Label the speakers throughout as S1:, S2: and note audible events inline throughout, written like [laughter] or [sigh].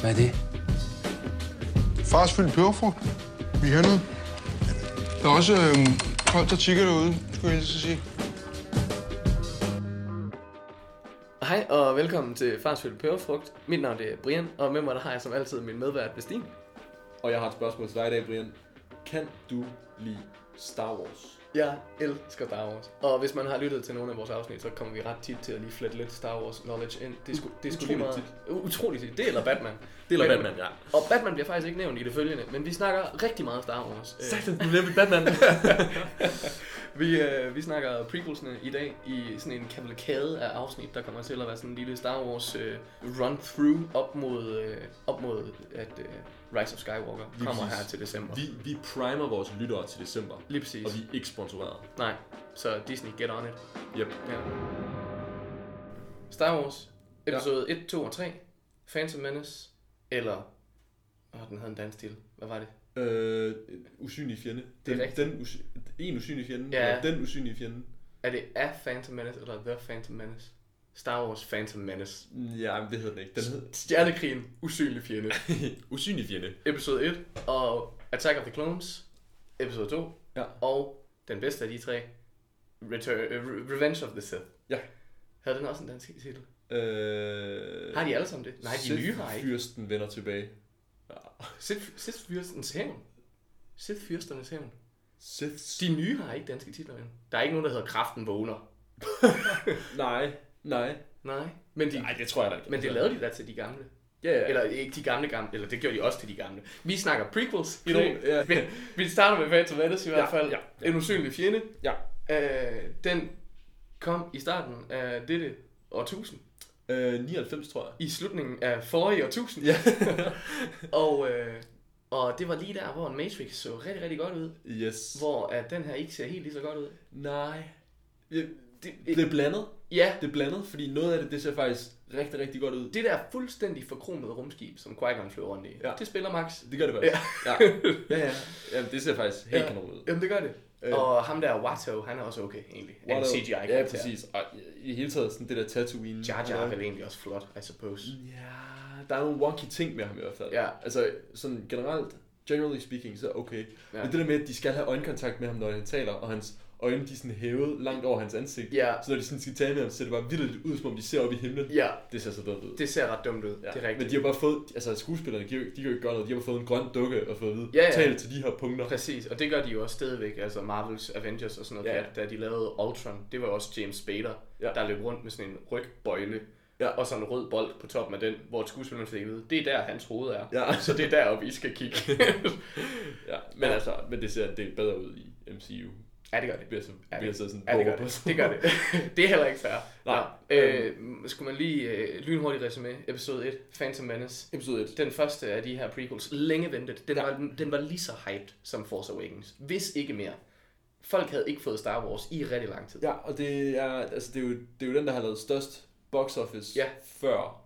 S1: Hvad er det?
S2: Fars fyldt peberfrugt. Vi handlede. Der er også øh, koldt og tigger derude, skulle jeg lige så sige.
S3: Hej og velkommen til Fars Fylde Peberfrugt. Mit navn det er Brian, og med mig der har jeg som altid min medvært Vestin.
S4: Og jeg har et spørgsmål til dig i dag, Brian. Kan du lide Star Wars?
S3: Jeg elsker Star Wars. Og hvis man har lyttet til nogle af vores afsnit, så kommer vi ret tit til at lige flette lidt Star Wars knowledge ind. Det er sgu, det er sgu lige meget...
S4: Utroligt
S3: Tit. Utroligt tit. Det eller Batman.
S4: Det er
S3: Men-
S4: Batman, ja.
S3: Og Batman bliver faktisk ikke nævnt i det følgende, men vi snakker rigtig meget Star Wars. Øh,
S4: du nemlig Batman.
S3: [laughs] Vi, øh, vi snakker prequelsene i dag i sådan en kavalkade af afsnit, der kommer til at være sådan en lille Star Wars øh, run-through op mod, øh, op mod at øh, Rise of Skywalker
S4: Lige
S3: kommer
S4: præcis.
S3: her til december.
S4: vi, vi primer vores lyttere til december,
S3: Lige præcis.
S4: og vi er ikke sponsoreret.
S3: Nej, så Disney, get on it.
S4: Yep.
S3: Ja. Star Wars, episode ja. 1, 2 og 3, Phantom Menace, eller... Åh, oh, den havde en dansk til. Hvad var det?
S4: Øh, usynlig fjende.
S3: Det er
S4: Den,
S3: rigtigt.
S4: den usy- en usynlig fjende,
S3: Ja.
S4: eller den usynlige fjende.
S3: Er det af Phantom Menace, eller The Phantom Menace? Star Wars Phantom Menace.
S4: Ja, men det hedder den ikke. Den hed
S3: Stjernekrigen, usynlig fjende.
S4: [laughs] usynlig fjende.
S3: episode 1 og Attack of the Clones, episode 2,
S4: Ja.
S3: og den bedste af de tre, Return, øh, Re- Revenge of the Sith.
S4: Ja.
S3: Havde den også en dansk titel?
S4: Øh,
S3: Har de alle sammen det? Nej, de nye har ikke.
S4: Fyrsten vender tilbage.
S3: Sith, Sith Fyrstens Hævn. Sith Fyrsternes Hævn.
S4: Sith.
S3: De nye har ikke danske titler endnu. Der er ikke nogen, der hedder Kraften Vågner.
S4: Nej, nej.
S3: Nej, men de,
S4: Nej, det tror jeg da ikke. Altså,
S3: men det lavede de da til de gamle.
S4: Ja, ja.
S3: Eller ikke de gamle gamle, eller det gjorde de også til de gamle. Vi snakker prequels i dag.
S4: Ja.
S3: Vi, vi starter med Phantom Menace i hvert fald.
S4: ja,
S3: En usynlig fjende.
S4: Ja.
S3: Øh, den kom i starten af dette årtusind.
S4: Øh, 99, tror jeg.
S3: I slutningen af forrige årtusind.
S4: Ja.
S3: [laughs] og, øh, og det var lige der, hvor en Matrix så rigtig, rigtig godt ud.
S4: Yes.
S3: Hvor at den her ikke ser helt lige så godt ud.
S4: Nej. Det,
S3: Det,
S4: det er blandet.
S3: ja,
S4: Det er blandet, fordi noget af det, det ser faktisk rigtig, rigtig godt ud.
S3: det der fuldstændig forkromede rumskib, som Qui-Gon flyver rundt i,
S4: Ja.
S3: det spiller Max.
S4: Det gør det godt.
S3: Ja.
S4: ja. ja, ja. Jamen, det ser faktisk helt
S3: Ja.
S4: ja. kanon ud.
S3: Jamen det gør det.
S4: Øh.
S3: Og ham der Watto, han er også okay egentlig. En
S4: Waldo-
S3: CGI
S4: Ja, præcis. Og i hele taget sådan det der Tatooine.
S3: Jar Jar er vel egentlig også flot, I suppose.
S4: Ja, der er nogle wonky ting med ham i hvert fald.
S3: Ja.
S4: Altså, sådan generelt, generally speaking, så okay.
S3: Ja.
S4: Ja. Men det der med, at de skal have øjenkontakt med ham, når han taler, og hans øjne, de er sådan hævet langt over hans ansigt.
S3: Ja.
S4: Så når de sådan skal tale med ham, så ser det bare vildt ud, som om de ser op i himlen.
S3: Ja,
S4: Det ser så dumt ud.
S3: det ser ret dumt ud.
S4: Ja.
S3: Det er rigtigt.
S4: Men de har bare fået, altså skuespillerne, de, har jo- de kan jo ikke gøre noget, de har bare fået en grøn dukke og fået at vide,
S3: Ja, ja.
S4: tal til de her punkter.
S3: Præcis, og det gør de jo også stadigvæk, altså Marvels Avengers og sådan noget,
S4: Ja.
S3: ja. da de lavede Ultron, det var også James Spader, ja.
S4: Ja.
S3: der løb rundt med sådan en rygbøjle, ja.
S4: Ja.
S3: og så en rød bold på toppen af den, hvor skuespilleren fik at vide, det er der hans hoved er,
S4: Ja.
S3: så det er deroppe, I skal
S4: [laughs]
S3: kigge.
S4: Ja, men
S3: Ja.
S4: altså, men det ser en del bedre ud i MCU.
S3: ja, det gør det.
S4: Vi har så,
S3: Ja,
S4: vi har så sådan
S3: Ja, det gør
S4: borger på
S3: det.
S4: sådan- [laughs]
S3: Det gør det. [laughs] det er heller ikke fair.
S4: Nej. øhm.
S3: Nå, øh, skulle man lige øh, lynhurtigt resume, episode 1, Phantom Menace.
S4: Episode 1.
S3: Den første af de her prequels, længe ventet, den, ja. var, den var lige så hyped som Force Awakens, hvis ikke mere. Folk havde ikke fået Star Wars i rigtig lang tid.
S4: Ja, og det er, altså, det er, jo, det er jo den, der har lavet størst box office
S3: Ja.
S4: før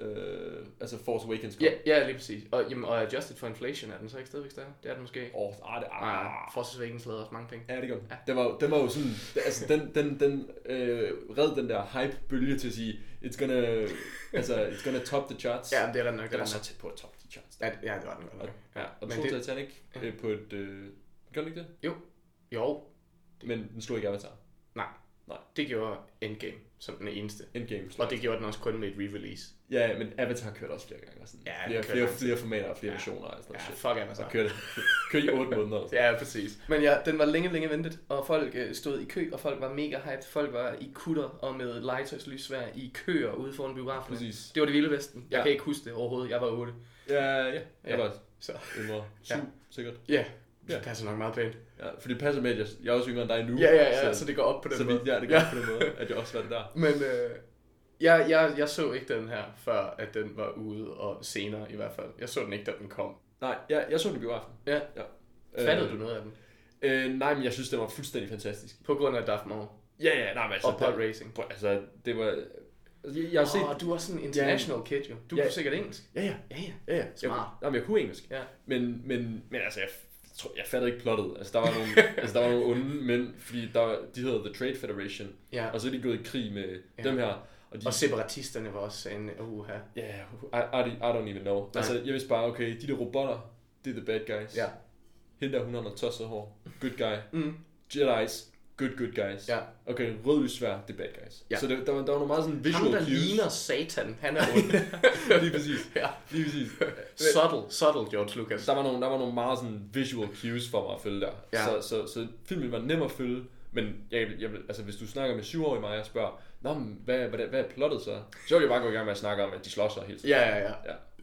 S4: øh, altså Force Awakens kom.
S3: Ja, ja lige præcis. Og, jamen, og adjusted for inflation, er den så ikke stadigvæk større? Det er den måske.
S4: Og, ah, det,
S3: Ah,
S4: ah.
S3: Forces Awakens lavede også mange penge.
S4: Ja, det gør den. Den var, jo- den var jo sådan, altså den, den, den øh, red den der hype-bølge til at sige, it's gonna, altså, it's gonna top the charts.
S3: Ja, men det er den nok.
S4: Den
S3: Den
S4: var
S3: er
S4: så
S3: nok.
S4: tæt på at toppe de charts.
S3: Ja, ja, det var den godt nok. Ja,
S4: Og
S3: men
S4: den slog
S3: det,
S4: Titanic øh, på et... Øh, gør den ikke det?
S3: jo,
S4: Men den slog ikke Avatar.
S3: det gjorde Endgame som den eneste.
S4: Endgame slog.
S3: Og det gjorde den også kun med et re-release.
S4: Ja, men Avatar kørte også flere gange. Og sådan.
S3: Ja, den
S4: flere,
S3: kørte
S4: flere,
S3: lang tid.
S4: flere formater og flere
S3: Ja.
S4: versioner og sådan
S3: Ja,
S4: noget Oh, shit.
S3: fuck
S4: Så
S3: Amazon.
S4: kørte, kørte i 8 måneder. og sådan.
S3: Ja, præcis. Men ja, den var længe, længe ventet, og folk øh, stod i kø, og folk var mega hyped. Folk var i kutter og med legetøjs lysvær i køer ude foran biografen.
S4: Præcis.
S3: Det var det vilde vesten. Jeg
S4: Ja.
S3: kan ikke huske det overhovedet. Jeg var 8.
S4: Ja, ja. Jeg
S3: Ja.
S4: var
S3: Så
S4: yngre.
S3: Ja.
S4: Syv, sikkert.
S3: ja,
S4: Ja.
S3: det passer nok meget pænt.
S4: Ja, for det passer med, at jeg, jeg er også yngre end dig nu.
S3: Ja, ja, ja, så, det går op på den
S4: så
S3: måde.
S4: vidt, ja, det gør på den måde, at jeg også var det der.
S3: Men øh, jeg, jeg, jeg så ikke den her, før at den var ude, og senere i hvert fald. Jeg så den ikke, da den kom.
S4: Nej, jeg, jeg så den i biografen.
S3: Ja.
S4: ja.
S3: Fattede
S4: Øh,
S3: du noget af den?
S4: Øh, nej, men jeg synes, den var fuldstændig fantastisk.
S3: På grund af Darth Maul
S4: Ja, ja, nej, men altså...
S3: og pod
S4: den-
S3: racing.
S4: Prøv, Altså, det var... Altså, jeg, jeg har set...
S3: Åh, du er sådan en international kid, jo. Du
S4: Ja.
S3: er sikkert engelsk.
S4: Ja, ja,
S3: Ja, ja.
S4: ja, ja.
S3: Smart.
S4: Jeg, jamen, jeg kunne engelsk.
S3: Ja.
S4: Men, men, men altså, jeg, f- tror, jeg fattede ikke plottet. Altså, der var
S3: [laughs]
S4: nogle, altså, der var nogle onde mænd, fordi der, var- de hedder The Trade Federation.
S3: Ja.
S4: Og så er de gået i krig med
S3: Ja.
S4: ja. dem her. Og Og de,
S3: Og separatisterne var også en uha.
S4: Ja, I, I, I don't even know.
S3: Nej.
S4: Altså, jeg vidste bare, okay, de der robotter, det er the bad guys.
S3: Ja.
S4: Hende der, hun har noget tosset hår. Good guy.
S3: Mm.
S4: Jedi's, good, good guys.
S3: Ja.
S4: Okay, rød lys svær, det er bad guys.
S3: Ja.
S4: Så det, der, var, der var nogle meget sådan visual
S3: Ham, der
S4: cues.
S3: ligner satan, han er ond.
S4: [laughs] Lige præcis.
S3: ja. [laughs]
S4: Lige præcis.
S3: Subtle, subtle George Lucas.
S4: Altså, Der var, nogle, der var nogle meget sådan visual cues for mig at følge der.
S3: Ja.
S4: Så, så, så filmen var nem at følge, men jeg, jeg, vil- altså, hvis du snakker med syvårige mig og spørger, Nå, men hvad, hvad, hvad er plottet så? Så vil jeg bare gå i gang med at snakke om, at de slår sig helt
S3: Ja, ja, ja.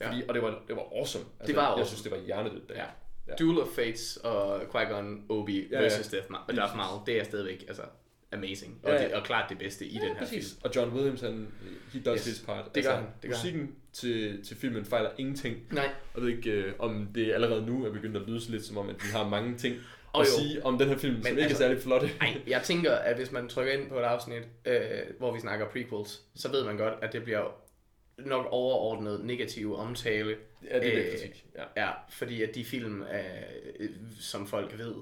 S4: Ja. Fordi, og det var, det var awesome. Altså,
S3: var
S4: Jeg
S3: awesome.
S4: synes, det var hjernedødt. der.
S3: ja.
S4: Ja.
S3: Duel of Fates og Qui-Gon, Obi
S4: ja.
S3: versus Death Ma-
S4: Lige
S3: Darth
S4: præcis.
S3: Maul, det er stadigvæk altså, amazing. Og,
S4: Ja, ja.
S3: det, og klart det bedste i den her film.
S4: Og John Williams, han, he does
S3: Yes,
S4: yes. his part. Altså,
S3: det gør han, det gør
S4: musikken Til, til filmen fejler ingenting.
S3: Nej.
S4: Jeg ved ikke, øh, om det allerede nu er begyndt at lyde så lidt som om, at vi har mange ting
S3: Åh,
S4: oh, at
S3: jo.
S4: sige om den her film, Men som ikke
S3: altså-
S4: er særlig flotte.
S3: Nej, jeg tænker, at hvis man trykker ind på et afsnit, øh, hvor vi snakker prequels, så ved man godt, at det bliver nok overordnet negativ omtale.
S4: Ja, det er lidt
S3: Øh,
S4: kritik. Ja.
S3: Ja, fordi at de film, øh, øh, som folk ved,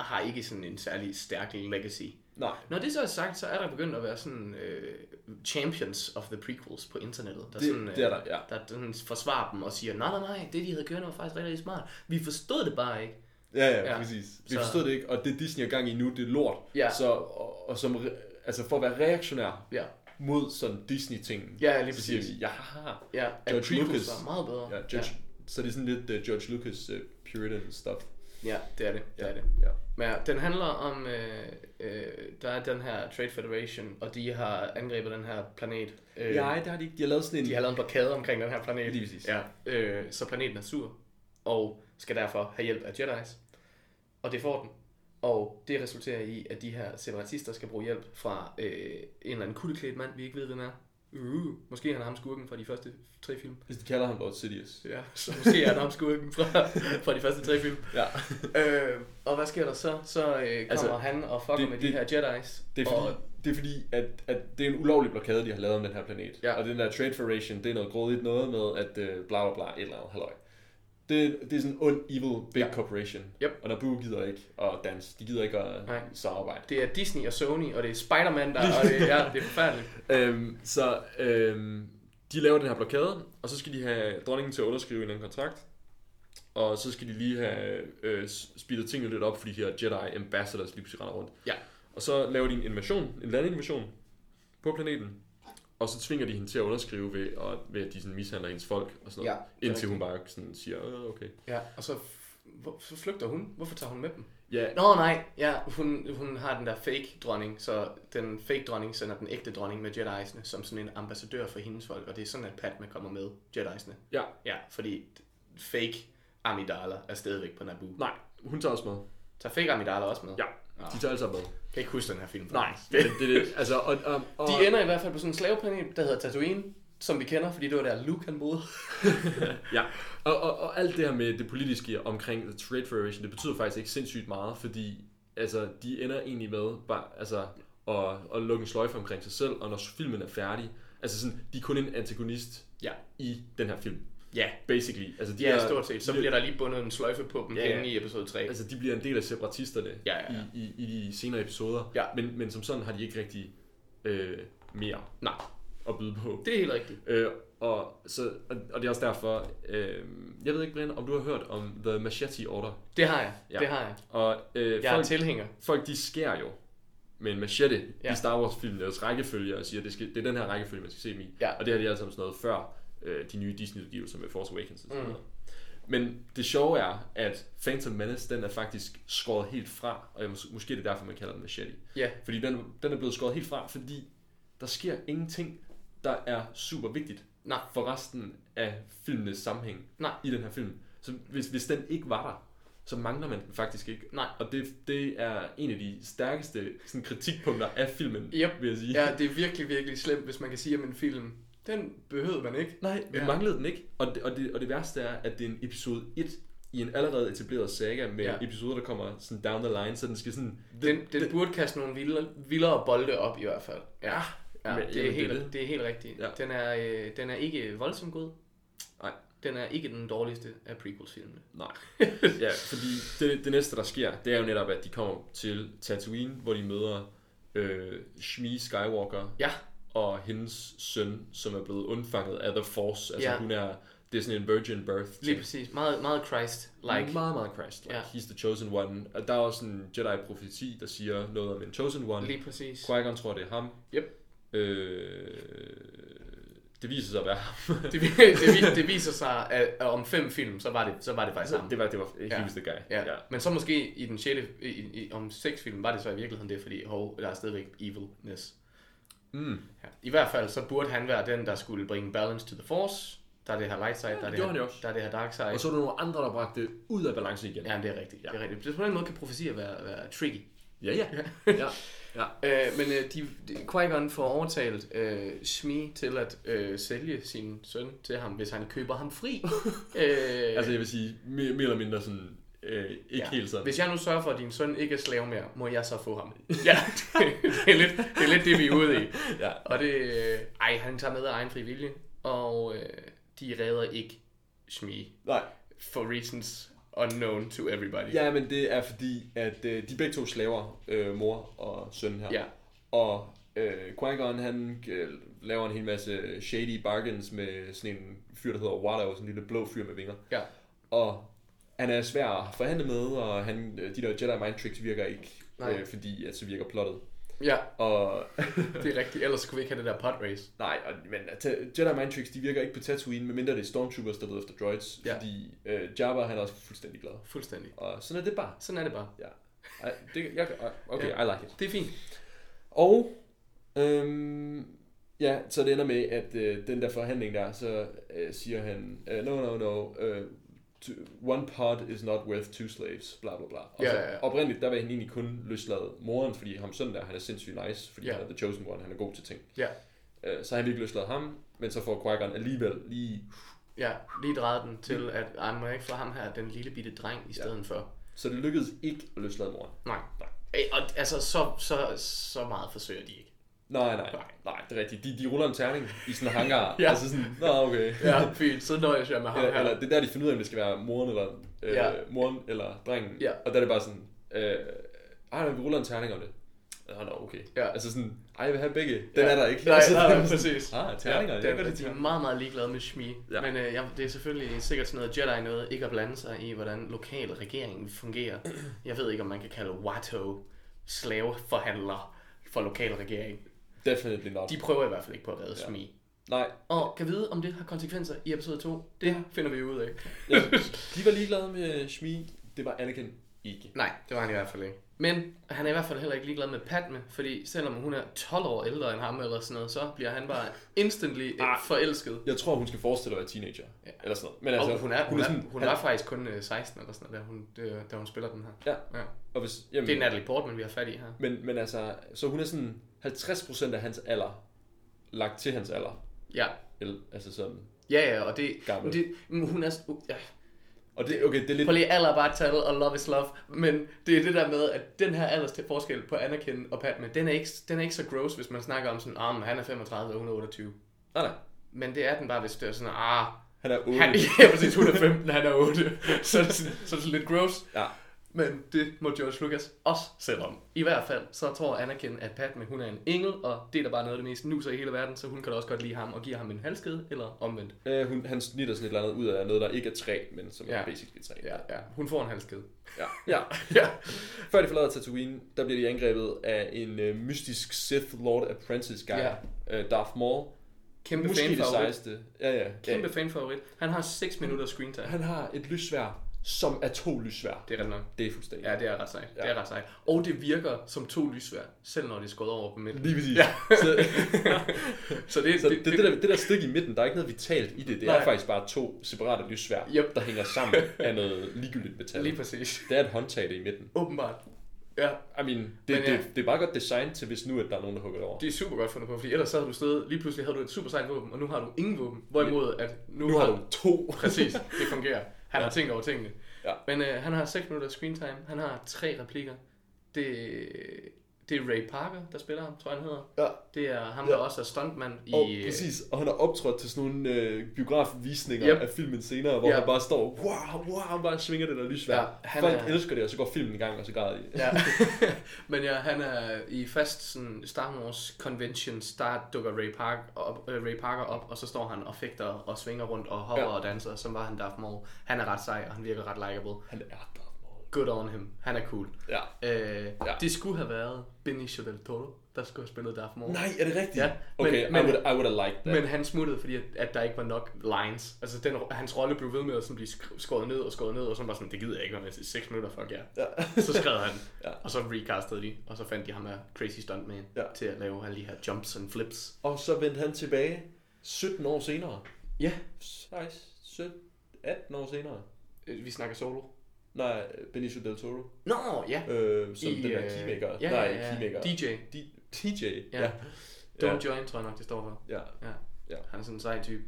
S3: har ikke sådan en særlig stærk legacy.
S4: Nej.
S3: Når det så er sagt, så er der begyndt at være sådan øh, champions of the prequels på internettet. Der
S4: Det-
S3: sådan, øh,
S4: det er der, ja.
S3: Der sådan forsvarer dem og siger, nej, nej, nej, det de havde kørt var faktisk rigtig, rigtig smart. Vi forstod det bare ikke.
S4: Ja, ja,
S3: Ja.
S4: ja. præcis. Vi
S3: Så-
S4: forstod det ikke, og det Disney er gang i nu, det er lort.
S3: Ja.
S4: Så, og, og som, re- altså for at være reaktionær
S3: Ja,
S4: mod sådan Disney-tingen,
S3: Ja, lige
S4: så siger
S3: præcis.
S4: vi, ja, haha.
S3: ja at
S4: George
S3: prequels
S4: Lucas.
S3: var meget bedre.
S4: ja, George, ja. Så det er sådan lidt uh, George Lucas uh, Puritan stuff.
S3: ja. ja det er det, det er det.
S4: Ja.
S3: Men ja, den handler om, øh, øh, der er den her Trade Federation, og de har angrebet den her planet. Øh,
S4: Nej, det har de ikke. De har lavet sådan en...
S3: De har lavet en blokade omkring den her planet.
S4: Lige præcis.
S3: Ja, øh, så planeten er sur, og skal derfor have hjælp af Jedi's. Og det får den. Og det resulterer i, at de her separatister skal bruge hjælp fra øh, en eller anden kuldeklædt mand, vi ikke ved, hvem er. Uh, måske han er ham skurken fra de første tre film.
S4: Hvis de kalder ham Lord Sidious.
S3: Ja, så måske er han ham skurken
S4: [laughs]
S3: fra, fra de første tre film.
S4: Ja.
S3: Øh, og hvad sker der så? Så øh, kommer altså,
S4: Altså,
S3: han og fucker det,
S4: det-
S3: med de
S4: det-
S3: her Jedi's.
S4: Det er fordi,
S3: Og,
S4: det er fordi at, at det er en ulovlig blokade, de har lavet om den her planet.
S3: Ja.
S4: Og den der Trade Federation, det er noget grådigt noget med, at øh, bla bla bla, et eller andet, halløj. Det, det er sådan en ond, evil, big
S3: Ja.
S4: ja. corporation.
S3: Yep.
S4: Og Naboo gider ikke at danse. De gider ikke at
S3: Nej.
S4: Nej. samarbejde.
S3: det er Disney og Sony, og det er Spider-Man, der... Og det, ja, det er forfærdeligt.
S4: Øhm, så øhm, de laver den her blokade, og så skal de have dronningen til at underskrive en eller anden kontrakt. Og så skal de lige have øh, speedet tingene lidt op, fordi de her Jedi Ambassadors lige pludselig render rundt.
S3: Ja.
S4: Og så laver de en invasion, en landinvasion på planeten. Og så tvinger de hende til at underskrive ved, og, ved at de sådan mishandler hendes folk og sådan noget.
S3: Ja, det er
S4: indtil hun bare sådan siger, øh, okay.
S3: Ja, og så, f- hvor, så flygter hun. Hvorfor tager hun med dem?
S4: Ja,
S3: Nå nej, ja, hun, hun har den der fake dronning, så den fake dronning sender den ægte dronning med Jedi'sne som sådan en ambassadør for hendes folk, og det er sådan, at Padme kommer med Jedi'sne.
S4: ja,
S3: Ja, fordi fake Amidala er stadigvæk på Naboo.
S4: nej, hun tager også med.
S3: Tager fake Amidala også med?
S4: Ja, de tager altså med.
S3: Jeg kan ikke huske den her film.
S4: det er det. det. Altså, og, og, og,
S3: De ender i hvert fald på sådan en slaveplanet, der hedder Tatooine, som vi kender, fordi det var der Luke han boede.
S4: Ja, og, og, og alt det her med det politiske omkring The Trade Federation, det betyder faktisk ikke sindssygt meget, fordi altså, de ender egentlig med bare, altså, at, at lukke en sløjfe omkring sig selv, og når filmen er færdig, altså sådan, de er kun en antagonist
S3: Ja.
S4: i den her film,
S3: Ja,
S4: basically. Altså, de
S3: ja,
S4: er,
S3: stort set. Så
S4: de,
S3: bliver der lige bundet en sløjfe på dem
S4: Ja, ja.
S3: inde i episode 3.
S4: Altså, de bliver en del af separatisterne
S3: Ja, ja, ja.
S4: I, i, i de senere episoder,
S3: Ja.
S4: men, men som sådan har de ikke rigtig øh, mere
S3: Nej,
S4: at byde på.
S3: det er helt rigtigt.
S4: Øh, og, så, og, og det er også derfor, øh, jeg ved ikke, Brian, om du har hørt om The Machete Order?
S3: Det har jeg. Ja.
S4: Ja.
S3: Det har jeg.
S4: Og øh,
S3: Jeg er
S4: folk,
S3: tilhænger.
S4: folk, de skærer jo med en machete
S3: Ja.
S4: ja. i Star Wars-filmen deres rækkefølge og siger, det, skal, det er den her rækkefølge, man skal se dem i.
S3: Ja.
S4: Og det har de alle sammen sådan noget før øh, de nye Disney-udgivelser med Force Awakens og sådan mm. noget. Men det sjove er, at Phantom Menace, den er faktisk skåret helt fra, og jeg, mås- måske er det derfor, man kalder den machete.
S3: Ja.
S4: Fordi den, den er blevet skåret helt fra, fordi der sker ingenting, der er super vigtigt
S3: Nej.
S4: for resten af filmenes sammenhæng
S3: Nej.
S4: i den her film. Så hvis, hvis den ikke var der, så mangler man den faktisk ikke.
S3: Nej.
S4: Og det, det er en af de stærkeste sådan, kritikpunkter af filmen,
S3: Yep.
S4: vil jeg sige.
S3: [laughs] Ja, det er virkelig, virkelig slemt, hvis man kan sige om en film, den behøvede man ikke.
S4: Nej, vi
S3: Ja.
S4: ja. manglede den ikke. Og det, og, det, og det værste er, at det er en episode 1 i en allerede etableret saga med
S3: Ja.
S4: ja. episoder, der kommer sådan down the line, så den skal sådan...
S3: Den, den burde kaste nogle vildere, vildere bolde op i hvert fald. Ja, ja
S4: men-
S3: det, er
S4: jamen,
S3: helt,
S4: det er det.
S3: det er helt rigtigt. Ja.
S4: Ja.
S3: Den, er, øh, den er ikke voldsomt god.
S4: Nej.
S3: Den er ikke den dårligste af prequels-filmene.
S4: Nej. [laughs] ja, fordi det, det næste, der sker, det er jo netop, at de kommer til Tatooine, hvor de møder øh, Shmi Skywalker
S3: Ja,
S4: og hendes søn, som er blevet undfanget af The Force. Altså
S3: Ja.
S4: hun er, det er sådan en virgin birth.
S3: Lige
S4: ting.
S3: præcis. Meget, meget Christ-like.
S4: Meget, meget Christ. Like,
S3: Ja.
S4: He's the chosen one. Og der er også en Jedi-profeti, der siger noget om en chosen one.
S3: Lige præcis.
S4: Qui-Gon tror, det er ham.
S3: Yep.
S4: Øh, det viser sig at være ham.
S3: Det, vi- det, vi- det, viser sig, at at om fem film, så var det, så var det faktisk ham.
S4: [laughs] det var, det var, he
S3: Ja.
S4: was the guy.
S3: Ja. ja. Men så måske i den sjette, i, i, om seks film, var det så i virkeligheden det, fordi hov, der er stadigvæk evilness.
S4: Mm.
S3: Ja. I hvert fald, så burde han være den, der skulle bringe balance to the force. Der er det her light side, der, er det
S4: gjorde han jo
S3: her,
S4: også.
S3: der er det her dark side.
S4: Og så er der nogle andre, der bragte det ud af balance igen.
S3: Ja, det er rigtigt. Ja.
S4: Ja.
S3: Det er rigtigt. Så På den måde kan profetier være, være tricky.
S4: ja. ja. [laughs] ja. ja.
S3: [laughs] Øh, men øh, de, de, Qui-Gon får overtalt øh, Shmi til at øh, sælge sin søn til ham, hvis han køber ham
S4: [laughs]
S3: fri. øh,
S4: Altså jeg vil sige, mere, mere eller mindre sådan, øh, ikke ja. helt sådan.
S3: Hvis jeg nu sørger for, at din søn ikke er slave mere, må jeg så få ham? Ja, [laughs] det er lidt det, er lidt det vi er ude i.
S4: Ja.
S3: Og det, øh, ej, han tager med af egen fri vilje, og øh, de redder ikke Shmi.
S4: Nej.
S3: For reasons unknown to everybody.
S4: Ja, men det er fordi, at øh, de er begge to slaver, øh, mor og søn her.
S3: Ja.
S4: Og øh, Qui-Gon, han øh, laver en hel masse shady bargains med sådan en fyr, der hedder Watto, sådan en lille blå fyr med vinger.
S3: ja.
S4: Og han er svær at forhandle med, og han, øh, de der Jedi mind tricks virker ikke,
S3: Nej.
S4: øh, fordi at så virker plottet.
S3: Ja,
S4: Og
S3: det er rigtigt. Ellers skulle vi ikke have det der pod race.
S4: Nej, og, men ta- Jedi mind tricks, de virker ikke på Tatooine, medmindre det er Stormtroopers, der leder efter droids,
S3: Ja.
S4: ja. fordi øh, Jabba, han er også fuldstændig glad.
S3: Fuldstændig.
S4: Og sådan er det bare.
S3: Sådan er det bare.
S4: Ja. Ej, det, jeg, ej, okay,
S3: Ja.
S4: I like it.
S3: Det er fint.
S4: Og, øhm, ja, så det ender med, at øh, den der forhandling der, så øh, siger han, øh, no, no, no, øh, to, one pod is not worth two slaves, bla bla bla. Og
S3: Ja,
S4: så,
S3: ja, ja.
S4: oprindeligt, der vil han egentlig kun løslade moren, fordi ham sådan der, han er sindssygt nice, fordi
S3: Ja.
S4: ja. han er the chosen one, han er god til ting.
S3: Ja.
S4: Øh, så har han ikke løsladt ham, men så får Qui-Gon alligevel lige...
S3: Ja, lige drejet den til, at ej, må jeg ikke få ham her, den lille bitte dreng, i stedet ja. for.
S4: Så det lykkedes ikke at løslade moren.
S3: Nej.
S4: Nej.
S3: Ej, og altså, så, så, så meget forsøger de ikke.
S4: Nej, nej, nej, nej, det er rigtigt. De, de ruller en terning i sådan en hangar.
S3: Ja.
S4: Altså sådan, nå okay.
S3: Ja, [laughs] fint, så nøjes jeg med ham
S4: Eller,
S3: her.
S4: eller, det er der, de finder ud af, om det skal være moren eller, øh,
S3: Ja.
S4: ja. moren eller drengen.
S3: Ja.
S4: Og der er det bare sådan, øh, ej, nej, vi ruller en terning om det. Nå, nå, okay.
S3: Ja.
S4: Altså sådan, ej, jeg vil have begge. Den
S3: Ja.
S4: er der ikke.
S3: Nej,
S4: altså,
S3: nej, nej, præcis.
S4: Ah,
S3: Ja,
S4: terninger. Ja,
S3: det er,
S4: det, det,
S3: de er meget, meget ligeglade med Shmi. Ja.
S4: Ja.
S3: Men øh, ja, det er selvfølgelig sikkert sådan noget Jedi noget, ikke at blande sig i, hvordan lokal regeringen
S4: [clears throat]
S3: fungerer. Jeg ved ikke, om man kan kalde Watto slaveforhandler for lokal regering.
S4: Definitely not.
S3: De prøver i hvert fald ikke på at redde ja. Shmi.
S4: Nej,
S3: Og kan vide, om det har konsekvenser i episode 2? Det finder vi ud af.
S4: ja. de var ligeglade med Shmi. Det var Anakin ikke.
S3: Nej, det var han i hvert fald ikke. Men han er i hvert fald heller ikke ligeglad med Padme, fordi selvom hun er 12 år ældre end ham eller sådan noget, så bliver han bare instantly øh,
S4: Ah.
S3: forelsket.
S4: Jeg tror, hun skal forestille at være teenager.
S3: Ja.
S4: Ja. Eller sådan noget. Men
S3: Altså, og hun er, hun, er, hun, er, hun
S4: han-
S3: er faktisk kun øh, 16 eller sådan noget, da hun, øh, da hun spiller den her.
S4: Ja,
S3: Ja.
S4: og hvis, jamen,
S3: Det er Natalie Portman, vi har fat i her.
S4: men, men altså, så hun er sådan 50% af hans alder, lagt til hans alder.
S3: Ja,
S4: Eller, altså sådan.
S3: ja, ja og det...
S4: Gammel.
S3: det men hun er... s- uh, Ja.
S4: Og det, okay, det er lidt...
S3: Prøv lige alder er bare et tal, og love is love. Men det er det der med, at den her alders forskel på Anakin og Padme, den er ikke, den er ikke så gross, hvis man snakker om sådan, ah, men han er 35 og hun er 28.
S4: Nej, nej.
S3: Men det er den bare, hvis det er sådan, ah,
S4: Han er 8.
S3: han, [laughs] ja, præcis, hun er 15, han er 8. [laughs] Så er det sådan, så er det sådan lidt gross.
S4: Ja.
S3: Men det må George Lucas også selv om. I hvert fald, så tror Anakin, at Padme, hun er en engel, og det er da bare noget af det mest nuser i hele verden, så hun kan da også godt lide ham og give ham en halskede, eller omvendt.
S4: Øh, hun, han snitter sådan et eller andet ud af noget, der ikke er træ, men som
S3: Ja.
S4: er basically træ.
S3: ja. Hun får en halskede.
S4: ja. ja.
S3: Ja.
S4: Før de forlader Tatooine, der bliver de angrebet af en øh, mystisk Sith Lord Apprentice guy,
S3: Ja.
S4: ja. øh, Darth Maul.
S3: [laughs] Kæmpe
S4: Måske det
S3: fanfavorit.
S4: sejeste. Ja, ja.
S3: Kæmpe fanfavorit. Han har 6 minutter screen time.
S4: ja. Han har et lyssvær, som er to lyssvær.
S3: Det er ret nok.
S4: Det er fuldstændig.
S3: Ja, det er ret sejt. Ja.
S4: Ja.
S3: Det er ret sejt. Og det virker som to lysvær, selv når det er skåret over på midten. [laughs]
S4: Lige præcis.
S3: Ja.
S4: Ja. [laughs] Så,
S3: Så det,
S4: så det, det, der, det der stik i midten, der er ikke noget vitalt i det. Det
S3: Nej.
S4: er faktisk bare to separate lyssvær,
S3: Yep.
S4: der hænger
S3: [laughs]
S4: sammen af noget ligegyldigt metal.
S3: Lige præcis.
S4: Det er et håndtag det i midten.
S3: Åbenbart. Ja,
S4: I mean, det,
S3: Men
S4: Men,
S3: ja.
S4: ja. det, det er bare godt design til, hvis nu at der er nogen, der hugger det over.
S3: Det er super godt fundet på, fordi ellers så havde du stået, lige pludselig havde du et super sejt våben, og nu har du ingen våben. Hvorimod, at nu,
S4: Nu har du to.
S3: [laughs] Præcis, det fungerer. Han har tænkt over tingene.
S4: Ja.
S3: Men øh, han har 6 minutter screen time, han har tre replikker. Det, Det er Ray Parker, der spiller ham, tror jeg, han hedder.
S4: Ja.
S3: Det er ham,
S4: Ja.
S3: der også er stuntman i...
S4: Og
S3: øh,
S4: præcis, og han har optrådt til sådan nogle øh, biografvisninger
S3: Yep.
S4: yep. af filmen senere, hvor
S3: Ja.
S4: yep. han bare står, wow, wow, han bare svinger det der lysvær.
S3: Ja,
S4: Ja,
S3: han
S4: Folk
S3: er-
S4: er... elsker det, og så går filmen i gang, og så græder de.
S3: Ja. Men ja, han er i fast sådan Star Wars conventions, der dukker Ray, Park op, øh, Ray Parker op, og så står han og fægter og svinger rundt og hopper ja.
S4: Ja.
S3: og danser, som var han Darth Maul. Han er ret sej, og han virker ret likeable.
S4: Han er der.
S3: Good on him. Han er cool.
S4: Ja.
S3: Øh, ja.
S4: Ja.
S3: Det skulle have været Benicio del Toro, der skulle have spillet Darth Maul.
S4: Nej, er det rigtigt?
S3: Ja, men-
S4: okay,
S3: men-
S4: I, would, I would have liked that.
S3: Men han smuttede, fordi at, at der ikke var nok lines. Altså, den, hans rolle blev ved med at sådan blive sk- skåret ned og skåret ned, og så var sådan, det gider jeg ikke, og i 6 minutter, fuck jer.
S4: Ja.
S3: Så skrev han, ja.
S4: [laughs] Ja.
S3: og så recastede de, og så fandt de ham af Crazy Stuntman ja.
S4: Ja.
S3: til at lave alle de her jumps and flips.
S4: Og så vendte han tilbage 17 år senere.
S3: Ja,
S4: 16, 17, 18 år senere.
S3: øh, vi snakker solo.
S4: Nej, Benicio Del Toro.
S3: Nå, ja.
S4: Øh, som
S3: I,
S4: I, den
S3: øh,
S4: der keymaker.
S3: ja,
S4: Nej,
S3: ja, ja.
S4: keymaker.
S3: DJ.
S4: D- DJ,
S3: Ja.
S4: ja. ja.
S3: Don't ja. join, tror jeg nok, det står for.
S4: ja.
S3: Ja.
S4: Ja.
S3: Han er sådan en sej type.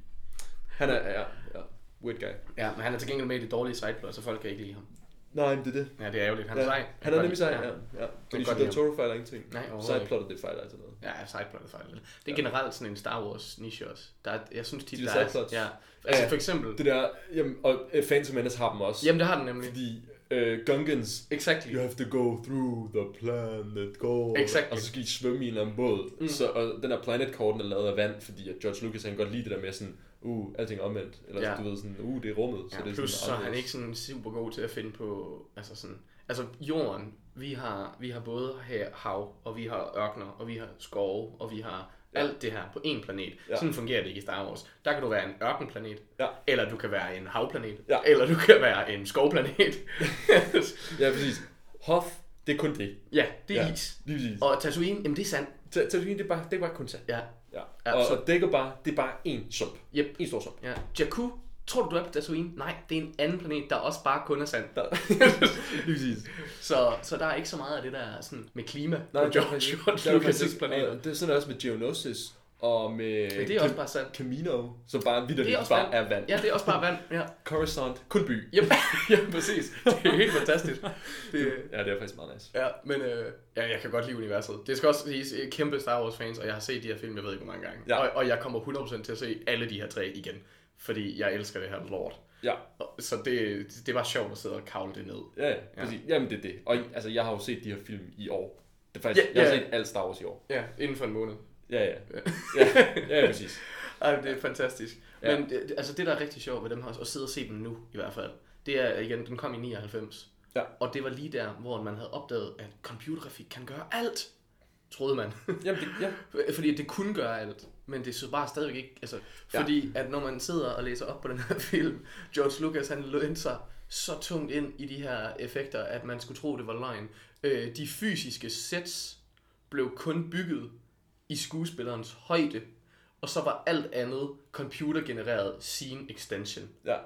S4: Han er, ja, ja. Weird guy.
S3: Ja, men han er til gengæld med i det dårlige sideplot, så folk kan ikke lide ham.
S4: Nej, men det er det.
S3: Ja, det er ærgerligt. Han er
S4: ja.
S3: sej.
S4: Han er nemlig sej,
S3: Ja,
S4: ja. ja. Benicio
S3: godt
S4: Del
S3: lide
S4: Toro fejler ingenting.
S3: Nej, overhovedet ikke.
S4: Sideplottet, det fejler altså noget.
S3: ja sideplotet fejler lidt. Det er generelt sådan en Star Wars niche også. Der er, jeg synes tit,
S4: De
S3: der
S4: der
S3: er...
S4: sideplots.
S3: Ja. Altså
S4: Ja.
S3: for eksempel...
S4: Det der, jamen, og øh, Phantom Menace har dem også.
S3: Jamen, det har den nemlig.
S4: Fordi øh, Gungans,
S3: Exactly.
S4: you have to go through the planet core.
S3: Exactly.
S4: Og så skal I svømme i en eller anden båd.
S3: Mm.
S4: Mm. Så, og den der planet core, den er lavet af vand, fordi at George Lucas han kan godt lide det der med sådan, uh, alting er omvendt. Eller
S3: Ja.
S4: ja. du ved sådan, uh, det er rummet.
S3: Ja,
S4: det er
S3: plus så er han
S4: anderledes.
S3: ikke sådan super god til at finde på, altså sådan, altså jorden, vi har, vi har både her hav, og vi har ørkner, og vi har skove, og vi har ja.
S4: Ja.
S3: alt det her på én planet. Ja.
S4: Ja.
S3: Sådan fungerer det ikke i Star Wars. Der kan du være en ørkenplanet,
S4: Ja.
S3: eller du kan være en havplanet,
S4: Ja.
S3: eller du kan være en
S4: [laughs]
S3: skovplanet.
S4: Ja, præcis. Hoth, det er kun det.
S3: ja, det er ja.
S4: Ja.
S3: is.
S4: Lige præcis.
S3: Og Tatooine, jamen det er sand.
S4: Ta- Tatooine, det er bare, det er bare kun sand.
S3: Ja,
S4: Ja.
S3: Ja,
S4: Og,
S3: så-
S4: og Dagobah, det er bare én sump.
S3: Yep.
S4: En stor sump.
S3: ja. Jakku, tror du du er på Tatooine? Nej, det er en anden planet, der også bare kun er sand.
S4: Der. [laughs] Lige præcis.
S3: Så, så der er ikke så meget af det der er sådan med klima Nej, på
S4: det
S3: [laughs]
S4: er
S3: George,
S4: faktisk ikke-
S3: George
S4: der er faktisk
S3: Lucas'
S4: ikke-
S3: planeter.
S4: og Det er sådan også med Geonosis og med
S3: Men det er også bare sand.
S4: Camino, som bare
S3: Det er
S4: vidderligt
S3: også
S4: bare
S3: vand.
S4: er vand.
S3: Ja, det er også bare vand. Ja,
S4: Coruscant, kun by.
S3: yep. [laughs] ja præcis. Det er helt fantastisk. Det,
S4: Ja, det er faktisk meget nice.
S3: ja, men øh, ja, jeg kan godt lide universet. Det skal også siges, jeg er kæmpe Star Wars fans, og jeg har set de her film, jeg ved ikke hvor mange gange.
S4: Ja.
S3: Og, og jeg kommer 100% til at se alle de her tre igen, fordi jeg elsker det her lort.
S4: Ja,
S3: Og- Så det, det var sjovt at sidde og kavle det ned.
S4: ja, ja. præcis. Jamen, det er det. Og altså, jeg har jo set de her film i år. Det er faktisk,
S3: Ja,
S4: jeg har
S3: ja.
S4: set alt Star Wars i år.
S3: Ja, inden for en måned.
S4: Ja, ja. Ja, ja, ja præcis.
S3: Ej, det er fantastisk.
S4: Ja.
S3: Men det, det- altså, det, der er rigtig sjovt ved dem her, også, at sidde og se dem nu i hvert fald, det er, igen, den kom i 99.
S4: Ja.
S3: Og det var lige der, hvor man havde opdaget, at computergrafik kan gøre alt, troede man.
S4: Jamen, det, ja.
S3: fordi det kunne gøre alt, men det er så bare stadigvæk ikke. Altså,
S4: Ja.
S3: fordi at når man sidder og læser op på den her [laughs] film, George Lucas han løn sig så tungt ind i de her effekter, at man skulle tro, det var løgn. Øh, de fysiske sets blev kun bygget i skuespillerens højde, og så var alt andet computergenereret scene extension.
S4: ja.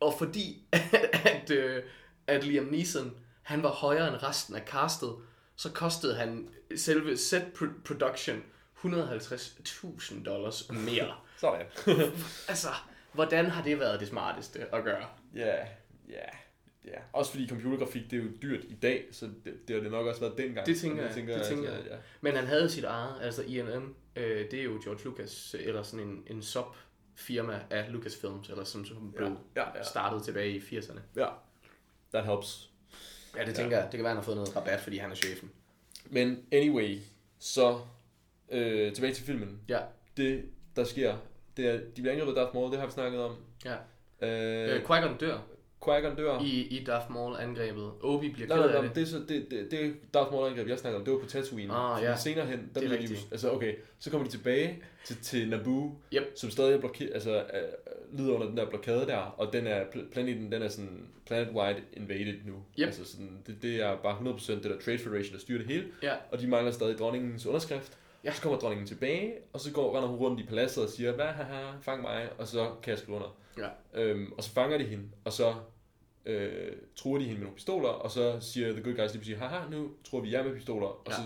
S3: Og fordi [laughs] at, at, øh, at Liam Neeson, han var højere end resten af castet, så kostede han selve set pro- production 150.000 dollars [laughs] mere.
S4: Sådan.
S3: altså, hvordan har det været det smarteste at gøre?
S4: ja, ja. Ja. Også fordi computergrafik, det er jo dyrt i dag, så det, det har det nok også været dengang.
S3: Det tænker
S4: Og
S3: jeg, det tænker
S4: altså,
S3: jeg.
S4: Ja.
S3: Men han havde sit eget, altså INM, øh, det er jo George Lucas, øh, eller sådan en, en sub firma af Lucasfilms, eller som, som blev
S4: ja, ja.
S3: startet tilbage i 80'erne.
S4: ja. That helps.
S3: Ja, det tænker jeg. Det kan være, han har fået noget rabat, fordi han er chefen.
S4: Men anyway, så øh, tilbage til filmen.
S3: Ja,
S4: Det, der sker, det er, de bliver angrebet af Darth Maul, det har vi snakket om.
S3: ja.
S4: Øh,
S3: Øh, Qui-Gon dør.
S4: Qui-Gon dør.
S3: i, i Darth Maul-angrebet. Obi bliver
S4: Nej,
S3: ked
S4: nej,
S3: af
S4: nej,
S3: det.
S4: det, er så, det, det, det er Darth Maul angreb, jeg snakker om, det var på Tatooine.
S3: Ah,
S4: Fordi
S3: ja.
S4: Senere hen, der
S3: Det er
S4: bliver de jo,
S3: rigtigt.
S4: altså okay, så kommer de tilbage til, til Naboo,
S3: Yep.
S4: som stadig er blokeret, altså øh, lider under den der blokade der, og den er, pl- planeten, den er sådan planet-wide invaded nu.
S3: Yep.
S4: Altså sådan, det, det er bare 100% det der Trade Federation, der styrer det hele.
S3: Ja.
S4: Og de mangler stadig dronningens underskrift.
S3: Ja.
S4: Ja. Så kommer dronningen tilbage, og så går, render hun rundt i paladset og siger, hvad haha, fang mig, og så kan jeg skrive under.
S3: Ja.
S4: Øhm, og så fanger de hende, og så øh, truer de hende med nogle pistoler, og så siger The Good Guys lige pludselig, haha, nu tror vi jer med pistoler, og,
S3: Ja.
S4: ja. så,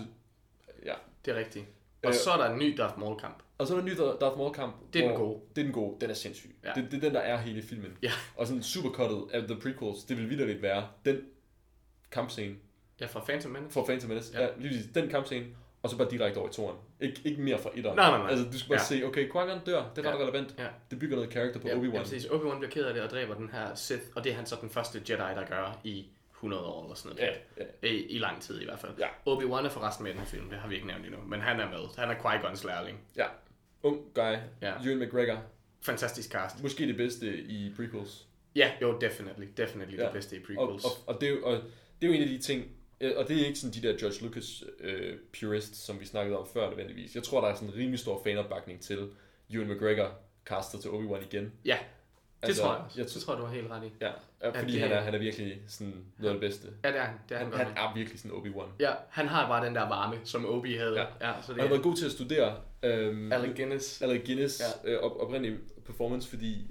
S4: ja.
S3: Det er rigtigt. Og
S4: Øh,
S3: så er der en ny Darth Maul-kamp.
S4: og så er der en ny Darth Maul-kamp.
S3: Det er den
S4: hvor-
S3: gode.
S4: Det er den gode, den er sindssyg.
S3: Ja.
S4: Ja. Det, det, er den, der er hele filmen.
S3: Ja.
S4: Og sådan supercuttet af The Prequels, det vil vidderligt være den kampscene,
S3: Ja, fra Phantom Menace.
S4: For Phantom Menace.
S3: Ja.
S4: Ja. ja lige præcis. den kampscene, og så bare direkte over i toren. Ik- ikke mere fra etteren.
S3: Nej, nej, nej.
S4: Altså, du skal bare
S3: Ja.
S4: ja. se, okay, Qui-Gon dør, det er ret
S3: Ja.
S4: relevant.
S3: Ja.
S4: Det bygger noget karakter på
S3: Ja, ja,
S4: Obi-Wan.
S3: præcis. Obi-Wan bliver ked af det og dræber den her Sith, og det er han så den første Jedi, der gør i 100 år eller sådan noget.
S4: Ja,
S3: I, I lang tid i hvert fald.
S4: Ja.
S3: Obi-Wan er forresten med i den her film, det har vi ikke nævnt endnu, men han er med. Han er Qui-Gons lærling.
S4: ja. Ung guy,
S3: Ja.
S4: Ewan McGregor.
S3: Fantastisk cast.
S4: Måske det bedste i prequels.
S3: Ja, jo, definitely. Definitely ja.
S4: Ja.
S3: det bedste i
S4: Og,
S3: prequels.
S4: og, og, det er jo, og det er jo en af de ting, øh, og det er ikke sådan de der George Lucas øh, purists, som vi snakkede om før nødvendigvis. Jeg tror, der er sådan en rimelig stor fanopbakning til Ewan McGregor castet til Obi-Wan igen.
S3: ja, det
S4: Altså,
S3: tror jeg. også.
S4: jeg
S3: det
S4: tror-
S3: tror jeg, du har helt ret i.
S4: Ja, ja fordi
S3: det-
S4: det... han, er, han er virkelig sådan noget af det bedste.
S3: Ja, det er han. Det er han,
S4: Han,
S3: godt
S4: han
S3: nok.
S4: er virkelig sådan Obi-Wan.
S3: Ja, han har bare den der varme, som Obi havde. Ja,
S4: Ja.
S3: ja så det
S4: Og han har
S3: er
S4: været god til at studere øhm,
S3: Alec Guinness.
S4: Alec Guinness
S3: Ja.
S4: ja. øh, op, oprindelige performance, fordi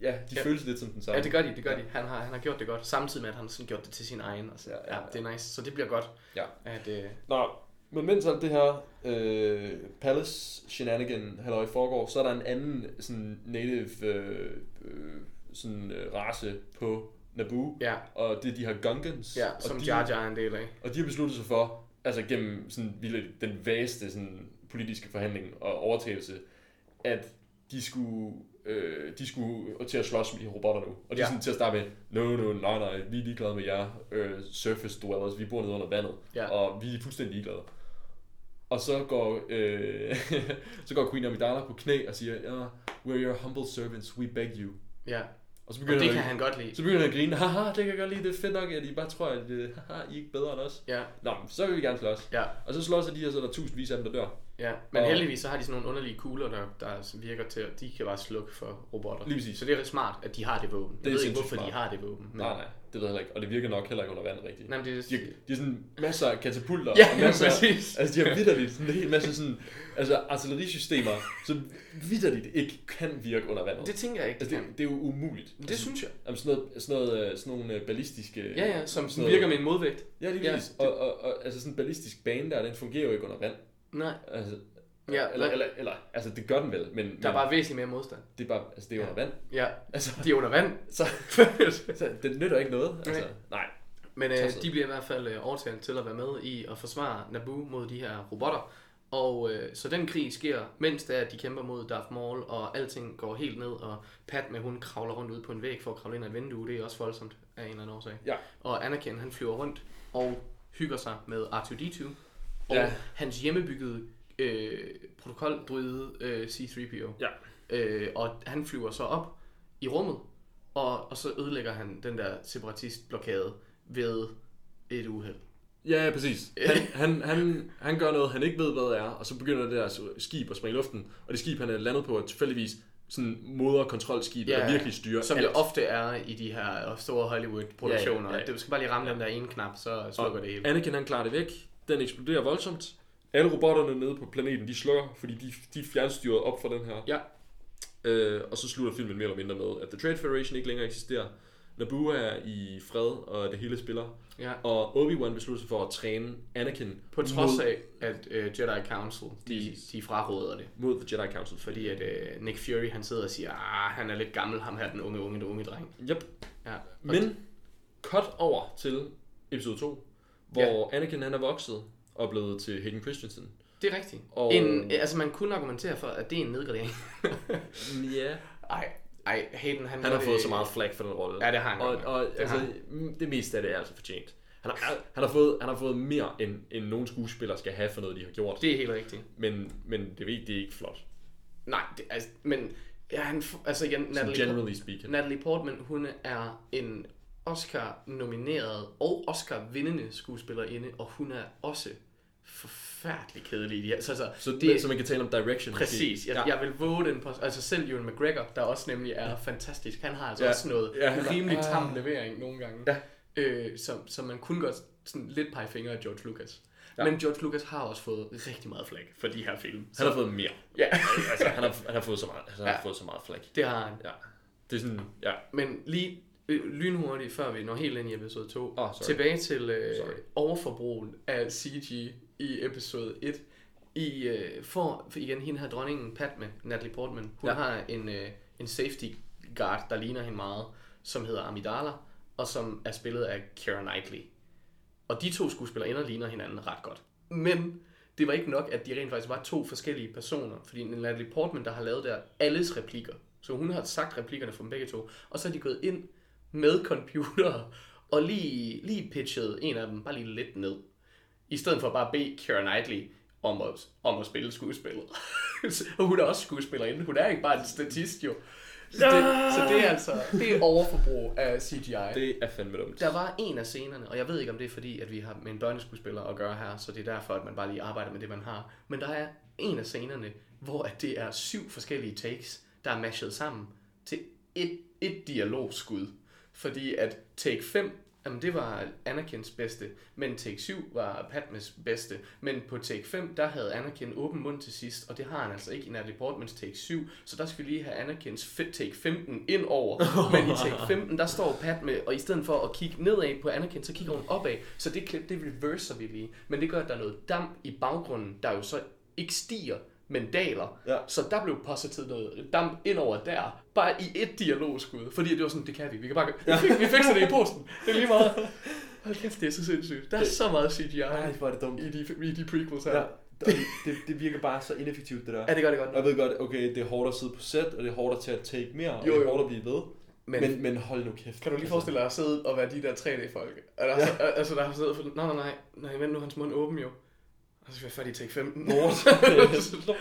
S4: ja, de
S3: Ja.
S4: ja. føles lidt som den samme.
S3: Ja, det gør de, det gør de. Han har, han har gjort det godt, samtidig med, at han har sådan gjort det til sin egen. Altså, ja, ja, ja. det er nice. Så det bliver godt,
S4: Ja.
S3: at... Øh,
S4: Nå, men mens alt det her øh, Palace shenanigan halløj foregår, så er der en anden sådan native øh, øh, sådan, øh, race på Naboo,
S3: ja,
S4: og det er de her Gungans.
S3: ja
S4: og
S3: som
S4: de,
S3: Jar Jar er en del af.
S4: Og de har besluttet sig for, altså gennem sådan, virkelig den vægeste sådan, politiske forhandling og overtagelse, at de skulle, øh, de skulle til at slås med de robotter nu. Og de
S3: Ja.
S4: er sådan til at starte med, no, no, nej, nej, vi er ligeglade med jer øh, surface dwellers, vi bor nede under vandet,
S3: Ja.
S4: og vi er fuldstændig ligeglade. Og så går, øh, [laughs] så går Queen Amidala på knæ og siger, ja, we're your humble servants, we beg you.
S3: Ja,
S4: Og så
S3: og
S4: begynder,
S3: det
S4: han,
S3: kan han godt lide.
S4: så begynder han at grine, haha, det kan jeg godt lide, det er fedt nok, at I bare tror, at øh, haha, I er ikke bedre end os.
S3: Ja,
S4: Nå, men så vil vi gerne slås.
S3: ja,
S4: Og så slås de her, så er der tusindvis af dem, der dør.
S3: ja. Men
S4: Og-
S3: heldigvis så har de sådan nogle underlige kugler, der, der virker til, at de kan bare slukke for robotter.
S4: Lige præcis.
S3: Så det er ret smart, at de har det våben. Jeg
S4: Det er
S3: ved ikke,
S4: sindssygt
S3: hvorfor de
S4: smart.
S3: har det våben. Men...
S4: Nej, nej, det ved jeg heller ikke. Og det virker nok heller ikke under vand rigtigt.
S3: Nej, men det er...
S4: De, har- de er sådan masser af katapulter.
S3: Ja,
S4: og masser,
S3: præcis.
S4: Altså, de har vidderligt sådan en hel masse sådan, altså, artillerisystemer, som vidderligt ikke kan virke under vandet.
S3: Det tænker jeg ikke, de
S4: altså,
S3: kan.
S4: det, det er jo umuligt. Altså,
S3: Men Det synes jeg.
S4: Jamen, sådan, noget, sådan, noget, øh, sådan nogle øh, ballistiske...
S3: Ja, ja, som, som
S4: sådan noget-
S3: virker med en modvægt.
S4: Ja, lige
S3: Ja,
S4: præcis. Og, og, og, altså sådan en ballistisk bane der, den fungerer jo ikke under vand.
S3: Nej,
S4: Altså,
S3: Ja,
S4: eller,
S3: nej.
S4: eller, eller, altså det gør den vel, men,
S3: der er
S4: men
S3: bare væsentligt mere modstand.
S4: det er bare, altså det er
S3: Ja.
S4: under vand.
S3: Ja,
S4: Altså,
S3: de er under vand.
S4: så,
S5: [laughs]
S4: så det nytter ikke noget. Altså,
S3: Nej.
S4: nej.
S3: Men øh,
S4: Tosset.
S3: de bliver i hvert fald øh, overtalt til at være med i at forsvare Naboo mod de her robotter. Og øh, så den krig sker, mens det er, at de kæmper mod Darth Maul, og alting går helt ned, og Padme hun kravler rundt ud på en væg for at kravle ind ad et vindue. Det er også voldsomt af en eller anden årsag.
S4: Ja.
S3: Og Anakin han flyver rundt og hygger sig med R2-D2, og ja.
S4: Ja.
S3: hans hjemmebyggede øh, protokoldryde øh, C-3PO.
S4: Ja.
S3: Øh, og han flyver så op i rummet, og, og så ødelægger han den der separatistblokade ved et uheld.
S5: Ja, ja, præcis. Han, han, han, han gør noget, han ikke ved, hvad det er, og så begynder det der skib at springe i luften, og det skib, han er landet på, er tilfældigvis sådan moder kontrolskib,
S3: Ja,
S5: ja,
S3: ja.
S5: der virkelig styrer
S3: Som
S5: alt.
S3: det ofte er i de her store Hollywood-produktioner. Ja,
S5: Ja,
S3: ja,
S5: ja, ja.
S3: Du skal bare lige ramme den der ene knap, så slukker det hele.
S5: Anakin, han klarer det væk. Den eksploderer voldsomt.
S4: Alle robotterne nede på planeten, de slukker, fordi de, de er fjernstyret op fra den her.
S3: Ja.
S4: Øh, og så slutter filmen mere eller mindre med, at The Trade Federation ikke længere eksisterer. Naboo er i fred, og det hele spiller.
S3: Ja.
S4: Og Obi-Wan beslutter sig for at træne Anakin
S3: På trods af, at øh, Jedi Council, de,
S4: Præcis.
S3: de fraråder det.
S4: mod The Jedi Council. Fordi...
S3: Fordi at øh, Nick Fury, han sidder og siger, ah, han er lidt gammel, ham her, den unge, unge, den unge dreng.
S4: Yep.
S3: Ja.
S4: Men cut over til episode 2, hvor ja. Anakin han er vokset og blevet til Hayden Christensen.
S3: Det er rigtigt. Og...
S4: Og-
S3: En, altså, man kunne argumentere for, at det er en nedgradering. [laughs]
S4: Ja.
S3: Ej, ej, Hayden, han,
S5: Han
S3: gør
S5: har
S3: Mm, det-
S5: fået så meget flag for den rolle.
S3: Ja, det har han
S5: Og,
S3: godt nok.
S5: og
S3: Det
S5: det, altså,
S3: har
S5: mm, det meste af det er altså fortjent. Han har, han har, fået, han har fået mere, end, end nogen skuespiller skal have for noget, de har gjort.
S3: Det er helt rigtigt.
S5: Men, men det, ved, det er ikke flot.
S3: Nej, det, altså, men ja, han, f- altså igen, Natalie, Port-
S5: Generally speaking.
S3: Natalie Portman, hun er en Oscar-nomineret og Oscar-vindende skuespillerinde, og hun er også forfærdelig kedelig. i de her- Så, altså,
S5: Så,
S3: det,
S5: det, så man kan tale om direction. måske.
S3: præcis, jeg, ja. jeg vil våge den på, altså selv Ewan McGregor, der også nemlig er fantastisk, han har altså ja.
S4: Ja.
S3: også noget
S4: Ja,
S3: ja,
S4: han er-
S3: rimelig
S4: Ah.
S3: tam levering nogle gange,
S4: Ja.
S3: øh, som, som man kunne godt sådan lidt pege fingre af George Lucas. Ja. Men George Lucas har også fået rigtig meget flag for de her film.
S5: Han har fået mere.
S3: Ja,
S5: Altså, han har, han har fået så meget, altså, han
S3: Ja.
S5: har fået så meget flag.
S3: det har han.
S5: Ja. Det er sådan, ja.
S3: Men lige øh, lynhurtigt, før vi når helt ind i episode 2,
S4: Ah, sorry.
S3: tilbage til øh,
S4: Sorry.
S3: overforbrugen af CG i episode 1. I øh, får for igen hende her dronningen Padme, Natalie Portman. Hun ja.
S5: Ja.
S3: har en, øh, en safety guard, der ligner hende meget, som hedder Amidala, og som er spillet af Keira Knightley. Og de to skuespillerinder ligner hinanden ret godt. Men det var ikke nok, at de rent faktisk var to forskellige personer. Fordi Natalie Portman, der har lavet der alles replikker. Så hun har sagt replikkerne fra dem begge to. Og så er de gået ind med computer og lige, lige pitchet en af dem bare lige lidt ned. I stedet for bare at bede Keira Knightley om at, om at spille skuespillet. [laughs] og hun er også skuespillerinde. Hun er ikke bare en statist jo. Så det, så det er altså det er overforbrug af CGI.
S5: Det er fandme dumt.
S3: Der var en af scenerne, og jeg ved ikke om det er fordi, at vi har med en børneskuespiller at gøre her, så det er derfor, at man bare lige arbejder med det, man har. Men der er en af scenerne, hvor at det er syv forskellige takes, der er mashet sammen til et, et dialogskud. Fordi at take 5, jamen det var Anakins bedste, men take 7 var Padmes bedste. Men på take 5, der havde Anakin åben mund til sidst, og det har han altså ikke i Natalie Portmans take 7, så der skal vi lige have Anakins fit take 15 ind over.
S4: [laughs]
S3: Men i take 15, der står Padme, og i stedet for at kigge nedad på Anakin, så kigger hun opad, så det klip, det reverser vi lige. Men det gør, at der er noget damp i baggrunden, der jo så ikke stiger, men daler.
S4: Ja.
S3: Så der blev positivt noget damp ind over der, bare i et dialogskud. Fordi det var sådan, det kan vi, vi kan bare gøre- [laughs] vi, fik, vi fikser det i posten. Det er lige
S4: [laughs]
S3: meget. Hold kæft, det er så sindssygt. Der er så meget CGI
S4: Nej, hvor er det dumt.
S3: i de, i de prequels her.
S4: Ja,
S3: Ja.
S4: det, det virker bare så ineffektivt, det der.
S3: Er det godt, det er
S4: Og
S3: godt.
S4: Jeg ved godt, okay, det er hårdt at sidde på set, og det er hårdt at tage at take mere, og
S3: Jo,
S4: jo, jo. det
S3: jo.
S4: er hårdt at blive ved.
S3: Men-
S4: Men, men, men hold nu kæft. Altså,
S3: Kan du lige forestille dig at sidde og være de der 3D-folk? Og der, ja. altså, der har siddet og fået, nej, nej, nej, nej, vent nu, er hans mund åben jo. Og så skal jeg fat i take
S4: [laughs]
S3: 15.
S4: Altså,
S3: [laughs] det
S4: lort.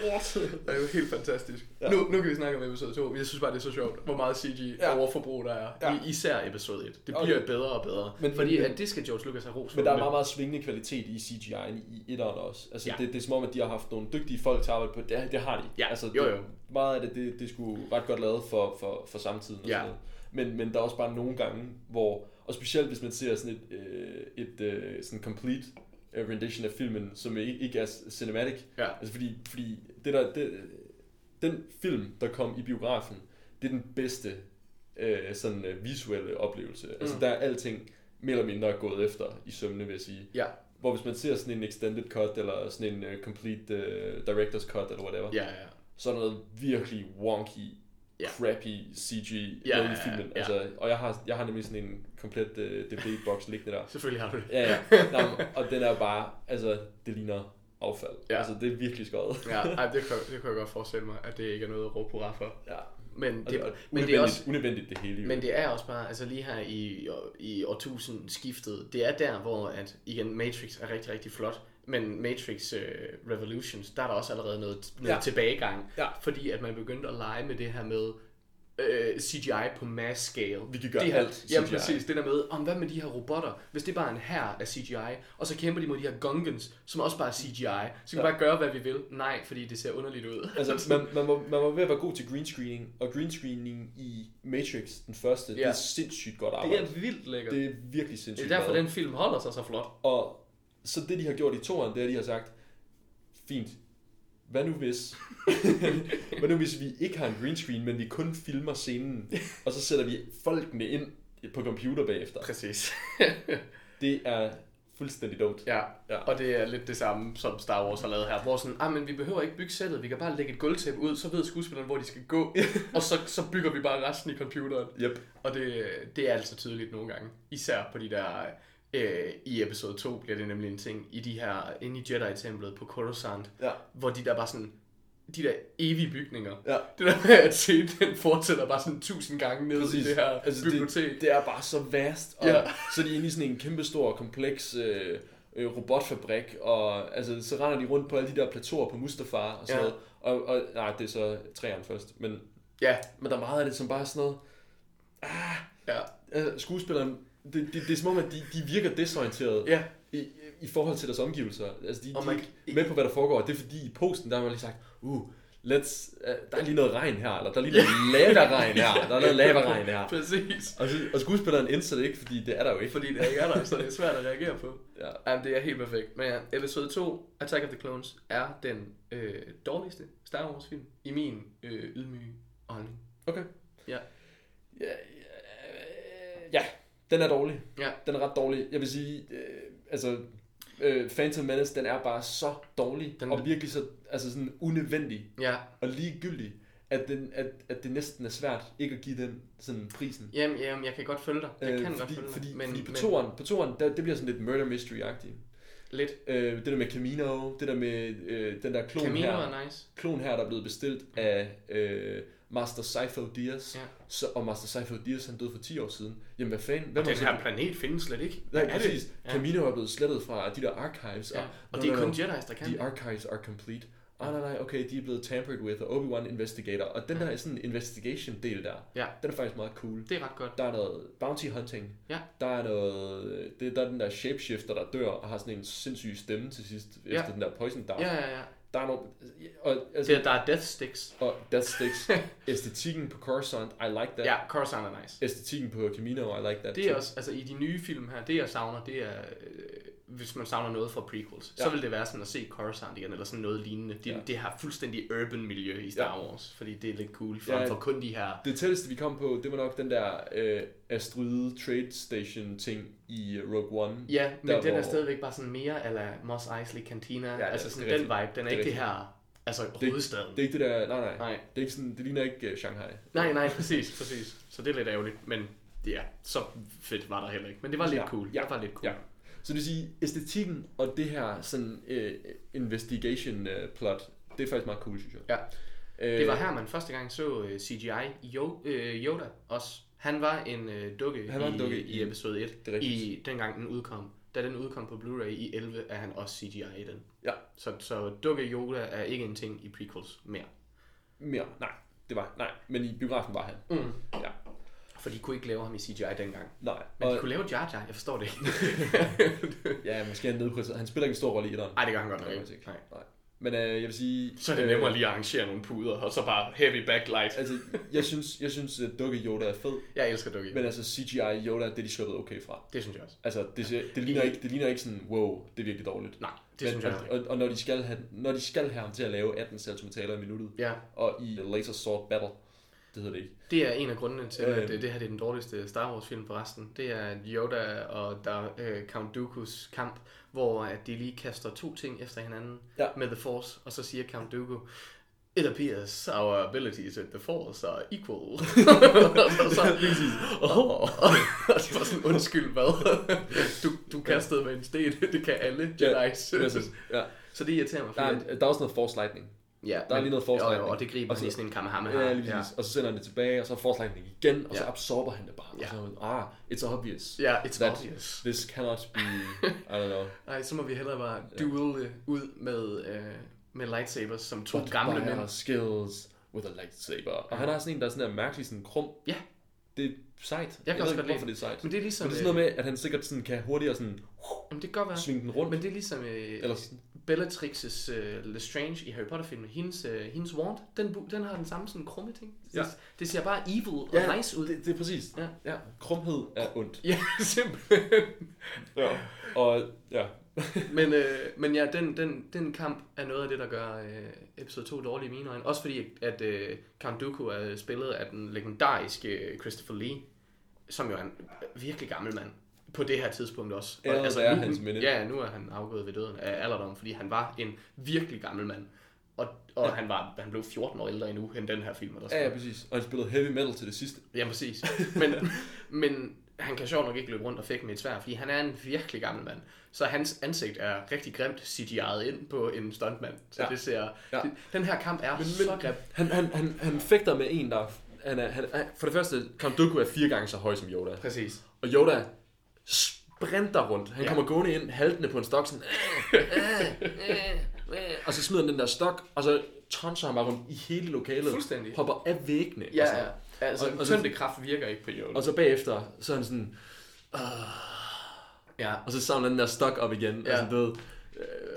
S3: er jo helt fantastisk. Ja.
S4: Ja.
S3: Nu, nu kan vi snakke om episode 2. Jeg synes bare, det er så sjovt, hvor meget CG ja.
S4: Ja.
S3: overforbrug der er. Ja.
S4: Ja.
S3: Især episode 1. Det
S4: Okay.
S3: bliver bedre og bedre. Men,
S4: Men-
S3: fordi
S4: men-
S3: at det skal George Lucas have ros for.
S4: Men der er meget, meget svingende kvalitet i CGI'en i etteren også. Altså,
S3: Ja.
S4: ja. det, det er som om, at de har haft nogle dygtige folk til at arbejde på. Det, det har de.
S3: Ja,
S4: altså,
S3: jo,
S4: det-
S3: jo.
S4: Meget af det, det, det skulle ret godt lavet for, for, for samtiden. Og
S3: Ja.
S4: sådan noget. Men, men der er også bare nogle gange, hvor... Og specielt hvis man ser sådan et, øh, et øh, sådan complete øh, rendition af filmen, som ikke, ikke er cinematic.
S3: Ja.
S4: Altså, fordi, fordi det der, det, den film, der kom i biografen, det er den bedste øh, sådan øh, visuelle oplevelse. Mm. Altså, der er alting mere eller mindre gået efter i sømne, vil jeg sige.
S3: Ja,
S4: Hvor hvis man ser sådan en extended cut, eller sådan en uh, complete uh, director's cut, eller whatever,
S3: ja, ja.
S4: så er der noget virkelig wonky,
S3: Ja.
S4: yeah. crappy CG
S3: Ja,
S4: yeah,
S3: ja,
S4: i
S3: ja,
S4: filmen.
S3: ja.
S4: Altså, og jeg har, jeg har nemlig sådan en komplet uh, DVD-boks liggende
S3: [laughs]
S4: der.
S3: Selvfølgelig har du det.
S4: Ja, ja. Nå, men- og den er bare, altså, det ligner affald.
S3: Ja.
S4: Ja. Altså, det er virkelig skøjet.
S3: Ja, ej, det, kunne, det kunne jeg godt forestille mig, at det ikke er noget at råbe hurra for.
S4: [laughs] Ja.
S3: Men
S4: Og det,
S3: det,
S4: og
S3: men det er også,
S4: unødvendigt det hele. Jo.
S3: Men det er også bare, altså lige her i, i årtusindskiftet, det er der, hvor at, igen, Matrix er rigtig, rigtig flot, men Matrix øh, Revolutions, der er der også allerede noget, noget ja.
S4: Ja.
S3: tilbagegang,
S4: Ja.
S3: fordi at man begyndte at lege med det her med øh, CGI på mass scale.
S4: Vi kan gøre
S3: det her,
S4: alt
S3: Jamen
S4: CGI.
S3: præcis, det der med, om hvad med de her robotter, hvis det er bare en hær af CGI, og så kæmper de mod de her Gungans, som også bare er CGI, så kan vi bare gøre, hvad vi vil. Nej, fordi det ser underligt ud.
S4: Altså, man, man, var, man var ved at være god til green screening, og green screening i Matrix, den første, det
S3: Ja.
S4: er sindssygt godt
S3: det
S4: arbejde.
S3: er vildt lækkert. Det,
S4: Det er virkelig
S3: det
S4: sindssygt
S3: er derfor,
S4: lavet.
S3: den film holder sig så flot.
S4: Og så det, de har gjort i toeren, det er, at de har sagt, fint, hvad nu hvis, [laughs] hvad nu hvis vi ikke har en green screen, men vi kun filmer scenen, og så sætter vi folkene ind på computer bagefter.
S3: [laughs] Præcis.
S4: Det er fuldstændig dumt.
S3: Ja, ja,
S4: Ja.
S3: og det er lidt det samme, som Star Wars har lavet her, hvor sådan, ah, men vi behøver ikke bygge sættet, vi kan bare lægge et gulvtæppe ud, så ved skuespillerne, hvor de skal
S4: [laughs]
S3: gå, og så, så bygger vi bare resten i computeren.
S4: Yep.
S3: Og det, det er altså tydeligt nogle gange, især på de der, øh, i episode 2 bliver det nemlig en ting, i de her, inde i Jedi-templet på Coruscant,
S4: Ja.
S3: hvor de der bare sådan, de der evige bygninger,
S4: Ja.
S3: det der med at se, den fortsætter bare sådan tusind gange ned i det her altså, bibliotek.
S4: Det, det er bare så vast, og
S3: Ja.
S4: ja. så er de inde i sådan en kæmpe stor, kompleks øh, øh, robotfabrik, og altså, så render de rundt på alle de der plateauer på Mustafar og sådan
S3: Ja.
S4: ja. noget. Og, og, nej, det er så træerne først, men,
S3: Ja,
S4: men der er meget af det, som bare er sådan noget,
S3: ja,
S4: altså, skuespilleren, det, det, det er som om, at de, de virker desorienterede
S3: ja.
S4: i, i forhold til deres omgivelser. Altså, de,
S3: Og
S4: oh
S3: man
S4: de
S3: kan-
S4: er ikke med på, hvad der foregår, og det er fordi i posten, der har man lige sagt, uh, let's, uh, der er lige noget regn her, eller der er lige
S3: [laughs]
S4: noget lavaregn her, der er noget lavaregn her.
S3: Præcis.
S4: Og, så, og skuespilleren indser det ikke, fordi det er der jo ikke.
S3: fordi det ikke er der, så det er svært at reagere på.
S4: Ja.
S3: Jamen, det er helt perfekt. Men ja, episode 2, Attack of the Clones, er den øh, dårligste Star Wars film i min øh, ydmyge holdning.
S4: Okay.
S3: Ja.
S4: Ja, ja, ja, den er dårlig.
S3: Ja.
S4: Den er ret dårlig. Jeg vil sige, øh, altså, øh, Phantom Menace, den er bare så dårlig.
S3: Den-
S4: Den... Og virkelig så altså sådan unødvendig
S3: Ja,
S4: og ligegyldig. at, den, at, at det næsten er svært ikke at give den sådan prisen.
S3: Jamen, jamen, jeg kan godt følge dig. Jeg kan
S4: Øh,
S3: godt
S4: fordi,
S3: følge dig.
S4: fordi,
S3: men,
S4: fordi på
S3: men
S4: toren, på toren der, det bliver sådan lidt murder mystery-agtigt.
S3: lidt.
S4: Øh, det der med Camino, det der med øh, den der klon
S3: Camino
S4: her.
S3: er nice.
S4: klon her, der er blevet bestilt af øh, Master Sifo Dyas.
S3: Ja.
S4: Så, og Master Sifo Dyas, han døde for 10 år siden. Jamen hvad fanden? Hvem har
S3: Den
S4: så-
S3: her planet findes slet ikke. Hvad
S4: Nej,
S3: er det?
S4: præcis.
S3: Ja.
S4: Camino er blevet slettet fra de der archives.
S3: Ja. Og
S4: Nå,
S3: det er
S4: nå,
S3: kun
S4: nå.
S3: Jedi's, der kan
S4: The archives are complete. Ah, nej, nej, okay, de er blevet tampered with, og Obi-Wan investigator. Og den der sådan investigation-del der,
S3: Ja.
S4: den er faktisk meget cool.
S3: Det er ret godt.
S4: Der er noget bounty hunting.
S3: Ja.
S4: Der er noget... Det, der er den der shapeshifter, der dør og har sådan en sindssyg stemme til sidst,
S3: Ja.
S4: efter den der poison dart.
S3: Ja, ja, ja.
S4: Der er noget... Og, altså,
S3: Det, er- der er Death Sticks.
S4: Og Death Sticks. [laughs] Æstetikken på Coruscant, I like that.
S3: Ja, Coruscant er nice.
S4: Æstetikken på Camino, I like that.
S3: Det er
S4: too.
S3: også, altså i de nye film her, det jeg savner, det er, øh, hvis man savner noget fra prequels, ja. så
S4: Ja.
S3: vil det være sådan at se Coruscant igen, eller sådan noget lignende. Det, ja.
S4: Ja.
S3: det her fuldstændig urban miljø i Star ja. Wars, fordi det er lidt cool, frem
S4: Ja.
S3: for kun de her...
S4: Det tætteste, vi kom på, det var nok den der øh, Astride Trade Station ting i øh, Rogue One.
S3: Ja, men
S4: Der,
S3: den er
S4: hvor-
S3: stadigvæk bare sådan mere ala Mos Eisley Cantina, ja,
S4: ja,
S3: altså
S4: det er
S3: sådan den
S4: rigtigt.
S3: vibe, den er,
S4: Det er
S3: ikke det her, altså hovedstaden.
S4: Det er ikke det der, nej nej.
S3: Nej.
S4: Det, er ikke sådan, det ligner ikke uh, Shanghai.
S3: Nej, nej, præcis, præcis. Så det er lidt ærgerligt, men ja, så fedt var der heller ikke. Men det var lidt
S4: Ja.
S3: cool,
S4: Ja.
S3: det var lidt cool.
S4: Ja. Så det vil sige, æstetikken og det her sådan øh, investigation øh, plot, det er faktisk meget cool, synes jeg.
S3: Ja.
S4: Øh,
S3: Det var her, man første gang så øh, CGI jo, øh, Yoda også. Han var en øh, dukke,
S4: Han var en
S3: i,
S4: dukke
S3: i,
S4: i-
S3: episode 1,
S4: det er rigtigt.
S3: i dengang den udkom. Da den udkom på Blu-ray i 11, er han også CGI i den.
S4: Ja.
S3: Så, så dukke Yoda er ikke en ting i prequels mere.
S4: Øh, Mere, nej, det var, nej. Men i biografen var han.
S3: Mm.
S4: Ja,
S3: For de kunne ikke lave ham i CGI dengang.
S4: nej.
S3: Men de
S4: Og,
S3: kunne lave Jar Jar, jeg forstår det
S4: [laughs]
S3: ikke.
S4: ja, måske er han nedprioriteret. Han spiller ikke en stor rolle i etteren.
S3: Nej, det gør han godt nok
S4: Nej,
S3: ikke.
S4: ikke.
S3: Nej.
S4: Nej. Men øh, jeg vil sige...
S3: Så er det nemmere lige at arrangere nogle puder, og så bare heavy backlight.
S4: Altså, jeg synes, jeg synes at dukke Yoda er fed,
S3: Jeg elsker dukke.
S4: men altså CGI Yoda, det er de sluppet okay fra.
S3: Det synes jeg også.
S4: Altså, det, ser- det, ligner, ikke, det ligner ikke sådan, wow, det er virkelig dårligt.
S3: Nej, det synes jeg
S4: og, og, og, når, de skal have, når de skal have ham til at lave 18 centimeter i minuttet,
S3: Ja,
S4: og i Laser Sword Battle, det hedder det ikke.
S3: Det er en af grundene til, at
S4: Øhm.
S3: øh, det her det er den dårligste Star Wars film for resten. Det er Yoda og der, øh, Count Dooku's kamp, hvor at de lige kaster to ting efter hinanden
S4: Ja.
S3: med The Force, og så siger Count Dooku, It appears our abilities with the Force are equal. [laughs] og
S4: [laughs]
S3: så, oh. og det var sådan, undskyld, hvad? [laughs] Du, du kastede med en sten, [laughs] det kan alle Jedi's.
S4: Ja, præcis. ja.
S3: [laughs] så det irriterer mig.
S4: Der,
S3: fordi-
S4: er, der er også noget Force Lightning.
S3: ja,
S4: der er lige noget Force
S3: og,
S4: Lightning.
S3: og det griber
S4: Og
S3: han
S4: så-
S3: i sådan en kamehameha.
S4: Ja, lige præcis. Og så sender han det tilbage, og så er Force Lightning igen, og så
S3: Ja.
S4: absorber han det bare.
S3: Ja.
S4: Og så er man, ah, it's obvious.
S3: Ja, it's
S4: That-
S3: obvious.
S4: This cannot be, I don't know.
S3: Nej, så må vi hellere bare duel øh, ud med, øh, med lightsabers som to [laughs]
S4: But
S3: gamle
S4: by our
S3: mænd.
S4: skills with a lightsaber. Og han har sådan en, der er sådan der mærkelig sådan krum.
S3: Ja.
S4: Det er sejt.
S3: Jeg kan også
S4: ved
S3: godt lide
S4: ikke, hvorfor det er sejt.
S3: Men det er ligesom...
S4: Men det er sådan noget med, at han sikkert sådan kan hurtigere sådan
S3: øh, jamen, det kan godt være.
S4: svinge den rundt.
S3: Men det er ligesom øh,
S4: Eller sådan.
S3: Bellatrix's øh, Lestrange i Harry Potter-filmen. Hendes, øh, hendes wand, den, bu- den har den samme sådan krumme ting.
S4: Ja.
S3: Det, det ser bare evil og
S4: Ja,
S3: nice ud.
S4: Det, det er præcis.
S3: Ja.
S4: ja. Krumhed er ondt. [laughs]
S3: Ja, simpelthen.
S4: Ja. Og ja.
S3: Men, øh, men ja, den, den, den kamp er noget af det, der gør øh, episode 2 dårlig i mine øjne. Også fordi, at øh, Count Dooku er spillet af den legendariske øh, Christopher Lee, som jo er en virkelig gammel mand på det her tidspunkt også. Og, altså,
S4: Alderen er
S3: nu,
S4: hans minde.
S3: Ja, nu er han afgået ved døden af alderdom, fordi han var en virkelig gammel mand. Og, og ja. han, var, han blev 14 år ældre endnu, end den her film. Der
S4: ja, ja, præcis. Og han spillede heavy metal til det sidste.
S3: Ja, præcis. Men, men han kan sjovt nok ikke løbe rundt og fække med et svær, fordi han er en virkelig gammel mand. Så hans ansigt er rigtig grimt CGI'et ind på en stuntmand. Så ja.
S4: Ja.
S3: det ser... Ja.
S4: Ja.
S3: Det, den her kamp er men, så grim.
S4: han, han, han, han fægter med en, der... Han er, han, er- for det første, Count Dooku er fire gange så høj som Yoda.
S3: Præcis.
S4: Og Yoda sprinter rundt.
S3: Ja.
S4: Han ja. kommer gående ind, haltende på en stok, sådan... "Øh, øh, øh, øh," og så smider han den der stok, og så tonser han bare rundt i hele lokalet.
S3: Fuldstændig.
S4: Hopper af væggene. og
S3: Ja,
S4: sådan.
S3: ja. Altså,
S4: Og- og så-
S3: tyndekraft virker ikke på Yoda.
S4: Og så bagefter, så er han sådan...
S3: Ja,
S4: Og så samler han den der stok op igen.
S3: Ja.
S4: Ja. Altså, du ved,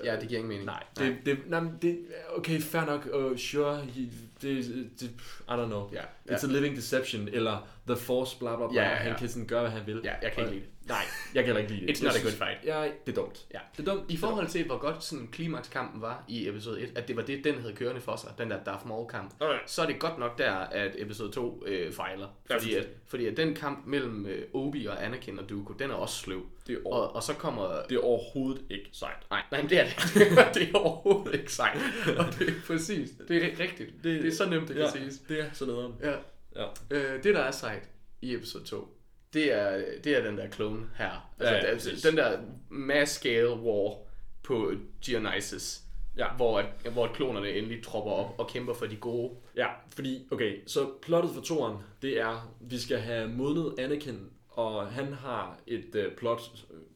S3: ja, det giver ingen mening. Nej.
S4: det, det, nej, men det, okay, fair nok, uh, sure, he, det, det, I don't know.
S3: Ja,
S4: It's a living deception, eller The Force, bla bla bla,
S3: Ja, ja, ja.
S4: han kan sådan gøre, hvad han vil.
S3: Ja, jeg kan ikke
S4: Og-
S3: lide det.
S4: Nej, jeg kan heller ikke lide det.
S3: It's
S4: Jeg
S3: not a
S4: synes-
S3: good fight.
S4: Ja, det er dumt.
S3: Ja.
S4: Det er dumt.
S3: I forhold til, hvor godt sådan klimakskampen var i episode 1, at det var det, den havde kørende for sig, den der Darth Maul-kamp,
S4: Okay.
S3: så er det godt nok der, at episode 2 øh, fejler.
S4: Ja,
S3: Fordi at,
S4: fuldstændig.
S3: fordi at den kamp mellem øh, Obi og Anakin og Dooku, den er også sløv.
S4: Det er over-
S3: og, og så kommer...
S4: Det er overhovedet ikke sejt.
S3: [laughs] Nej, nej, men det er det. [laughs] det er overhovedet ikke sejt. Og det er præcis. Det er rigtigt. Det, det er så nemt, det kan
S4: ja,
S3: siges.
S4: Det er sådan noget.
S3: Ja.
S4: Ja.
S3: Øh, det, der er sejt i episode 2, det er, det er den der klone her. Altså,
S4: Ja, ja,
S3: ja,
S4: præcis.
S3: den der mass scale war på Dionysus.
S4: Ja.
S3: Hvor, at, hvor at klonerne endelig tropper op og kæmper for de gode.
S4: Ja, fordi, okay, så plottet for toren, det er, vi skal have modnet Anakin, og han har et øh, plot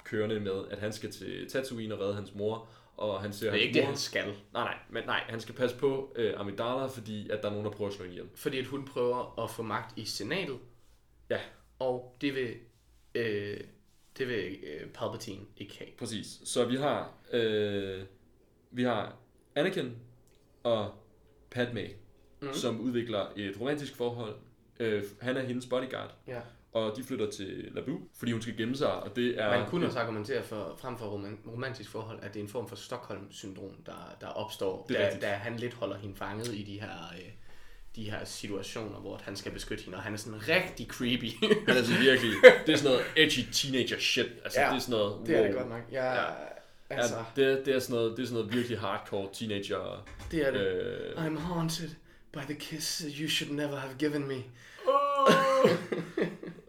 S4: kørende med, at han skal til Tatooine og redde hans mor, og han ser
S3: Det er
S4: hans
S3: ikke det,
S4: mor.
S3: han skal.
S4: Nej, nej, men nej, han skal passe på øh, Amidala, fordi at der er nogen, der prøver at slå hende ihjel.
S3: Fordi at hun prøver at få magt i senatet,
S4: Ja,
S3: og det vil, øh, det vil øh, Palpatine ikke have.
S4: præcis. Så vi har, øh, vi har Anakin og Padme,
S3: Mhm.
S4: mm. som udvikler et romantisk forhold. Øh, han er hendes bodyguard,
S3: Ja.
S4: og de flytter til Naboo, fordi hun skal gemme sig, og det er...
S3: Man kunne også argumentere for, frem for roman, romantisk forhold, at det er en form for Stockholm-syndrom, der, der opstår,
S4: Det er
S3: da,
S4: rigtigt.
S3: da han lidt holder hende fanget i de her, øh, de her situationer, hvor han skal beskytte hende, og han er sådan rigtig creepy.
S4: Men altså virkelig, det er sådan noget edgy teenager shit. Altså ja, [laughs] det er sådan noget, wow.
S3: nok. Jeg, ja.
S4: Altså. Ja, det, det, er sådan noget, det er sådan noget virkelig hardcore teenager.
S3: det er
S4: Øh,
S3: I'm haunted by the kiss you should never have given me.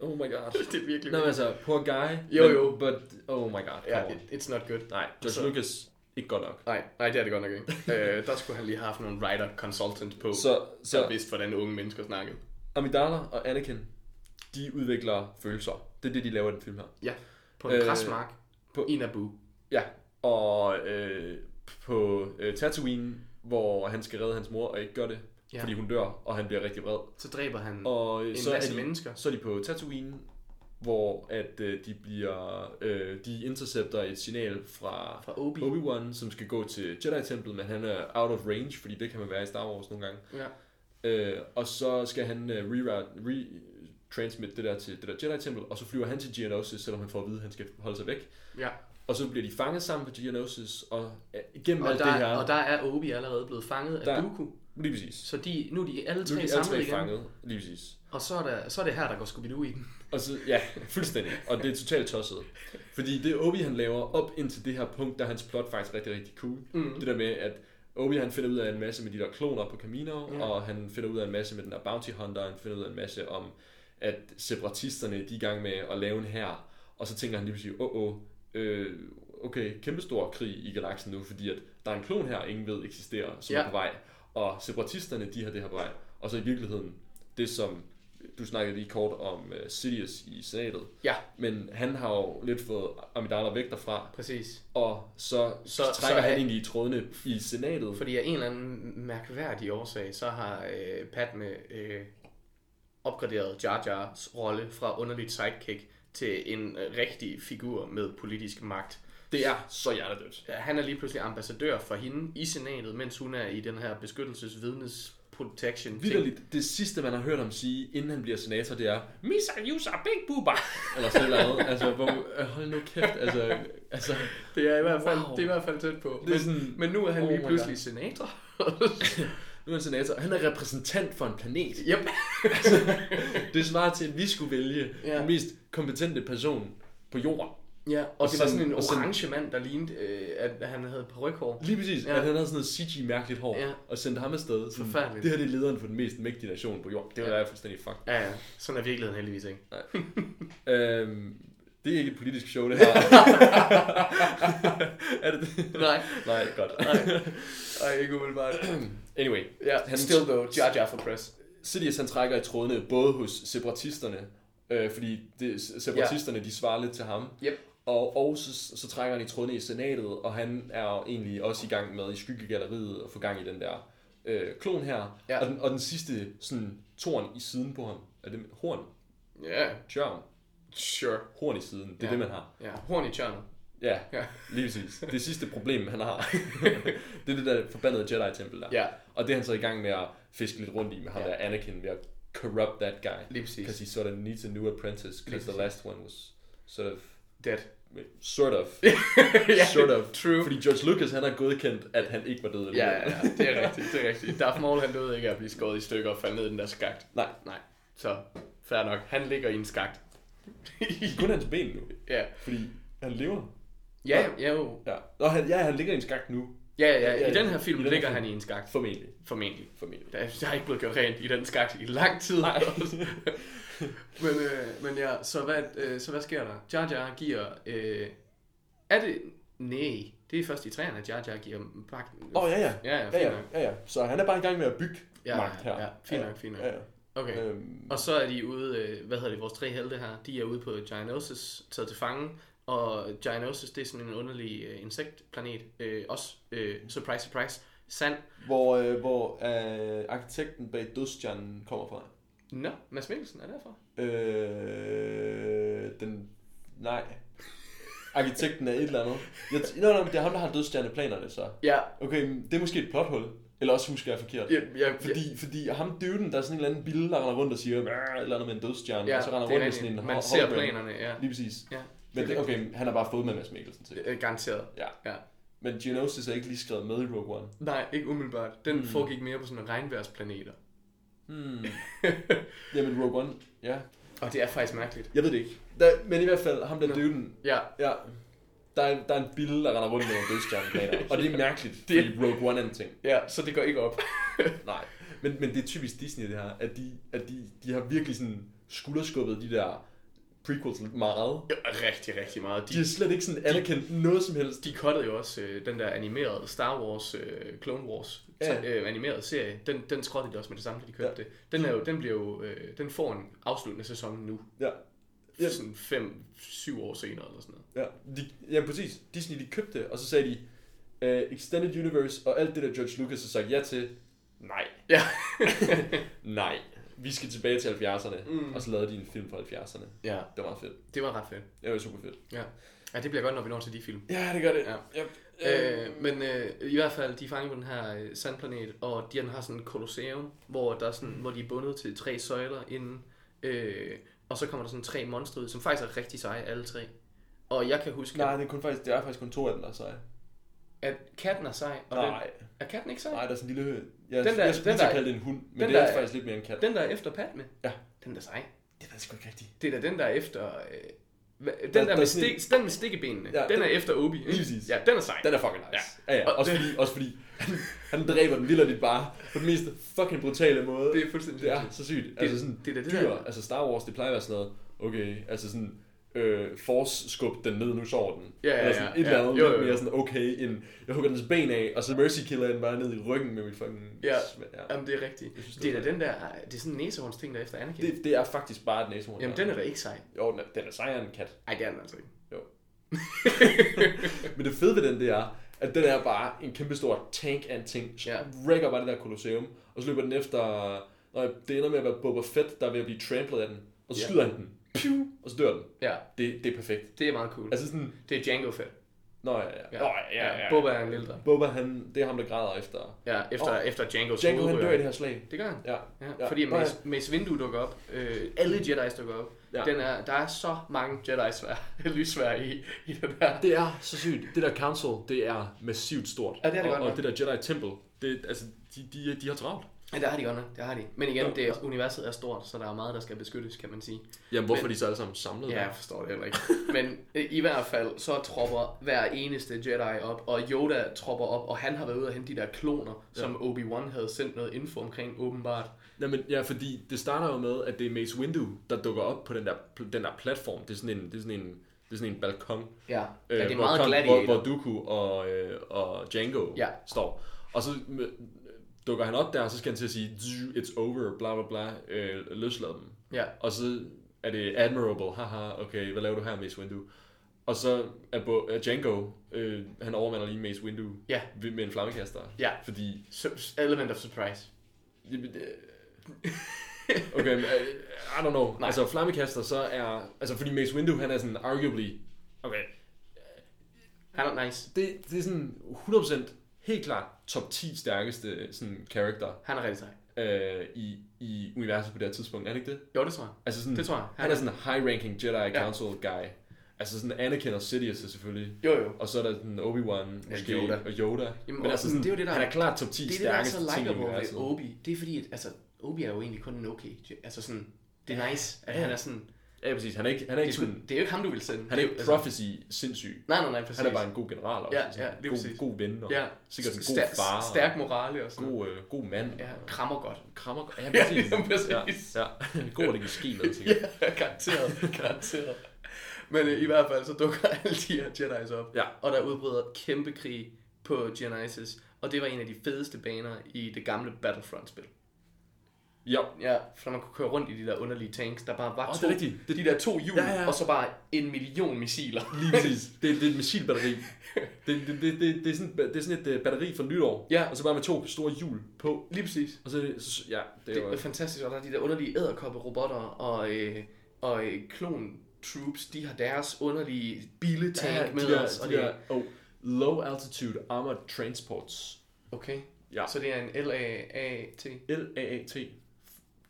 S4: oh my god.
S3: [laughs] Det er virkelig...
S4: Nå, men altså, poor guy.
S3: Jo,
S4: men-
S3: jo.
S4: But, oh my god,
S3: ja,
S4: come on.
S3: it, it's not good.
S4: Nej, George
S3: Så- Ah,
S4: Lucas, ikke godt nok.
S3: Nej, nej, det er det godt
S4: [laughs]
S3: nok ikke. øh, der skulle han lige have haft nogle writer consultant på,
S4: Så,
S3: der
S4: så
S3: vidste, hvordan unge mennesker snakkede.
S4: Amidala og Anakin, de udvikler følelser. Det er det, de laver i den film her.
S3: Ja, på en
S4: Øh,
S3: øh, græsmark
S4: på-
S3: på... i Naboo.
S4: Ja, og øh, på øh, Tatooine, hvor han skal redde hans mor og ikke gør det, ja.
S3: Ja.
S4: fordi hun dør, og han bliver rigtig vred.
S3: Så dræber han og...
S4: Og øh,
S3: en
S4: så, er
S3: masse
S4: de,
S3: mennesker.
S4: så er de på Tatooine, hvor at øh, de bliver øh, de intercepter et signal fra,
S3: Fra Obi.
S4: Obi-Wan, som skal gå til Jedi-templet, men han er out of range, fordi det kan man være i Star Wars nogle gange.
S3: Ja.
S4: Øh, og så skal han øh, reroute, retransmit det der til det der Jedi-tempel, og så flyver han til Geonosis, selvom han får at vide, at han skal holde sig væk.
S3: ja.
S4: Og så bliver de fanget sammen på Geonosis, og øh, igennem
S3: Og,
S4: alt
S3: der,
S4: det her,
S3: og der er Obi allerede blevet fanget af
S4: Der-
S3: Dooku.
S4: lige præcis.
S3: Så de, nu er de alle
S4: Nu
S3: tre
S4: er de alle
S3: samlet
S4: tre
S3: igen.
S4: fanget, lige præcis.
S3: Og så er, der, så er det her, der går Scooby-Doo i den.
S4: Og så, ja, fuldstændig. Og det er totalt tosset. Fordi det Obi han laver op indtil det her punkt, der er hans plot faktisk rigtig, rigtig cool. Mm. Det der med, at Obi han finder ud af en masse med de der kloner på Camino, ja. og han finder ud af en masse med den der bounty hunter, og han finder ud af en masse om, at separatisterne de er i gang med at lave en her. Og så tænker han lige pludselig, åh, oh, oh, øh, okay, kæmpestor krig i galaksen nu, fordi at der er en klon her, ingen ved eksisterer, som ja.
S3: Ja.
S4: er på vej. Og separatisterne, de har det her på vej. Og så i virkeligheden, det som, du snakkede lige kort om uh, Sidious i senatet,
S3: Ja,
S4: men han har jo lidt fået Amidala væk derfra,
S3: præcis.
S4: og så, så
S3: Så-
S4: trækker
S3: så
S4: så,
S3: er-
S4: han egentlig i trådene i senatet.
S3: Fordi af en eller anden mærkværdig årsag, så har øh, Padme øh, opgraderet Jar Jars rolle fra underligt sidekick til en øh, rigtig figur med politisk magt.
S4: det er så hjertedødt.
S3: Han er lige pludselig ambassadør for hende i senatet, mens hun er i den her beskyttelsesvidnes protection ting.
S4: Vitterligt, det sidste man har hørt ham sige, inden han bliver senator, det er Misa Yusa Big Booba! Eller sådan noget. Altså, hvor, øh, hold nu kæft, altså, altså
S3: [laughs] Det er i hvert fald,
S4: Wow.
S3: wow. det er i hvert fald tæt på.
S4: Det er
S3: Men,
S4: sådan-
S3: sådan, men nu er han
S4: Oh
S3: oh lige
S4: my
S3: pludselig
S4: God.
S3: God. senator.
S4: [laughs] nu er han senator, han er repræsentant for en planet.
S3: yep.
S4: Det svarer til, at vi skulle vælge ja.
S3: Ja.
S4: den mest kompetente person på jorden.
S3: Ja, og, og det var
S4: sådan-
S3: sådan en
S4: og sådan-
S3: orange mand, der lignede, øh, at han havde ryghår.
S4: Lige præcis, ja.
S3: Ja.
S4: at han havde sådan noget CG-mærkeligt hår, ja.
S3: Ja.
S4: og sendte ham afsted. Sådan,
S3: Forfærdeligt.
S4: Det her det er lederen for den mest mægtige nation på jorden. Det var
S3: Ja.
S4: ja. fuldstændig fucked.
S3: Ja, ja. Sådan er virkeligheden heldigvis ikke.
S4: Øhm, det er ikke et politisk show,
S3: [laughs]
S4: det her. er det det?
S3: Nej.
S4: Nej, godt.
S3: Ej, ikke
S4: [clears throat]
S3: umiddelbart.
S4: Anyway,
S3: ja,
S4: Han-
S3: han still though, Jar Jar for press.
S4: Sidious han trækker i trådene både hos separatisterne, øh, fordi det, separatisterne ja. de svarer lidt til ham,
S3: Yep.
S4: og, og så, så trækker han i trådene i senatet, og han er jo egentlig også i gang med i skyggegalleriet at få gang i den der øh, klon her.
S3: Ja.
S4: Og, den, og den sidste sådan torn i siden på ham, er det horn?
S3: Ja, yeah,
S4: Tjørn?
S3: sure.
S4: Horn i siden, det er
S3: Ja.
S4: det man har.
S3: Ja, horn i tjørnet.
S4: Ja,
S3: Ja.
S4: lige præcis. Det sidste problem, han
S3: [laughs]
S4: har, det er det der forbandede Jedi-tempel der.
S3: Ja.
S4: Og det er han så i gang med at fiske lidt rundt i med ham ja.
S3: Ja.
S4: der Anakin ved at corrupt that guy.
S3: Lige præcis.
S4: Because he sort of needs a new apprentice,
S3: Lige
S4: because the
S3: præcis.
S4: last one was sort of...
S3: Dead.
S4: [laughs] Sort of.
S3: [laughs] ja,
S4: sort of.
S3: True.
S4: Fordi George Lucas, han har godkendt, at han ikke var død.
S3: Ja,
S4: alligevel.
S3: ja,
S4: [laughs]
S3: ja, det er rigtigt, det er rigtigt. Darth Maul, han døde ikke af at blive skåret i stykker og faldt ned i den der skagt.
S4: Nej.
S3: Nej, så fair nok. Han ligger i en
S4: [laughs]
S3: skagt.
S4: Kun hans ben nu.
S3: ja.
S4: Fordi han lever.
S3: Ja, ja, jo.
S4: Ja. Nå, han, ja, han ligger i en skak nu.
S3: Ja, ja, ja,
S4: Ja,
S3: i den
S4: ja,
S3: her film
S4: i den her
S3: ligger
S4: film.
S3: han i en skagt,
S4: Formentlig.
S3: formentlig.
S4: Formentlig.
S3: Der er, der er ikke blevet gjort rent i den skagt i lang tid.
S4: Nej.
S3: [laughs] men, øh, men ja, så hvad, øh, så hvad sker der? Jar Jar giver... Øh, er det... Nej, det er først i træerne, at Jar Jar giver magten.
S4: Åh, oh, ja, ja.
S3: Ja, ja,
S4: ja,
S3: fint
S4: ja,
S3: nok.
S4: ja, ja. Så han er bare i gang med at bygge
S3: Ja,
S4: magt her.
S3: ja, fint nok, fint nok.
S4: Ja, ja.
S3: Okay.
S4: Øhm,
S3: Og så er de ude, øh, hvad hedder det, vores tre helte her, de er ude på Gianosis, taget til fange, og Gianosis, det er sådan en underlig øh, insektplanet, øh, også, øh, surprise, surprise, sand.
S4: hvor øh, hvor øh, arkitekten bag dødstjernen kommer fra.
S3: Nå, Mads Mikkelsen er derfra.
S4: Øh, den... Nej. Arkitekten er et eller andet. Jeg, t- nå, nå, men det er ham, der har dødstjerneplanerne, så.
S3: Ja,
S4: Okay, men det er måske et plothul. Eller også husker jeg forkert.
S3: ja, ja fordi...
S4: Fordi, fordi ham dyvden, der er sådan en eller anden bille, der render rundt og siger, "Brr," et eller andet med en dødstjerne,
S3: Ja,
S4: og så render
S3: det er
S4: rundt med
S3: rigtigt.
S4: sådan en
S3: Man
S4: hol-
S3: ser
S4: hologram.
S3: planerne, ja.
S4: Lige præcis.
S3: ja.
S4: Men det, okay, han har bare fået med Mads Mikkelsen til.
S3: Øh, Garanteret.
S4: Ja.
S3: Ja.
S4: Men Geonosis er ikke lige skrevet med i Rogue One.
S3: Nej, ikke umiddelbart. Den mm. foregik mere på sådan regnværsplaneter.
S4: Hmm. Jamen Rogue One, ja.
S3: Og det er faktisk mærkeligt.
S4: Jeg ved det ikke. Der, men i hvert fald, ham der
S3: Nå.
S4: dyvden,
S3: Ja,
S4: ja. Der er, der er en bille, der render rundt med en dødstjerneplaner. og det er mærkeligt, det... fordi Rogue One er en ting.
S3: ja, så det går ikke [laughs] op.
S4: Nej. Men, men det er typisk Disney det her, at de, at de, de har virkelig sådan skulderskubbet de der prequels meget.
S3: Ja, rigtig, rigtig meget.
S4: De har slet ikke sådan anerkendt noget som helst.
S3: De cuttede jo også øh, den der animerede Star Wars, øh, Clone Wars
S4: Ja.
S3: ja. øh, animerede serie. Den, den skrottede de også med det samme, da de købte
S4: Ja.
S3: ja. det. Den, er jo, den, bliver jo, øh, den får en afsluttende sæson nu.
S4: Ja. Ja.
S3: Ja. Sådan 5-7 år senere eller sådan noget.
S4: Ja, de, ja præcis. Disney de købte det, og så sagde de, uh, Extended Universe og alt det der George Lucas har sagt ja til, nej,
S3: Ja.
S4: nej. Vi skal tilbage til 70'erne, mm. og så lavede de en film fra 70'erne.
S3: [laughs] ja,
S4: Det var meget fedt.
S3: det var ret fedt.
S4: Det var super fedt.
S3: Ja. ja, det bliver godt, når vi når til de film.
S4: Ja, det gør det.
S3: Ja.
S4: Yep.
S3: Øh, men øh, i hvert fald, de er fanget på den her øh, sandplanet, og de har sådan et kolosseum, hvor, der er sådan, hvor de er bundet til tre søjler inden. Øh, og så kommer der sådan tre monstre ud, som faktisk er rigtig seje, alle tre. Og jeg kan huske,
S4: Øh, Nej, det er, kun faktisk, det er faktisk kun to af dem, der er seje.
S3: at katten er sej. Og
S4: Nej,
S3: Den, er katten ikke sej?
S4: nej, der er sådan en lille... Jeg,
S3: Den der-
S4: jeg skulle
S3: den
S4: lige til
S3: der-
S4: at kalde det en hund, men
S3: den
S4: det er
S3: der-
S4: faktisk lidt mere en kat.
S3: Den, der er efter Padme?
S4: Ja.
S3: Den der er sej.
S4: det er da sgu ikke rigtigt.
S3: Det er da den, der er efter... Øh, hva- den
S4: Der-
S3: der,
S4: der
S3: der,
S4: er
S3: med
S4: sådan en-
S3: stik, den med stikkebenene,
S4: Ja,
S3: ja, den,
S4: den-
S3: er efter Obi. ikke?
S4: Lige præcis.
S3: Ja, den er sej.
S4: Den er fucking nice. Ja, ja. ja.
S3: Og
S4: Også,
S3: det-
S4: fordi, [laughs] også fordi han, han dræber den vildt bare på den mest fucking brutale måde.
S3: Det er fuldstændig
S4: Det er så sygt. Det, altså sådan, det,
S3: det er da det,
S4: dyr,
S3: der er-
S4: altså Star Wars, det plejer at være sådan noget, okay, altså sådan, øh, force skub den ned, nu sover den.
S3: Ja, ja,
S4: Eller sådan
S3: ja,
S4: et eller
S3: ja.
S4: andet
S3: Jo,
S4: lidt
S3: jo, jo.
S4: mere sådan, okay, end jeg hugger dens ben af, og så mercy killer den bare ned i ryggen med mit fucking...
S3: Ja.
S4: sm- ja.
S3: Jamen, det er rigtigt.
S4: synes, det
S3: det
S4: er
S3: er da den der... Det er sådan en næsehorns ting, der er efter Anakin. Det,
S4: Det, det er faktisk bare et næsehorn.
S3: Jamen,
S4: ja.
S3: den er da ikke sej.
S4: Jo, den er, den er sejere end en kat.
S3: Ej, det er den altså ikke.
S4: Jo. Men det fede ved den, det er, at den er bare en kæmpe stor tank af en ting. Så
S3: Ja.
S4: rækker bare det der kolosseum, og så løber den efter... Når det ender med at være Boba Fett, der er ved at blive tramplet af den. Og så
S3: Ja.
S4: skyder han den. Piu, og så dør den.
S3: [laughs] Ja,
S4: Det, det er perfekt.
S3: det er meget cool. Altså,
S4: Altså sådan...
S3: det er Django Fett.
S4: Nå ja, ja. Nå, ja, ja, ja.
S3: Boba er en lille dreng.
S4: Boba, han, det er ham, der græder efter.
S3: Ja, efter, oh. efter Django's
S4: Django, han
S3: hovedrør.
S4: dør i det her slag.
S3: Det gør han.
S4: Ja.
S3: Ja,
S4: Ja.
S3: ja. Fordi
S4: Nå, ja.
S3: Mace, Mace Windu dukker op, øh, alle Jedi's dukker op.
S4: Ja.
S3: Ja. Den er, der er så mange Jedi-svær, [laughs] lyssvær i, i den her.
S5: Det er så sygt. Det der council, det er massivt stort.
S3: Ja, det er det
S5: og,
S3: godt nok.
S5: og det der Jedi Temple, det, altså, de, de, de har travlt.
S3: Ja, der har de godt nok, der har de. Men igen, det er, universet er stort, så der er meget, der skal beskyttes, kan man sige.
S5: Jamen, hvorfor Men, de så alle sammen samlet?
S3: Ja, jeg forstår det heller ikke. Men øh, i hvert fald, så tropper hver eneste Jedi op, og Yoda tropper op, og han har været ude og hente de der kloner, ja. som Obi-Wan havde sendt noget info omkring, åbenbart.
S5: Nej, men, ja, fordi det starter jo med, at det er Mace Windu, der dukker op på den der, den der platform. Det er sådan en, det er sådan en, det er sådan en balkon.
S3: Ja, øh, ja det er
S5: hvor,
S3: meget
S5: Kong-
S3: glat i
S5: hvor,
S3: det.
S5: hvor Dooku og, øh, og Django
S3: Ja.
S5: står. Og så øh, dukker han op der, og så skal han til at sige, "Zzz, it's over, bla bla bla, øh, løslad dem.
S3: Ja.
S5: Og så er det admirable, haha, okay, hvad laver du her, Mace Windu? Og så er Bo, er Django, øh, han overmander lige Mace Windu
S3: Ja.
S5: ved- med en flammekaster.
S3: Ja.
S5: Fordi,
S3: Så- Element of surprise.
S5: jamen, øh, okay, men, øh, I don't know. Nej. Altså, flammekaster, så er, altså fordi Mace Windu, han er sådan arguably, okay,
S3: Han er nice.
S5: det, det er sådan 100% helt klart top 10 stærkeste sådan, character.
S3: Han er rigtig sej.
S4: øh, i, i universet på det her tidspunkt, er det ikke det?
S3: Jo, det tror jeg.
S4: Altså sådan,
S3: Det tror jeg.
S4: han er sådan en high-ranking Jedi
S3: Ja.
S4: Council guy. Altså sådan Anakin og Sidious er selvfølgelig.
S3: Jo, jo.
S4: Og så er der sådan Obi-Wan måske,
S3: Yoda.
S4: og Yoda.
S3: Jamen,
S4: Jamen,
S3: og
S4: Men altså
S3: sådan,
S4: sådan,
S3: det er jo det, der-
S4: han er klart top 10
S3: det er det, der er
S4: stærkeste
S3: så
S4: ting i
S3: likeable ved
S4: universet.
S3: Obi. Det er fordi, at altså, Obi er jo egentlig kun en okay. Altså sådan, det er nice, at han er sådan... Det
S4: Ja, præcis. Han er ikke, han
S3: er,
S4: er ikke
S3: sgu,
S4: sådan,
S3: det er jo ikke ham, du vil sende.
S4: han er
S3: Det
S4: ikke
S3: jo- altså-
S4: prophecy sindssyg.
S3: Nej, nej, nej, præcis.
S4: Han er bare en god general også.
S3: Ja,
S4: sådan
S3: ja, lige præcis.
S4: god, god ven og
S3: ja.
S4: sikkert en
S3: Stær-
S4: god far. og
S3: Stærk morale og sådan noget.
S4: God, øh, god mand.
S3: Ja, krammer godt. [laughs]
S4: Krammer. Ja,
S3: Ja,
S4: præcis.
S3: lige præcis.
S4: Ja, ja. God at det kan ske
S3: [laughs]
S4: med, sikkert.
S3: Ja, garanteret, garanteret. Men øh, i hvert fald, så dukker [laughs] alle de her Jedi's op,
S4: Ja.
S3: og der udbryder kæmpe krig på Genesis, og det var en af de fedeste baner i det gamle Battlefront-spil.
S4: Ja,
S3: Ja, for man kunne køre rundt i de der underlige tanks, der bare var
S4: Åh, det
S3: to,
S4: er rigtigt.
S3: de der to hjul,
S4: Ja, ja.
S3: og så bare en million missiler.
S4: Lige præcis. Det, det er et missilbatteri. Det, det, det, det, det, er sådan, det er sådan et øh, batteri fra nytår.
S3: Ja.
S4: Og så bare med to store hjul på.
S3: Lige præcis.
S4: Og så, er det- så ja, det
S3: Det
S4: er jo...
S3: er fantastisk, og der er de der underlige æderkoppe-robotter, og, øh, og øh, klon troops, de har deres underlige billetank
S4: Ja, de
S3: med
S4: der,
S3: os. Og
S4: de
S3: det,
S4: der, oh, low altitude armored transports.
S3: okay,
S4: Ja.
S3: så det er en LAAT.
S4: LAAT.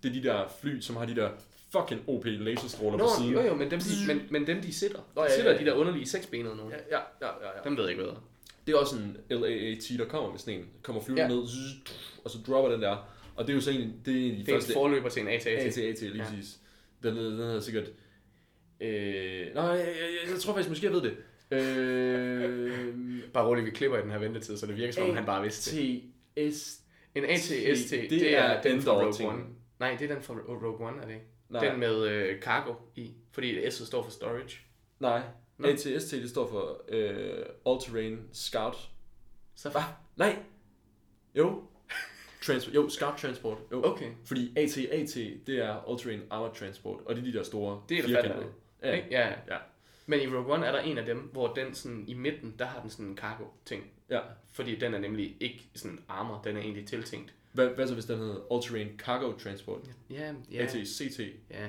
S4: Det er de der fly, som har de der fucking OP laserstråler
S3: Nå,
S4: på siden.
S3: jo jo, men dem de, men, men dem, de sitter. de
S4: Nå, ja, ja,
S3: sitter
S4: ja.
S3: de der underlige seksbenede nogen. Ja.
S4: Ja, ja, ja, ja, ja.
S3: Dem ved jeg ikke, hvad der er.
S4: Det er også en LAAT, der kommer med sådan en. Kommer flyvende
S3: Ja.
S4: ja. ned, zzz, og så dropper den der. Og det er jo så egentlig, det er en af de
S3: Det er
S4: første
S3: en forløber til en AT.
S4: AT-AT, lige
S3: Ja.
S4: ja. præcis. Den, den hedder sikkert... Øh, nej, jeg, jeg, jeg tror faktisk, måske jeg ved det. Øh,
S3: Bare roligt, vi klipper i den her ventetid, så det virker som om han bare vidste det.
S4: TS...
S3: En ATST, det,
S4: Det
S3: det er,
S4: er
S3: er den fra Rogue
S4: Endor-tingen.
S3: One. Nej, det er den fra Rogue One, er det ikke? Nej.
S4: Nej.
S3: Den med øh, cargo i, fordi S'et står for storage.
S4: Nej,
S3: Nå.
S4: ATST, det står for øh, All Terrain Scout.
S3: Så
S4: Hvad? Nej. Jo. Transport. Jo, Scout Transport. Jo.
S3: Okay.
S4: Fordi AT-AT, det er All Terrain Armored Transport, og det er de der store
S3: Det er der
S4: firkantede.
S3: fandme.
S4: Ja,
S3: Ikke? Ja.
S4: ja,
S3: Men i Rogue One er der en af dem, hvor den sådan i midten, der har den sådan en cargo-ting.
S4: ja.
S3: Fordi den er nemlig ikke sådan armor, den er egentlig tiltænkt.
S4: Hvad, hvad så hvis den hedder All Terrain Cargo Transport?
S3: Ja, ja,
S4: AT-CT.
S3: ja.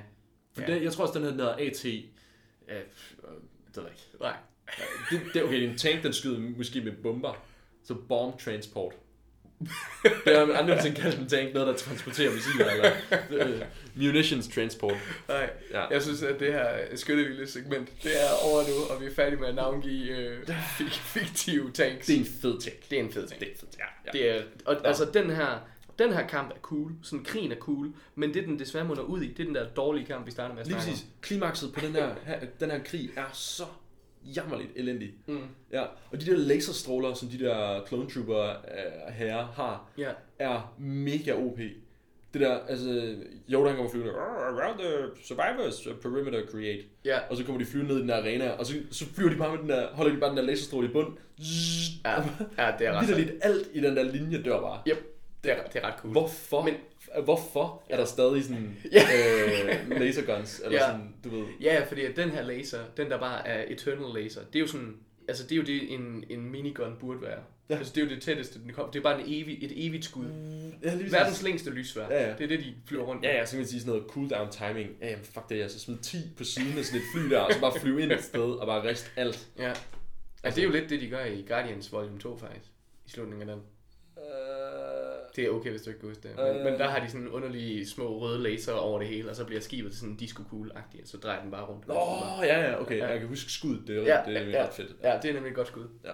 S4: For
S3: Ja.
S4: den, jeg tror også, den hedder AT... Ja, pff, øh, det ved jeg ikke.
S3: Nej.
S4: Det, det, er okay, det er en tank, den skyder måske med bomber. Så bomb
S3: [laughs]
S4: transport. Det har man aldrig nogensinde kaldt en tank, noget der transporterer missiler, eller øh, munitions transport.
S3: Nej.
S4: Ja.
S3: Jeg synes, at det her skyttevilde segment, det er over nu, og vi er færdige med at navngive øh, [laughs] fik- fiktive tanks.
S4: Det er en fed tank.
S3: det er en fed ting.
S4: Det er en fed tank. Ja, ja.
S3: Det er, og, altså den her, den her kamp er cool, sådan krigen er cool, men det den desværre munder ud i, det er den der dårlige kamp, vi starter med at
S4: Lige
S3: snakke
S4: præcis. Klimakset på den her, her, den her krig er så jammerligt elendig.
S3: Mm.
S4: Ja, og de der laserstråler, som de der clone trooper øh, herrer har,
S3: om. Ja.
S4: er mega OP. Det der, altså, Yoda han kommer flyvende, "Arr, around the survivors perimeter create.
S3: Ja.
S4: Og så kommer de flyvende ned i den der arena, og så, så flyver de bare med den der, holder de bare den der laserstråle i bund. Zzz,
S3: Ja, ja, det er ret
S4: Lidt lidt alt i den der linje dør bare.
S3: Yep, det er, det er ret cool.
S4: Hvorfor,
S3: Men-
S4: Men, hvorfor er der stadig sådan
S3: Ja.
S4: øh, laserguns,
S3: [laughs]
S4: eller
S3: Ja.
S4: sådan, du ved.
S3: Ja, fordi at den her laser, den der bare er Eternal Laser, det er jo sådan, altså det er jo det, en, en minigun burde være. Ja.
S4: Ja.
S3: Altså det er jo det tætteste, den kommer. Det er bare en evig, et evigt skud.
S4: Ja, lige præcis.
S3: Verdens længste lysvær.
S4: Ja, ja.
S3: Det er det, de flyver rundt med.
S4: Ja, ja, så kan man sige sådan noget cooldown timing. Ja, jamen, fuck det, jeg så smid 10 på siden af sådan et fly der, og så bare flyve ind et sted og bare riste alt.
S3: ja. Altså, det er jo lidt det, de gør i Guardians Volume 2 faktisk, i slutningen af den. Det er okay, hvis du ikke kan huske det. Men, øh...
S4: Øh.
S3: men der har de sådan underlige små røde laser over det hele, og så bliver skibet sådan disco-kugle-agtigt, og så drejer den bare rundt.
S4: Nå, ja, ja, okay, jeg kan huske skuddet, det er, ja, det er ja, ret fedt.
S3: Ja, det er nemlig et godt skud.
S4: Ja.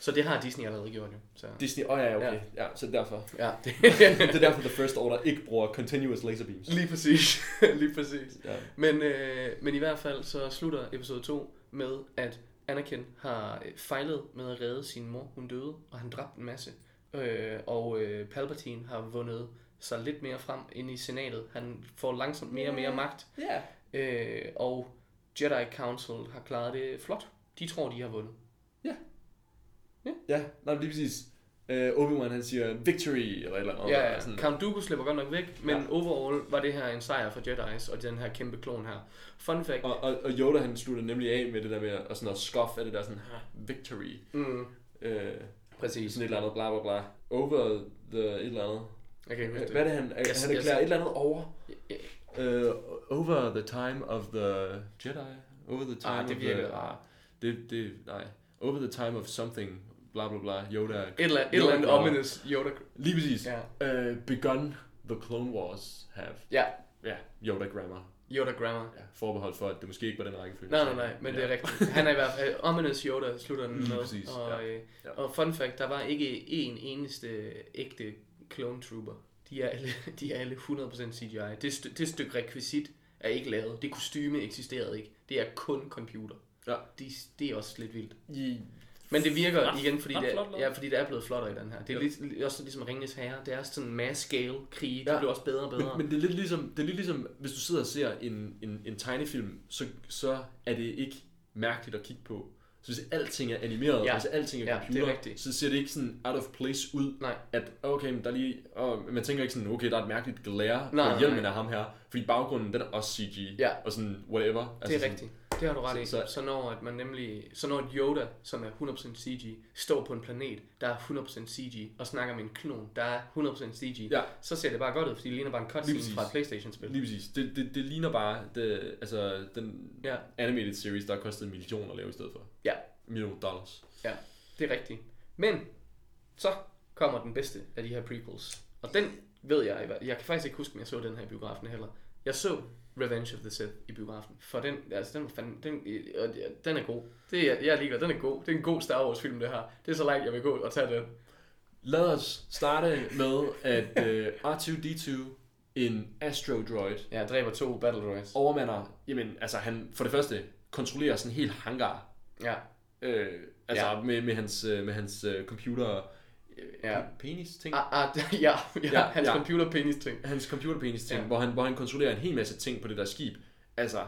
S3: Så det har Disney allerede gjort jo. Så.
S4: Disney, åh oh, ja, okay, ja. ja, så det er derfor.
S3: Ja, det...
S4: [laughs] det er derfor The First Order ikke bruger continuous laser beams.
S3: lige præcis. [laughs] lige præcis.
S4: Ja.
S3: Men, øh, men i hvert fald så slutter episode 2 med, at Anakin har øh, fejlet med at redde sin mor. Hun døde, og han dræbte en masse. Øh, og øh, Palpatine har vundet sig lidt mere frem ind i senatet. Han får langsomt mere og mere magt.
S4: Ja.
S3: Øh, og Jedi Council har klaret det flot. De tror, de har vundet.
S4: Ja, nej, men lige præcis. Uh, Obi-Wan, han siger victory, eller et eller andet.
S3: Ja, ja.
S4: og
S3: Count Dooku slipper godt nok væk, men ja. overall var det her en sejr for Jedi's og den her kæmpe klon her. Fun fact.
S4: Og, og, og Yoda, han slutter nemlig af med det der med at, og sådan at skuffe af det der sådan, "Ha, victory.
S3: Mm,
S4: Øh,
S3: præcis.
S4: sådan et eller andet, bla bla bla. Over the et eller andet.
S3: Jeg kan ikke huske
S4: Hvad er det, han,
S3: Jeg-
S4: yes, han
S3: jeg-
S4: erklærer et eller andet over?
S3: Ja.
S4: Uh, over the time of the Jedi? Over the time
S3: Ah, det
S4: of
S3: virkede
S4: the... Ah, det, det, nej. Over the time of something, bla bla bla, Yoda.
S3: Et eller, et eller andet
S4: Yoda-
S3: ominous Yoda.
S4: Lige præcis.
S3: Ja.
S4: Uh, begun The Clone Wars have.
S3: Ja,
S4: Ja, Yoda Grammar.
S3: Yoda Grammar.
S4: Ja, forbeholdt for, at det måske ikke var den rækkefølge.
S3: Nej, nej, nej, men det er rigtigt. Han er i hvert fald øh, ominous Yoda, slutter den
S4: Lige
S3: med.
S4: præcis,
S3: Og,
S4: ja.
S3: øh,
S4: Ja.
S3: og fun fact, der var ikke en eneste ægte clone trooper. De er alle, [laughs] de er alle 100% CGI. Det, st- det stykke rekvisit er ikke lavet. Det kostyme eksisterede ikke. Det er kun computer.
S4: Ja.
S3: De, det er også lidt vildt.
S4: I,
S3: Men det virker
S4: Ret-
S3: igen, fordi
S4: ret
S3: det,
S4: flot
S3: er,
S4: lavet.
S3: ja, fordi det er blevet flottere i den her. Det er
S4: Ja.
S3: lidt, li- også ligesom Ringens Herre. Det er sådan mass scale krige. Det
S4: Ja.
S3: bliver også bedre og
S4: men,
S3: bedre.
S4: men det, er lidt ligesom, det er lidt ligesom, hvis du sidder og ser en, en, en tegnefilm, så, så er det ikke mærkeligt at kigge på. Så hvis alting er animeret,
S3: Ja.
S4: ja. altså alting er
S3: Ja, det er
S4: computer,
S3: rigtigt.
S4: så ser det ikke sådan out of place ud.
S3: Nej.
S4: At okay, men der er lige, og man tænker ikke sådan, okay, der er et mærkeligt glare
S3: Nej, nej,
S4: på hjelmen
S3: nej.
S4: af ham her, fordi baggrunden, den er også CG,
S3: Ja.
S4: og sådan whatever. Altså
S3: Det er
S4: sådan,
S3: rigtigt. Det har du ret i.
S4: så-
S3: Så, så når at man nemlig, så når et Yoda, som er 100% CG, står på en planet, der er 100% CG, og snakker med en klon, der er 100% CG,
S4: Ja.
S3: så ser det bare godt ud, fordi det ligner bare en cutscene
S4: Lige præcis.
S3: fra et Playstation-spil.
S4: Lige præcis. Det, det, det ligner bare det, altså, den
S3: Ja.
S4: animated series, der har kostet en million at lave i stedet for.
S3: Ja,
S4: En million dollars.
S3: ja, det er rigtigt. Men så kommer den bedste af de her prequels. Og den ved jeg, i hvert- jeg kan faktisk ikke huske, om jeg så den her i biografen heller. Jeg så Revenge of the Sith i biografen, for den, altså den, var fandme, den, øh, den er god. Det er, jeg er ligeglad, den er god. Det er en god Star Wars film, det her. Det er så langt, jeg vil gå og tage den.
S4: Lad os starte med,
S3: [laughs]
S4: at øh, R2-D2, en astrodroid,
S3: Ja, dræber to battle droids.
S4: overmander, jamen, altså han for det første kontrollerer sådan en hel hangar,
S3: Ja,
S4: øh, altså
S3: Ja.
S4: ja. med, med hans, øh, med hans øh, computer øh,
S3: Ja.
S4: ja. penis ting.
S3: ah, ah, [laughs] d- ja, ja, ja
S4: Ja,
S3: hans
S4: ja.
S3: computer penis ting.
S4: Hans computerpenis ting,
S3: Ja.
S4: ja. hvor, han, hvor han kontrollerer en hel masse ting på det der skib. Altså,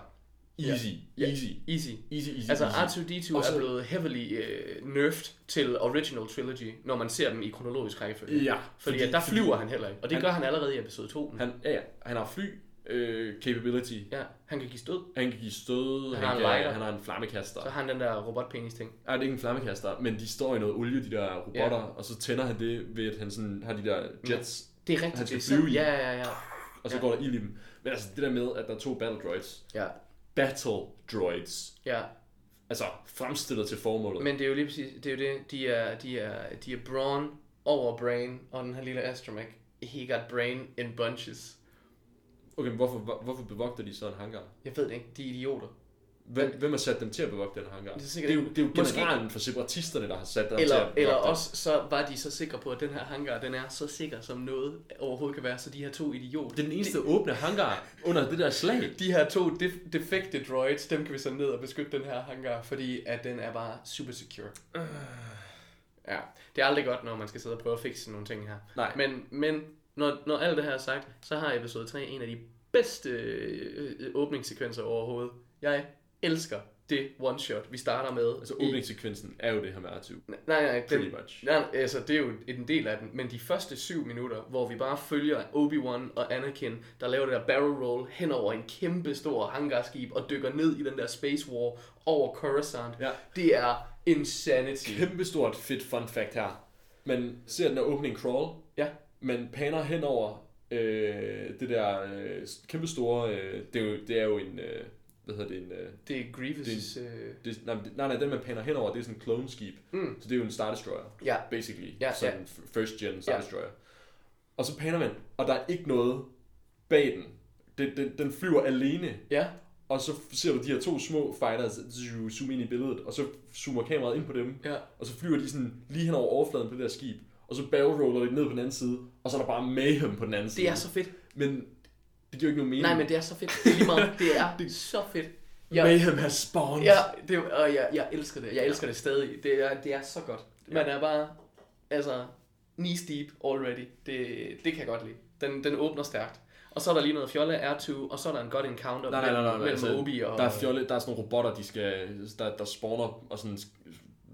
S4: easy,
S3: Ja,
S4: easy,
S3: Easy.
S4: easy, easy,
S3: Altså
S4: easy.
S3: R2-D2
S4: Og så-
S3: er blevet heavily øh, nerfed til Original Trilogy, når man ser dem i kronologisk rækkefølge.
S4: Ja,
S3: Fordi, fordi der flyver han heller ikke, og det
S4: Han-
S3: gør han allerede i episode 2. Han,
S4: Han, ja, ja, han har fly øh, capability.
S3: ja, han kan give stød,
S4: Han kan give stød.
S3: har en
S4: kan,
S3: lighter.
S4: han har en flammekaster.
S3: så har han den der robotpenis ting.
S4: Nej, det er ikke en flammekaster, men de står i noget olie, de der robotter,
S3: Ja.
S4: og så tænder han det ved, at han sådan har de der jets,
S3: Det er rigtigt.
S4: Han
S3: det
S4: skal
S3: er sådan-
S4: flyve i.
S3: Ja, ja, ja.
S4: og så
S3: Mm. Ja.
S4: går der ild i dem. Men altså, det der med, at der er to battle droids.
S3: Ja,
S4: Battle droids.
S3: ja.
S4: Altså, fremstillet til formålet.
S3: Men det er jo lige præcis, det er jo det, de er, de er, de er brawn over brain, og den her lille astromech, he got brain in bunches.
S4: Okay, men hvorfor, hvor- hvorfor bevogter de så en hangar?
S3: Jeg ved det ikke, de er idioter.
S4: Hvem, hvem har sat dem til at bevogte den hangar?
S3: Det er
S4: Det er,
S3: sikkert
S4: det er jo,
S3: ikke-
S4: det er jo
S3: Måske-
S4: generalen for separatisterne, der har sat dem til at
S3: Eller,
S4: bevogte
S3: eller
S4: den.
S3: også så var de så sikre på, at den her hangar, den er så sikker som noget overhovedet kan være, så de her to idioter.
S4: Det er den eneste åbne hangar under det der slag.
S3: De her to def- defekte droids, dem kan vi sende ned og beskytte den her hangar, fordi at den er bare super secure.
S4: Øh.
S3: Ja, det er aldrig godt, når man skal sidde og prøve at fikse sådan nogle ting her.
S4: Nej.
S3: Men, men når, når alt det her er sagt, så har episode 3 en af de bedste øh, øh, åbningssekvenser overhovedet. Jeg elsker det one-shot, vi starter med.
S4: Altså
S3: i-
S4: åbningssekvensen er jo det her med R2.
S3: Nej, nej, den,
S4: Pretty much.
S3: Nej, nej, altså det er jo en del af den, men de første syv minutter, hvor vi bare følger Obi-Wan og Anakin, der laver det der barrel roll hen over en kæmpe stor hangarskib og dykker ned i den der space war over Coruscant,
S4: Ja.
S3: det er insanity.
S4: Kæmpestort fedt fun fact her. Man ser den her opening crawl.
S3: Ja,
S4: Man paner hen over øh, det der øh, kæmpestore... Øh, det, er jo, det er jo en... Øh, hvad hedder det? En, øh,
S3: det er Grievous' øh,
S4: det, nej, men det- nej, nej, den man paner hen over, det er sådan en kloneskib. Mm. Så det er jo en Star Destroyer.
S3: Ja.
S4: Basically.
S3: Ja,
S4: sådan f- first gen Star
S3: Ja.
S4: Destroyer. Og så paner man, og der er ikke noget bag den. Den, den, den flyver alene
S3: Ja,
S4: Og så ser du de her to små fighters zzzz, zoome ind i billedet, og så zoomer kameraet ind på dem,
S3: Ja.
S4: og så flyver de sådan lige hen over overfladen på det der skib, og så barrelroller de ned på den anden side, og så er der bare mayhem på den anden side.
S3: det er så fedt.
S4: Men det giver jo ikke nogen mening.
S3: Nej, men det er så fedt. Det er lige meget. [laughs] Det er så fedt.
S4: ja.
S3: Jeg,
S4: Mayhem has spawned.
S3: ja, det, og jeg, jeg elsker det. Jeg elsker det stadig. Det er, det er så godt. Man er bare, altså, knees deep already. Det, det kan jeg godt lide. Den, den åbner stærkt. Og så er der lige noget fjolle R2, og så er der en godt encounter
S4: Nej, nej, nej, nej, nej. altså,
S3: mellem Obi og...
S4: der, er fjolle, der er sådan nogle robotter, de skal, der, der spawner og sådan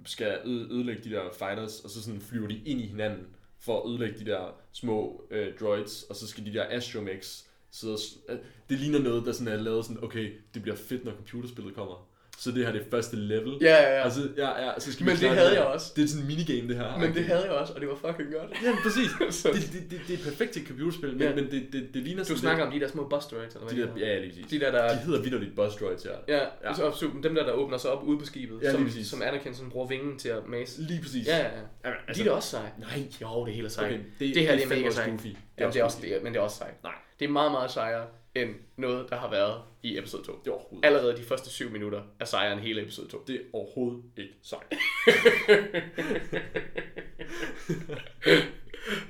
S4: skal øde- ødelægge de der fighters, og så sådan flyver de ind i hinanden for at ødelægge de der små øh, droids, og så skal de der astromechs sidde og... s- øh, Det ligner noget, der sådan er lavet sådan, okay, det bliver fedt, når computerspillet kommer. så det her det er første level.
S3: Ja, ja, ja.
S4: Altså, ja, ja, så skal vi
S3: Men det
S4: klare
S3: havde
S4: her.
S3: jeg også.
S4: Det er sådan en minigame, det her.
S3: Men det havde jeg også, og det var fucking godt.
S4: Ja, præcis.
S3: [laughs] Så-
S4: det, det, det, det, er perfekt til et computerspil, men,
S3: Ja.
S4: men det, det, det ligner
S3: Du
S4: sådan
S3: snakker om de der små bus droids, eller
S4: lidt-
S3: hvad
S4: de der, ja, lige præcis.
S3: de der, der
S4: De hedder vidderligt Buzz Droids her.
S3: Ja,
S4: Ja.
S3: ja. Så, så dem der, der åbner sig op ude på skibet,
S4: Ja,
S3: ja,
S4: lige
S3: som,
S4: præcis.
S3: som Anakin sådan bruger vingen til at mase.
S4: Lige præcis.
S3: Ja, ja, ja.
S4: Jamen,
S3: Altså, de er da også seje.
S4: Nej.
S3: Jo, det er helt sejt.
S4: Okay,
S3: Okay,
S4: det-
S3: det, det,
S4: det er
S3: her det er
S4: fandme
S3: mega
S4: også
S3: sejt.
S4: goofy. Det er
S3: Jamen,
S4: også
S3: det er også, det er, men det er også sejt.
S4: Nej.
S3: Det er meget, meget sejere end noget, der har været i episode 2.
S4: Det er overhovedet.
S3: Allerede de første 7 minutter er sejere end hele episode 2.
S4: Det er overhovedet ikke sejt.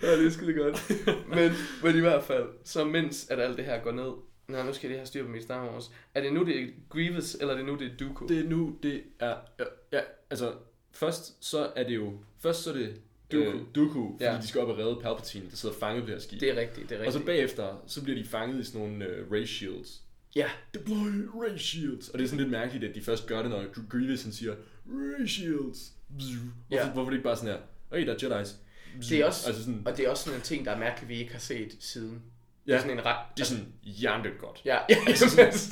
S3: Ja, det er skide [laughs] godt. men, men i hvert fald, så mens at alt det her går ned, Nå, nu skal jeg lige have styr på mit Star Wars. Er det nu, det er Grievous, eller er det nu, det er Dooku?
S4: Det er nu, det er... Ja, ja, altså, først så er det jo... Først så er det Dooku, øh, Dooku fordi ja.
S3: Ja.
S4: de skal op og redde Palpatine, der sidder fanget på det her skib.
S3: det er rigtigt, det er
S4: og
S3: rigtigt.
S4: så bagefter, så bliver de fanget i sådan nogle øh, ray shields.
S3: Ja,
S4: Deploy ray shields! Og det er sådan lidt mærkeligt, at de først gør det, når Gr- Grievous han siger, ray shields! Bzz.
S3: Ja.
S4: Hvorfor, hvorfor er det ikke bare sådan her, hey, der er Jedi's. Bzz.
S3: det er også,
S4: Altså sådan,
S3: og det er også sådan en ting, der er mærkeligt, vi ikke har set siden. Ja.
S4: Ja.
S3: Det er sådan en ret...
S4: det er sådan, hjernedødt godt.
S3: [laughs] Ja, ja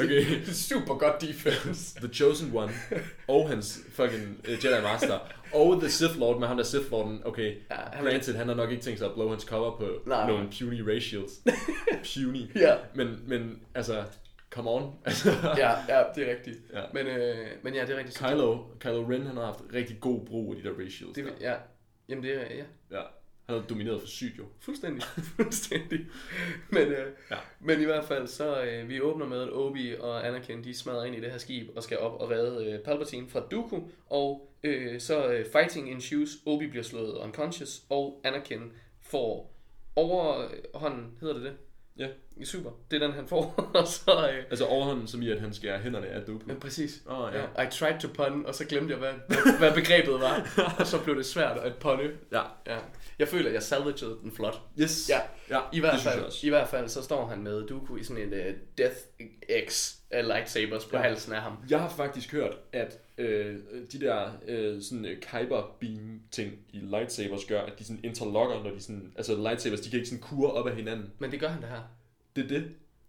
S4: Okay.
S3: super godt defense.
S4: The Chosen
S3: [laughs]
S4: One, og hans fucking uh, Jedi Master, og The Sith Lord med ham der Sith Lorden, okay, ja,
S3: Ja,
S4: han
S3: han-
S4: granted, han har nok ikke tænkt sig at blow hans cover på Nej.
S3: Nej.
S4: nogle puny ray
S3: [laughs]
S4: shields. puny.
S3: Ja.
S4: Men, men altså, come on. [laughs] Altså,
S3: ja, ja, det er rigtigt.
S4: Ja.
S3: Ja. Men, øh, men ja, det er rigtigt. Så
S4: Kylo, Kylo Ren, han har haft rigtig god brug af de der ray shields.
S3: Det,
S4: der.
S3: det, ja. Jamen det er, ja,
S4: Ja. Han har domineret for sygt jo.
S3: fuldstændig, [laughs] fuldstændig. Men, øh,
S4: Ja.
S3: ja. men i hvert fald, så øh, vi åbner med, at Obi og Anakin, de smadrer ind i det her skib og skal op og redde øh, Palpatine fra Dooku, og øh, så øh, fighting ensues, Obi bliver slået unconscious, og Anakin får overhånden, hedder det det?
S4: Ja.
S3: Super, det er den han får, [laughs] og så... Øh,
S4: Altså overhånden, som i at han skærer hænderne af Dooku.
S3: Ja, præcis.
S4: Åh, ja.
S3: I tried to pun, og så glemte jeg, hvad, hvad- hvad begrebet var. Og så blev det svært at punne.
S4: Ja.
S3: Ja. Jeg føler, at jeg salvagede den flot.
S4: Yes.
S3: Ja.
S4: ja
S3: I hvert,
S4: det synes jeg
S3: fald,
S4: også.
S3: I hvert fald, så står han med Dooku i sådan en uh, Death X af lightsabers på
S4: Ja.
S3: ja. halsen af ham.
S4: Jeg har faktisk hørt, at øh, de der øh, sådan øh, kyber beam ting i lightsabers gør, at de sådan interlocker, når de sådan, altså lightsabers, de kan ikke sådan kure op af hinanden.
S3: Men det gør han det her.
S4: Det er det.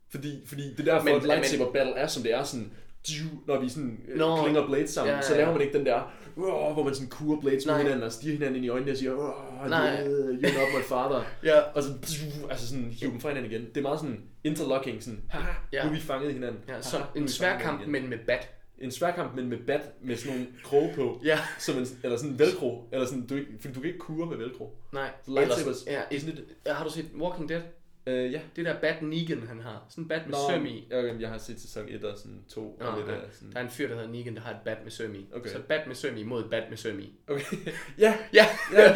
S4: Fordi, fordi det er derfor, men,
S3: Men-
S4: at lightsaber men, battle er, som det er sådan, diu, når vi sådan øh,
S3: Nå.
S4: klinger blades sammen, ja,
S3: Ja,
S4: ja,
S3: ja,
S4: så laver
S3: ja.
S4: man ikke den der, "Åh", hvor man sådan kurer blades med
S3: Nej.
S4: hinanden og stiger hinanden ind i øjnene og siger, "Åh,
S3: Nej.
S4: yeah, you're not my father.
S3: Ja.
S4: Og så diu, altså sådan hiver dem fra hinanden igen. Det er meget sådan interlocking, sådan, ha, ja.
S3: Ja.
S4: nu er vi fanget i hinanden.
S3: ja
S4: "Ha,
S3: så
S4: nu er vi
S3: en
S4: fanget
S3: svær
S4: i
S3: kamp, men
S4: hinanden."
S3: med bat.
S4: en sværkamp, men med bat, med sådan nogle kroge
S3: [laughs]
S4: på.
S3: Ja.
S4: Som en, eller sådan en velcro. Eller sådan, du, ikke, fordi du kan ikke kure med velcro.
S3: Nej.
S4: Så lightsabers,
S3: Ellers- ja,
S4: det er
S3: i,
S4: sådan
S3: ja, har du set Walking Dead?
S4: Øh, ja.
S3: Det der bat Negan, han har. Sådan en bat med søm i.
S4: Jeg, jeg har set sæson 1 og sådan 2.
S3: Nå,
S4: og lidt
S3: ja.
S4: af sådan.
S3: Der er en fyr, der hedder Negan, der har et bat med søm i.
S4: Okay.
S3: Så et bat med søm i mod et bat med søm i.
S4: Okay. [laughs] ja,
S3: Ja,
S4: ja,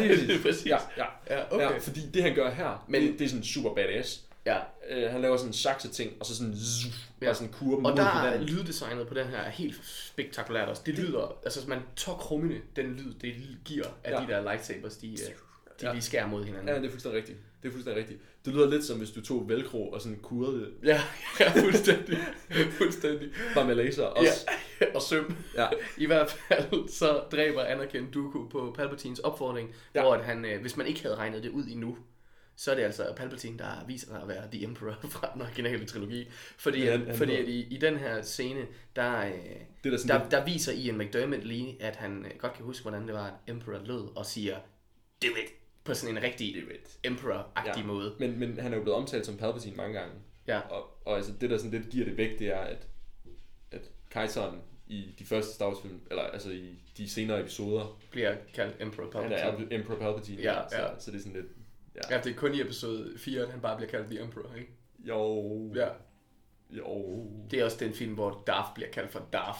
S3: [laughs]
S4: lige præcis.
S3: præcis.
S4: Ja, ja.
S3: Ja,
S4: Okay.
S3: okay.
S4: ja, fordi det han gør her, men,
S3: Men-
S4: det, det er sådan super badass.
S3: Ja.
S4: Øh, han laver sådan en sakse ting, og så sådan, zzz, ja.
S3: Ja.
S4: og sådan kurer dem
S3: Og
S4: mod
S3: der er
S4: hinanden.
S3: lyddesignet på den her er helt spektakulært også. Det lyder, altså man tør krummene, den lyd, det giver af
S4: Ja.
S3: ja. de der lightsabers, de, øh, de
S4: Ja.
S3: ja. lige skærer mod hinanden.
S4: Ja, det er fuldstændig rigtigt. Det er fuldstændig rigtigt. Det lyder lidt som, hvis du tog velcro og sådan kurede det
S3: ja, [laughs] ja fuldstændig. fuldstændig.
S4: bare med laser også.
S3: Ja, [laughs] og søm.
S4: Ja.
S3: I hvert fald så dræber Anakin Dooku på Palpatines opfordring,
S4: Ja.
S3: ja. hvor at han, øh, hvis man ikke havde regnet det ud endnu, så er det altså Palpatine, der viser sig at være The Emperor [laughs] fra den originale trilogi. Fordi,
S4: Ja,
S3: ja,
S4: han- han
S3: fordi
S4: hedder-
S3: at i, i den her scene, der, øh,
S4: Det er da sådan
S3: der,
S4: lidt-
S3: der viser Ian McDermott lige, at han øh, godt kan huske, hvordan det var, at Emperor lød og siger, do it, på sådan en rigtig Emperor-agtig ja. måde.
S4: Men, men han er jo blevet omtalt som Palpatine mange gange.
S3: Ja.
S4: Og, og altså det, der sådan lidt giver det væk, det er, at, at kejseren i de første Star Wars film, eller altså i de senere episoder,
S3: Bliver kaldt Emperor
S4: han
S3: Palpatine.
S4: er Emperor Palpatine.
S3: Ja,
S4: så,
S3: ja.
S4: så det er sådan lidt... Ja.
S3: Ja, det er kun i episode 4, at han bare bliver kaldt The Emperor, ikke?
S4: Jo,
S3: Ja.
S4: jo,
S3: Det er også den film, hvor Darth bliver kaldt for Darth.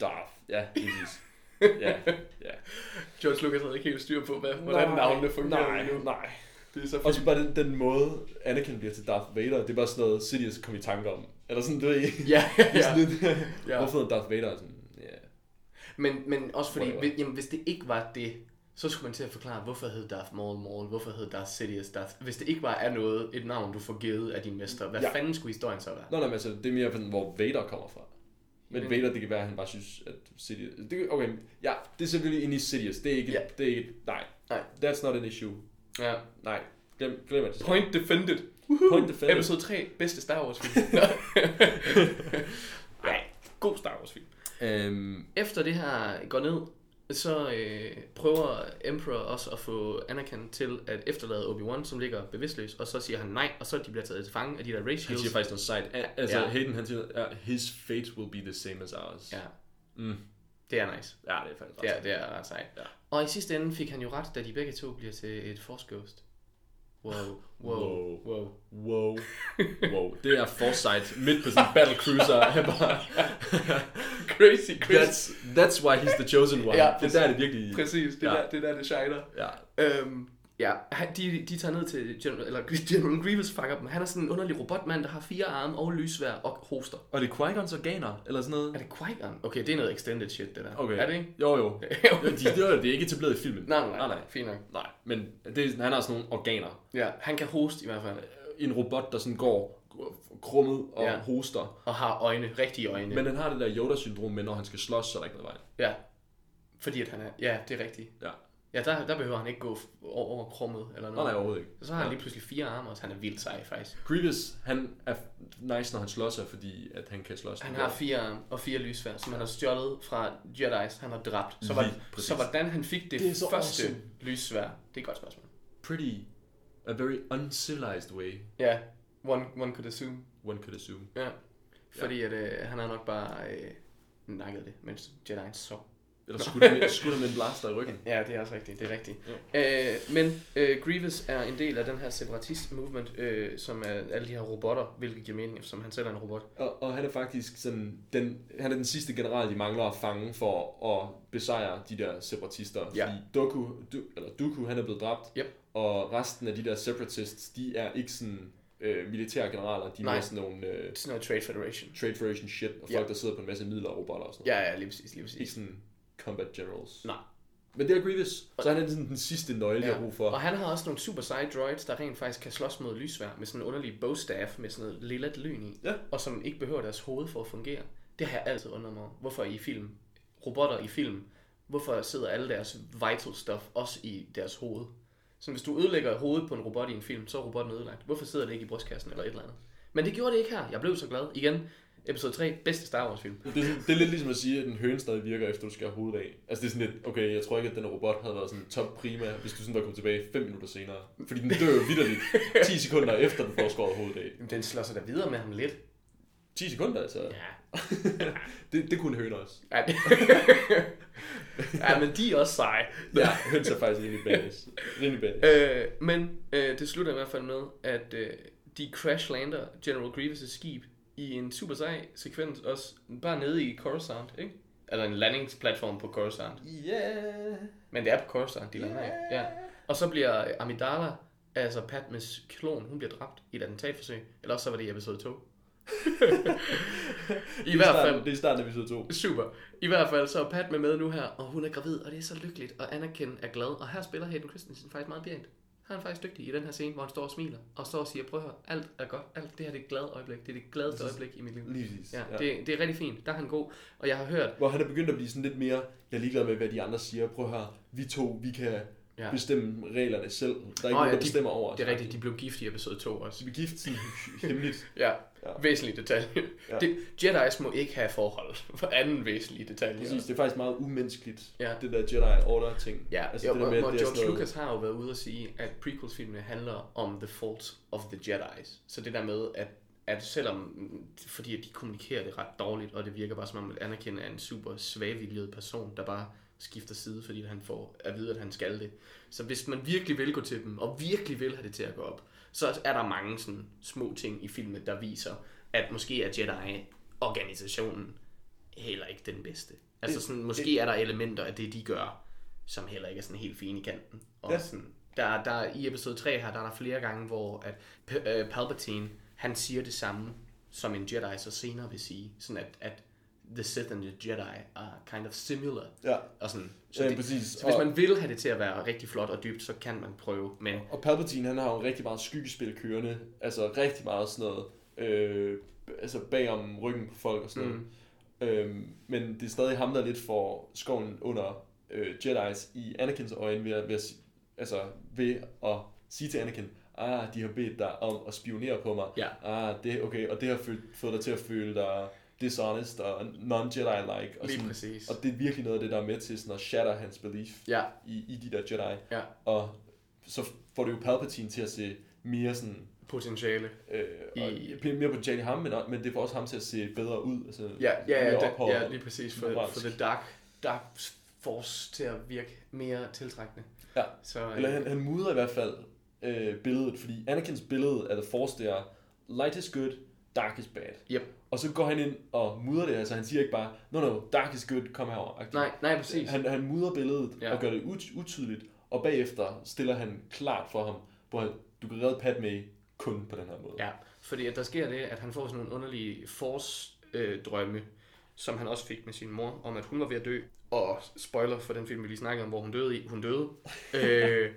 S4: Darth. Ja,
S3: [laughs]
S4: præcis. ja, ja.
S3: George Lucas havde ikke helt styr på, hvad, hvordan navnene fungerer
S4: nej,
S3: endnu.
S4: nej.
S3: Det er så fint.
S4: Også bare den, den måde, Anakin bliver til Darth Vader, det er bare sådan noget, Sidious kom i tanke om. Eller sådan, du ved, det
S3: Ja, ja,
S4: er sådan
S3: ja.
S4: lidt,
S3: Ja.
S4: hvorfor hedder han Darth Vader? Sådan, ja.
S3: [laughs] Men, men også fordi,
S4: Whatever.
S3: hvis, jamen, hvis det ikke var det, så skulle man til at forklare, hvorfor hed Darth Maul Maul, hvorfor hed Darth Sidious Darth... Hvis det ikke var er noget, et navn, du får givet af din mester, hvad
S4: Ja.
S3: ja. fanden skulle historien så være?
S4: Nå, nej, men altså, det er mere sådan, hvor Vader kommer fra. Men
S3: Men-
S4: Vader, det kan være, at han bare synes, at Sidious... Det, kan- okay, ja, det er selvfølgelig inde i Sidious. Det er ikke...
S3: Ja.
S4: Det er ikke nej.
S3: Nej.
S4: That's not an issue.
S3: Ja.
S4: Nej. Glem, glem det.
S3: Point defended.
S4: Point
S3: [laughs]
S4: defended. [laughs]
S3: Episode 3, bedste Star Wars film. Nej, god Star Wars film.
S4: Øhm,
S3: Efter det her går ned, så øh, prøver Emperor også at få Anakin til at efterlade Obi-Wan, som ligger bevidstløs, og så siger han nej, og så de bliver taget til fange af de der Ray
S4: han
S3: Shields.
S4: siger faktisk noget sejt. A- Altså,
S3: Ja.
S4: ja. Hayden, han siger, ja, his fate will be the same as ours.
S3: Ja,
S4: Mm.
S3: det er nice.
S4: ja det er faktisk ret
S3: Det er,
S4: sejt.
S3: det er ret sejt. Ja.
S4: Ja.
S3: Og i sidste ende fik han jo ret, da de begge to bliver til et Force Ghost. Wow, wow, wow.
S4: Wow.
S3: wow. [laughs]
S4: Wow. Wow. Det er foresight midt på sin battle cruiser. Han bare,
S3: Crazy, crazy.
S4: that's, that's why he's the chosen one.
S3: Ja,
S4: Ja, det er der, det virkelig...
S3: Præcis, det,
S4: Ja.
S3: ja. der, det er der, det shiner.
S4: Ja.
S3: Øhm, ja, han- de, de tager ned til General, eller [laughs] General Grievous fanger dem. Han er sådan en underlig robotmand, der har fire arme og lysvær og hoster.
S4: Og det er Qui-Gons organer, eller sådan noget?
S3: Er det Qui-Gon? Okay, det er noget extended shit, det der.
S4: Okay.
S3: Er det ikke? [laughs]
S4: Jo, jo. jo de, det, er, det er ikke etableret i filmen.
S3: Nej, nej,
S4: nej.
S3: nej. Fint nok.
S4: nej. Men det, er- han har sådan nogle organer.
S3: Ja, han kan hoste i hvert fald.
S4: En robot, der sådan går krummet og
S3: Ja.
S4: ja. hoster.
S3: Og har øjne, rigtige øjne.
S4: Men han har det der Yoda-syndrom med, når han skal slås, så er der ikke noget vej.
S3: Ja. Fordi at han er... Ja, det er rigtigt.
S4: Ja.
S3: Ja, der, der behøver han ikke gå f- over, over krummet eller
S4: Nej,
S3: noget.
S4: nej, overhovedet ikke.
S3: Så har han lige pludselig fire arme, og han er vildt sej, faktisk.
S4: Grievous, han er nice, når han slår sig, fordi at han kan slås.
S3: Han har fire arme og fire lysvær, som han har stjålet fra Jedi's, han har dræbt. Så, var,
S4: Lige præcis.
S3: så hvordan han fik det,
S4: Det er så
S3: første
S4: awesome.
S3: lysvær, det er et godt spørgsmål.
S4: pretty, a very uncivilized way,
S3: Ja, one, one could assume.
S4: one could assume.
S3: Ja. Fordi at øh, han har nok bare øh, nakket det, mens Jedi'en sov. [laughs]
S4: Eller skulle med, skudt med en blaster i ryggen.
S3: Ja, det er også rigtigt. Det er rigtigt. Øh, men øh, Grievous er en del af den her separatist-movement, øh, som er alle de her robotter, hvilket giver mening, som han selv er en robot.
S4: Og, og han er faktisk sådan, den, han er den sidste general, de mangler at fange for at besejre de der separatister.
S3: Ja.
S4: Fordi Doku, du, eller Dooku, han er blevet dræbt,
S3: Yep.
S4: og resten af de der separatists, de er ikke sådan øh, militære generaler, de er
S3: Nej.
S4: mere sådan nogle øh,
S3: Sådan noget Trade Federation.
S4: Trade Federation shit, og folk,
S3: Ja.
S4: der sidder på en masse midler og robotter og sådan noget.
S3: Ja, ja, lige præcis, lige præcis.
S4: Ikke sådan combat generals.
S3: Nej.
S4: Men det er Grievous, så han er sådan den sidste nøgle, de
S3: Ja.
S4: har brug for.
S3: Og han har også nogle super seje droids, der rent faktisk kan slås mod lysvær med sådan en underlig bogstaff med sådan noget lilla lyn i,
S4: Ja.
S3: og som ikke behøver deres hoved for at fungere. Det har jeg altid undret mig over. Hvorfor i film, robotter i film, hvorfor sidder alle deres vital stuff også i deres hoved? Så hvis du ødelægger hovedet på en robot i en film, så er robotten ødelagt. Hvorfor sidder det ikke i brystkassen eller et eller andet? Men det gjorde det ikke her. Jeg blev så glad. Igen, episode 3, bedste Star Wars film.
S4: Det, er sådan- det er lidt ligesom at sige, at en høne stadig virker, efter du skærer hovedet af. Altså det er sådan lidt, okay, jeg tror ikke, at den robot havde været sådan top prima, hvis du sådan var kommet tilbage 5 minutter senere. Fordi den dør jo vidderligt 10 sekunder efter, den får skåret hovedet af.
S3: Jamen, den slår sig da videre med ham lidt.
S4: 10 sekunder altså.
S3: Ja,
S4: Det, det kunne en høne også.
S3: Ja, det... [laughs] ja, men de er også seje.
S4: Ja, høns er faktisk rimelig badass. Rimelig badass.
S3: Øh, men øh, det slutter i hvert fald med, at øh, de crash lander General Grievous' skib i en super sej sekvens, også bare nede i Coruscant, ikke? Eller en landingsplatform på Coruscant.
S4: Yeah.
S3: Men det er på Coruscant, de lander yeah. ja. Og så bliver Amidala, altså Padmes klon, hun bliver dræbt i et attentatforsøg. Eller også så var det i episode
S4: [laughs]
S3: 2. I hvert fald.
S4: Det er i starten af episode 2.
S3: Super. I hvert fald så er Pat med med nu her, og hun er gravid, og det er så lykkeligt, og Anakin er glad, og her spiller Hayden Christensen faktisk meget pænt. Han er faktisk dygtig i den her scene, hvor han står og smiler, og står og siger, prøv at høre, alt er godt, alt det her det er et glad øjeblik, det er det gladeste øjeblik i mit liv.
S4: Lige præcis.
S3: Ja, det, det er rigtig fint, der er han god, og jeg har hørt,
S4: Hvor han er begyndt at blive sådan lidt mere, jeg er ligeglad med, hvad de andre siger. Prøv her, vi to, vi kan
S3: Ja.
S4: ja. bestemme reglerne selv. Der er ikke
S3: Nå,
S4: nogen,
S3: ja,
S4: der
S3: de-
S4: bestemmer over os.
S3: det er rigtigt, de blev gift i episode 2 også.
S4: Vi er gift sådan hemmeligt.
S3: Ja,
S4: Ja.
S3: væsentlig detalje. Ja.
S4: Ja.
S3: Det, Jedi's må ikke have forhold for anden væsentlig detalje.
S4: Præcis, det er faktisk meget umenneskeligt,
S3: Ja.
S4: ja. det der Jedi Order ting.
S3: Ja,
S4: altså,
S3: jo,
S4: det der
S3: og,
S4: med, at
S3: og
S4: det er
S3: George
S4: sådan noget-
S3: Lucas har jo været ude at sige, at prequels-filmene handler om the faults of the Jedi's. Så det der med, at, at selvom, mm, fordi at de kommunikerer det ret dårligt, og det virker bare som om, at Anakin er en super svagviljet person, der bare skifter side, fordi han får at vide, at han skal det. Så hvis man virkelig vil gå til dem, og virkelig vil have det til at gå op, så er der mange sådan små ting i filmen, der viser, at måske er Jedi-organisationen heller ikke den bedste. Altså sådan, måske er der elementer af det, de gør, som heller ikke er sådan helt fine i kanten. Og ja.
S4: Ja.
S3: sådan, der, der, I episode 3 her, der er der flere gange, hvor at P- øh, Palpatine, han siger det samme, som en Jedi så senere vil sige. Sådan at, at the Sith and the Jedi are kind of similar.
S4: Ja.
S3: Og sådan, så,
S4: Så ja,
S3: det,
S4: det, præcis.
S3: så hvis
S4: og,
S3: man vil have det til at være rigtig flot og dybt, så kan man prøve. Men
S4: og Palpatine, han har jo rigtig meget skyggespil kørende. Altså rigtig meget sådan noget, øh, altså bag om ryggen på folk og sådan mm. noget. Øhm, men det er stadig ham, der lidt for skoven under øh, Jedi's i Anakins øjne ved at, ved at, si- altså, ved at sige til Anakin, ah, de har bedt dig om at spionere på mig.
S3: Ja.
S4: Ah, det, okay, og det har følt, fået dig til at føle dig dishonest og non-Jedi-like. Og,
S3: Lige
S4: sådan,
S3: præcis.
S4: og det er virkelig noget af det, der er med til sådan at shatter hans belief
S3: Ja,
S4: i, i de der Jedi.
S3: ja.
S4: Og så får det jo Palpatine til at se mere sådan...
S3: Potentiale.
S4: Øh, og
S3: I-
S4: bliver mere potentiale i ham, men, men det får også ham til at se bedre ud. Altså,
S3: Ja, ja, ja,
S4: mere
S3: det,
S4: ophøjet.
S3: ja lige præcis. For,
S4: moralsk.
S3: for the dark, dark force til at virke mere tiltrækkende.
S4: Ja.
S3: Så, øh,
S4: Eller han, han mudrer i hvert fald øh, billedet, fordi Anakins billede af The Force, det er light is good, dark is bad.
S3: Yep.
S4: Og så går han ind og mudrer det, altså han siger ikke bare, no no, dark is good, kom herover. agtigt.
S3: nej, nej, præcis.
S4: Han, han mudrer billedet
S3: Ja.
S4: ja. og gør det ut- utydeligt, og bagefter stiller han klart for ham, hvor han, du kan redde Padme kun på den her måde.
S3: Ja, fordi at der sker det, at han får sådan nogle underlige force-drømme, som han også fik med sin mor, om at hun var ved at dø. Og spoiler for den film, vi lige snakkede om, hvor hun døde i. Hun
S4: [laughs]
S3: døde. øh,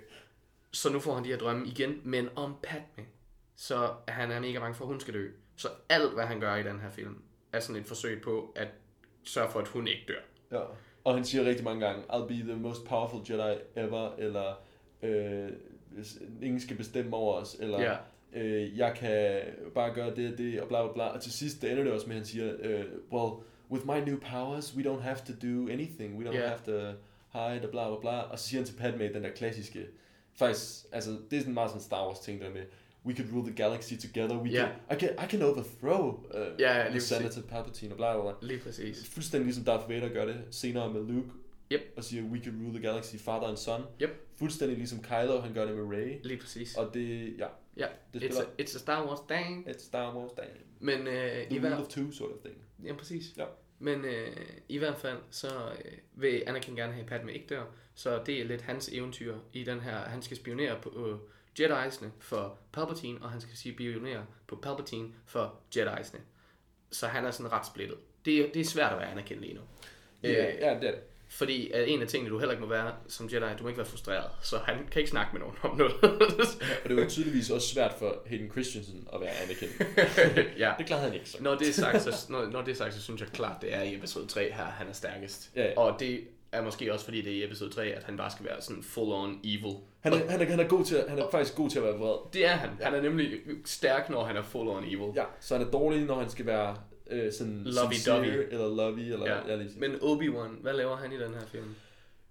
S3: så nu får han de her drømme igen, men om Padme. Så han er mega bange for, at hun skal dø. Så alt, hvad han gør i den her film, er sådan et forsøg på at sørge for, at hun ikke dør.
S4: Ja. Og han siger rigtig mange gange, I'll be the most powerful Jedi ever, eller øh, hvis- ingen skal bestemme over os, eller
S3: Ja.
S4: øh, jeg kan bare gøre det og det, og bla bla bla. Og til sidst det ender det også med, at han siger, øh, well, with my new powers, we don't have to do anything, we don't
S3: Ja.
S4: yeah. have to hide, og bla bla bla. Og så siger han til Padme, den der klassiske, faktisk, altså det er sådan meget sådan Star Wars ting der med, we could rule the galaxy together, we
S3: Ja.
S4: can, I, can, I can overthrow uh,
S3: Ja, ja, lige
S4: the
S3: præcis.
S4: Senator Palpatine, og bla bla bla.
S3: Lige præcis.
S4: Fuldstændig ligesom Darth Vader gør det senere med Luke.
S3: Yep.
S4: Og siger, we can rule the galaxy, father and son.
S3: Yep.
S4: Fuldstændig ligesom Kylo, han gør det med Rey.
S3: Lige præcis.
S4: Og det, ja,
S3: Ja,
S4: det
S3: it's a,
S4: spiller-
S3: it's a Star Wars thing.
S4: et Star Wars dag.
S3: Men øh, i
S4: The rule
S3: hvert
S4: of two sort of thing.
S3: Ja, præcis.
S4: Ja.
S3: Men øh, i hvert fald, så øh, vil Anakin gerne have Padme ikke dør, så det er lidt hans eventyr i den her, han skal spionere på øh, Jedi'sne for Palpatine, og han skal spionere på Palpatine for Jedi'sne. Så han er sådan ret splittet. Det, er- det er svært at være Anakin lige nu.
S4: Ja,
S3: Øh,
S4: ja, det er det.
S3: fordi at en af tingene, du heller ikke må være som Jedi, du må ikke være frustreret, så han kan ikke snakke med nogen om noget. [laughs]
S4: Og det var tydeligvis også svært for Hayden Christensen at være
S3: [laughs]
S4: Anakin.
S3: ja.
S4: Det klarede han ikke så.
S3: Når det er sagt, så, når, når det er sagt, så synes jeg klart, det er i episode 3 her, han er stærkest.
S4: Ja, ja.
S3: Og det er måske også fordi, det er i episode 3, at han bare skal være sådan full-on evil.
S4: Han er, han, er, han, er god til at, han er faktisk god til at være vred.
S3: Det er han. Han er nemlig stærk, når han er full-on evil.
S4: Ja, så han er dårlig, når han skal være øh, sådan
S3: Lovey-dovey.
S4: sincere, eller lovey, eller ja.
S3: ja.
S4: lige,
S3: Men Obi-Wan, hvad laver han i den her film?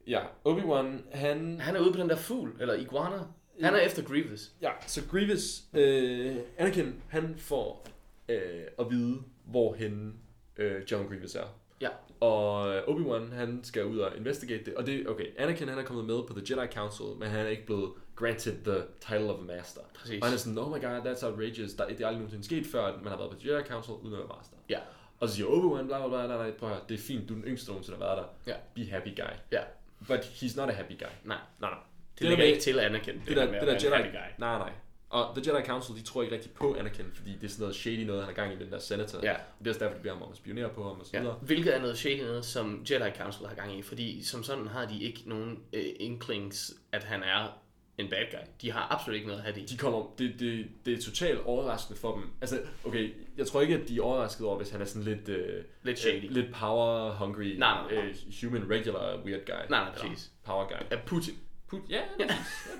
S4: ja. Obi-Wan, han
S3: Han er ude på den der fugl, eller iguana. Han er efter Grievous.
S4: Ja, så Grievous, øh, Anakin, han får øh, at vide, hvor henne øh, John Grievous er.
S3: Ja.
S4: Og øh, Obi-Wan, han skal ud og investigate det. Og det er, okay, Anakin, han er kommet med på The Jedi Council, men han er ikke blevet granted the title of a master.
S3: Præcis.
S4: Og han er sådan, oh my god, that's outrageous. Der, det er aldrig nogensinde sket før, at man har været på The Jedi Council uden at være master.
S3: Ja.
S4: Og så siger Obi-Wan, bla bla bla, nej, nej, prøv at høre, det er fint, du er den yngste der nogensinde, der har været der.
S3: Ja.
S4: Be happy guy.
S3: Ja.
S4: But he's not a happy guy.
S3: Nej.
S4: Nej, nej.
S3: Det, det ligger ikke til Anakin.
S4: Det, der,
S3: med at
S4: det der
S3: være en
S4: Jedi...
S3: happy guy.
S4: Nej, nej. Og The Jedi Council, de tror ikke rigtig på Anakin, fordi det er sådan noget shady noget, han har gang i den der senator.
S3: Ja.
S4: Og det er også derfor, de beder ham om at spionere på ham og så
S3: Ja.
S4: videre.
S3: Hvilket er noget shady noget, som Jedi Council har gang i, fordi som sådan har de ikke nogen øh, inklings, at han er en bad guy. De har absolut ikke noget at have det i.
S4: De kommer, det, det, det er totalt overraskende for dem. Altså, okay, jeg tror ikke, at de er overrasket over, hvis han er sådan lidt... Øh,
S3: Lidt shady.
S4: Øh, lidt power-hungry,
S3: Nej, nej, nej.
S4: Øh, human regular weird guy.
S3: nej,
S4: Eller
S3: præcis.
S4: Power guy.
S3: Er Putin.
S4: Put, ja, ja,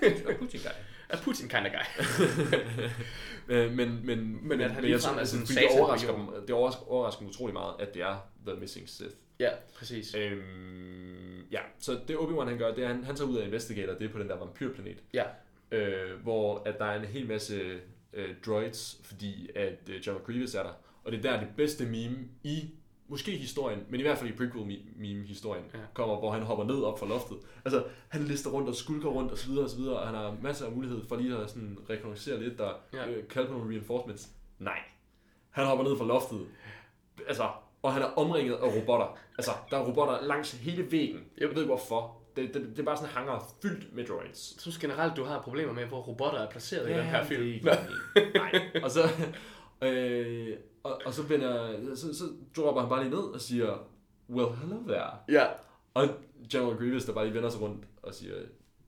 S4: præcis. Ja, Putin guy.
S3: Er Putin kind of guy.
S4: [laughs] Øh, men, men, men,
S3: at han
S4: men jeg
S3: ligefrem
S4: tror,
S3: er
S4: altså,
S3: sådan
S4: fordi
S3: satan
S4: det
S3: på
S4: overrasker,
S3: jorden.
S4: dem, det overrasker, overrasker dem utrolig meget, at det er The Missing Sith.
S3: [laughs] ja, præcis.
S4: Øhm, ja, så det Obi-Wan han gør, det er, han, han tager ud og investigerer det på den der vampyrplanet,
S3: Ja,
S4: øh, hvor at der er en hel masse øh, droids, fordi at øh, John Grievous er der. Og det er der det bedste meme i, måske historien, men i hvert fald i prequel-meme-historien,
S3: Ja.
S4: ja. kommer, hvor han hopper ned op fra loftet. Altså, han lister rundt og skulker rundt og så videre og så videre, og han har masser af mulighed for lige at sådan rekognoscere lidt, der
S3: Ja.
S4: ja. øh, kalde på nogle reinforcements. Nej. Han hopper ned fra loftet, altså, og han er omringet af robotter. Altså, der er robotter langs hele væggen. Jeg ved ikke hvorfor. Det, det, det er bare sådan en hangar fyldt med droids.
S3: jeg synes generelt, du har problemer med, hvor robotter er placeret i den her
S4: Ja,
S3: film.
S4: det er ikke meningen. Nej. Og så, øh, og, og så, vender, så, så dropper han bare lige ned og siger, well, hello there.
S3: Ja.
S4: Og General Grievous, der bare lige vender sig rundt og siger,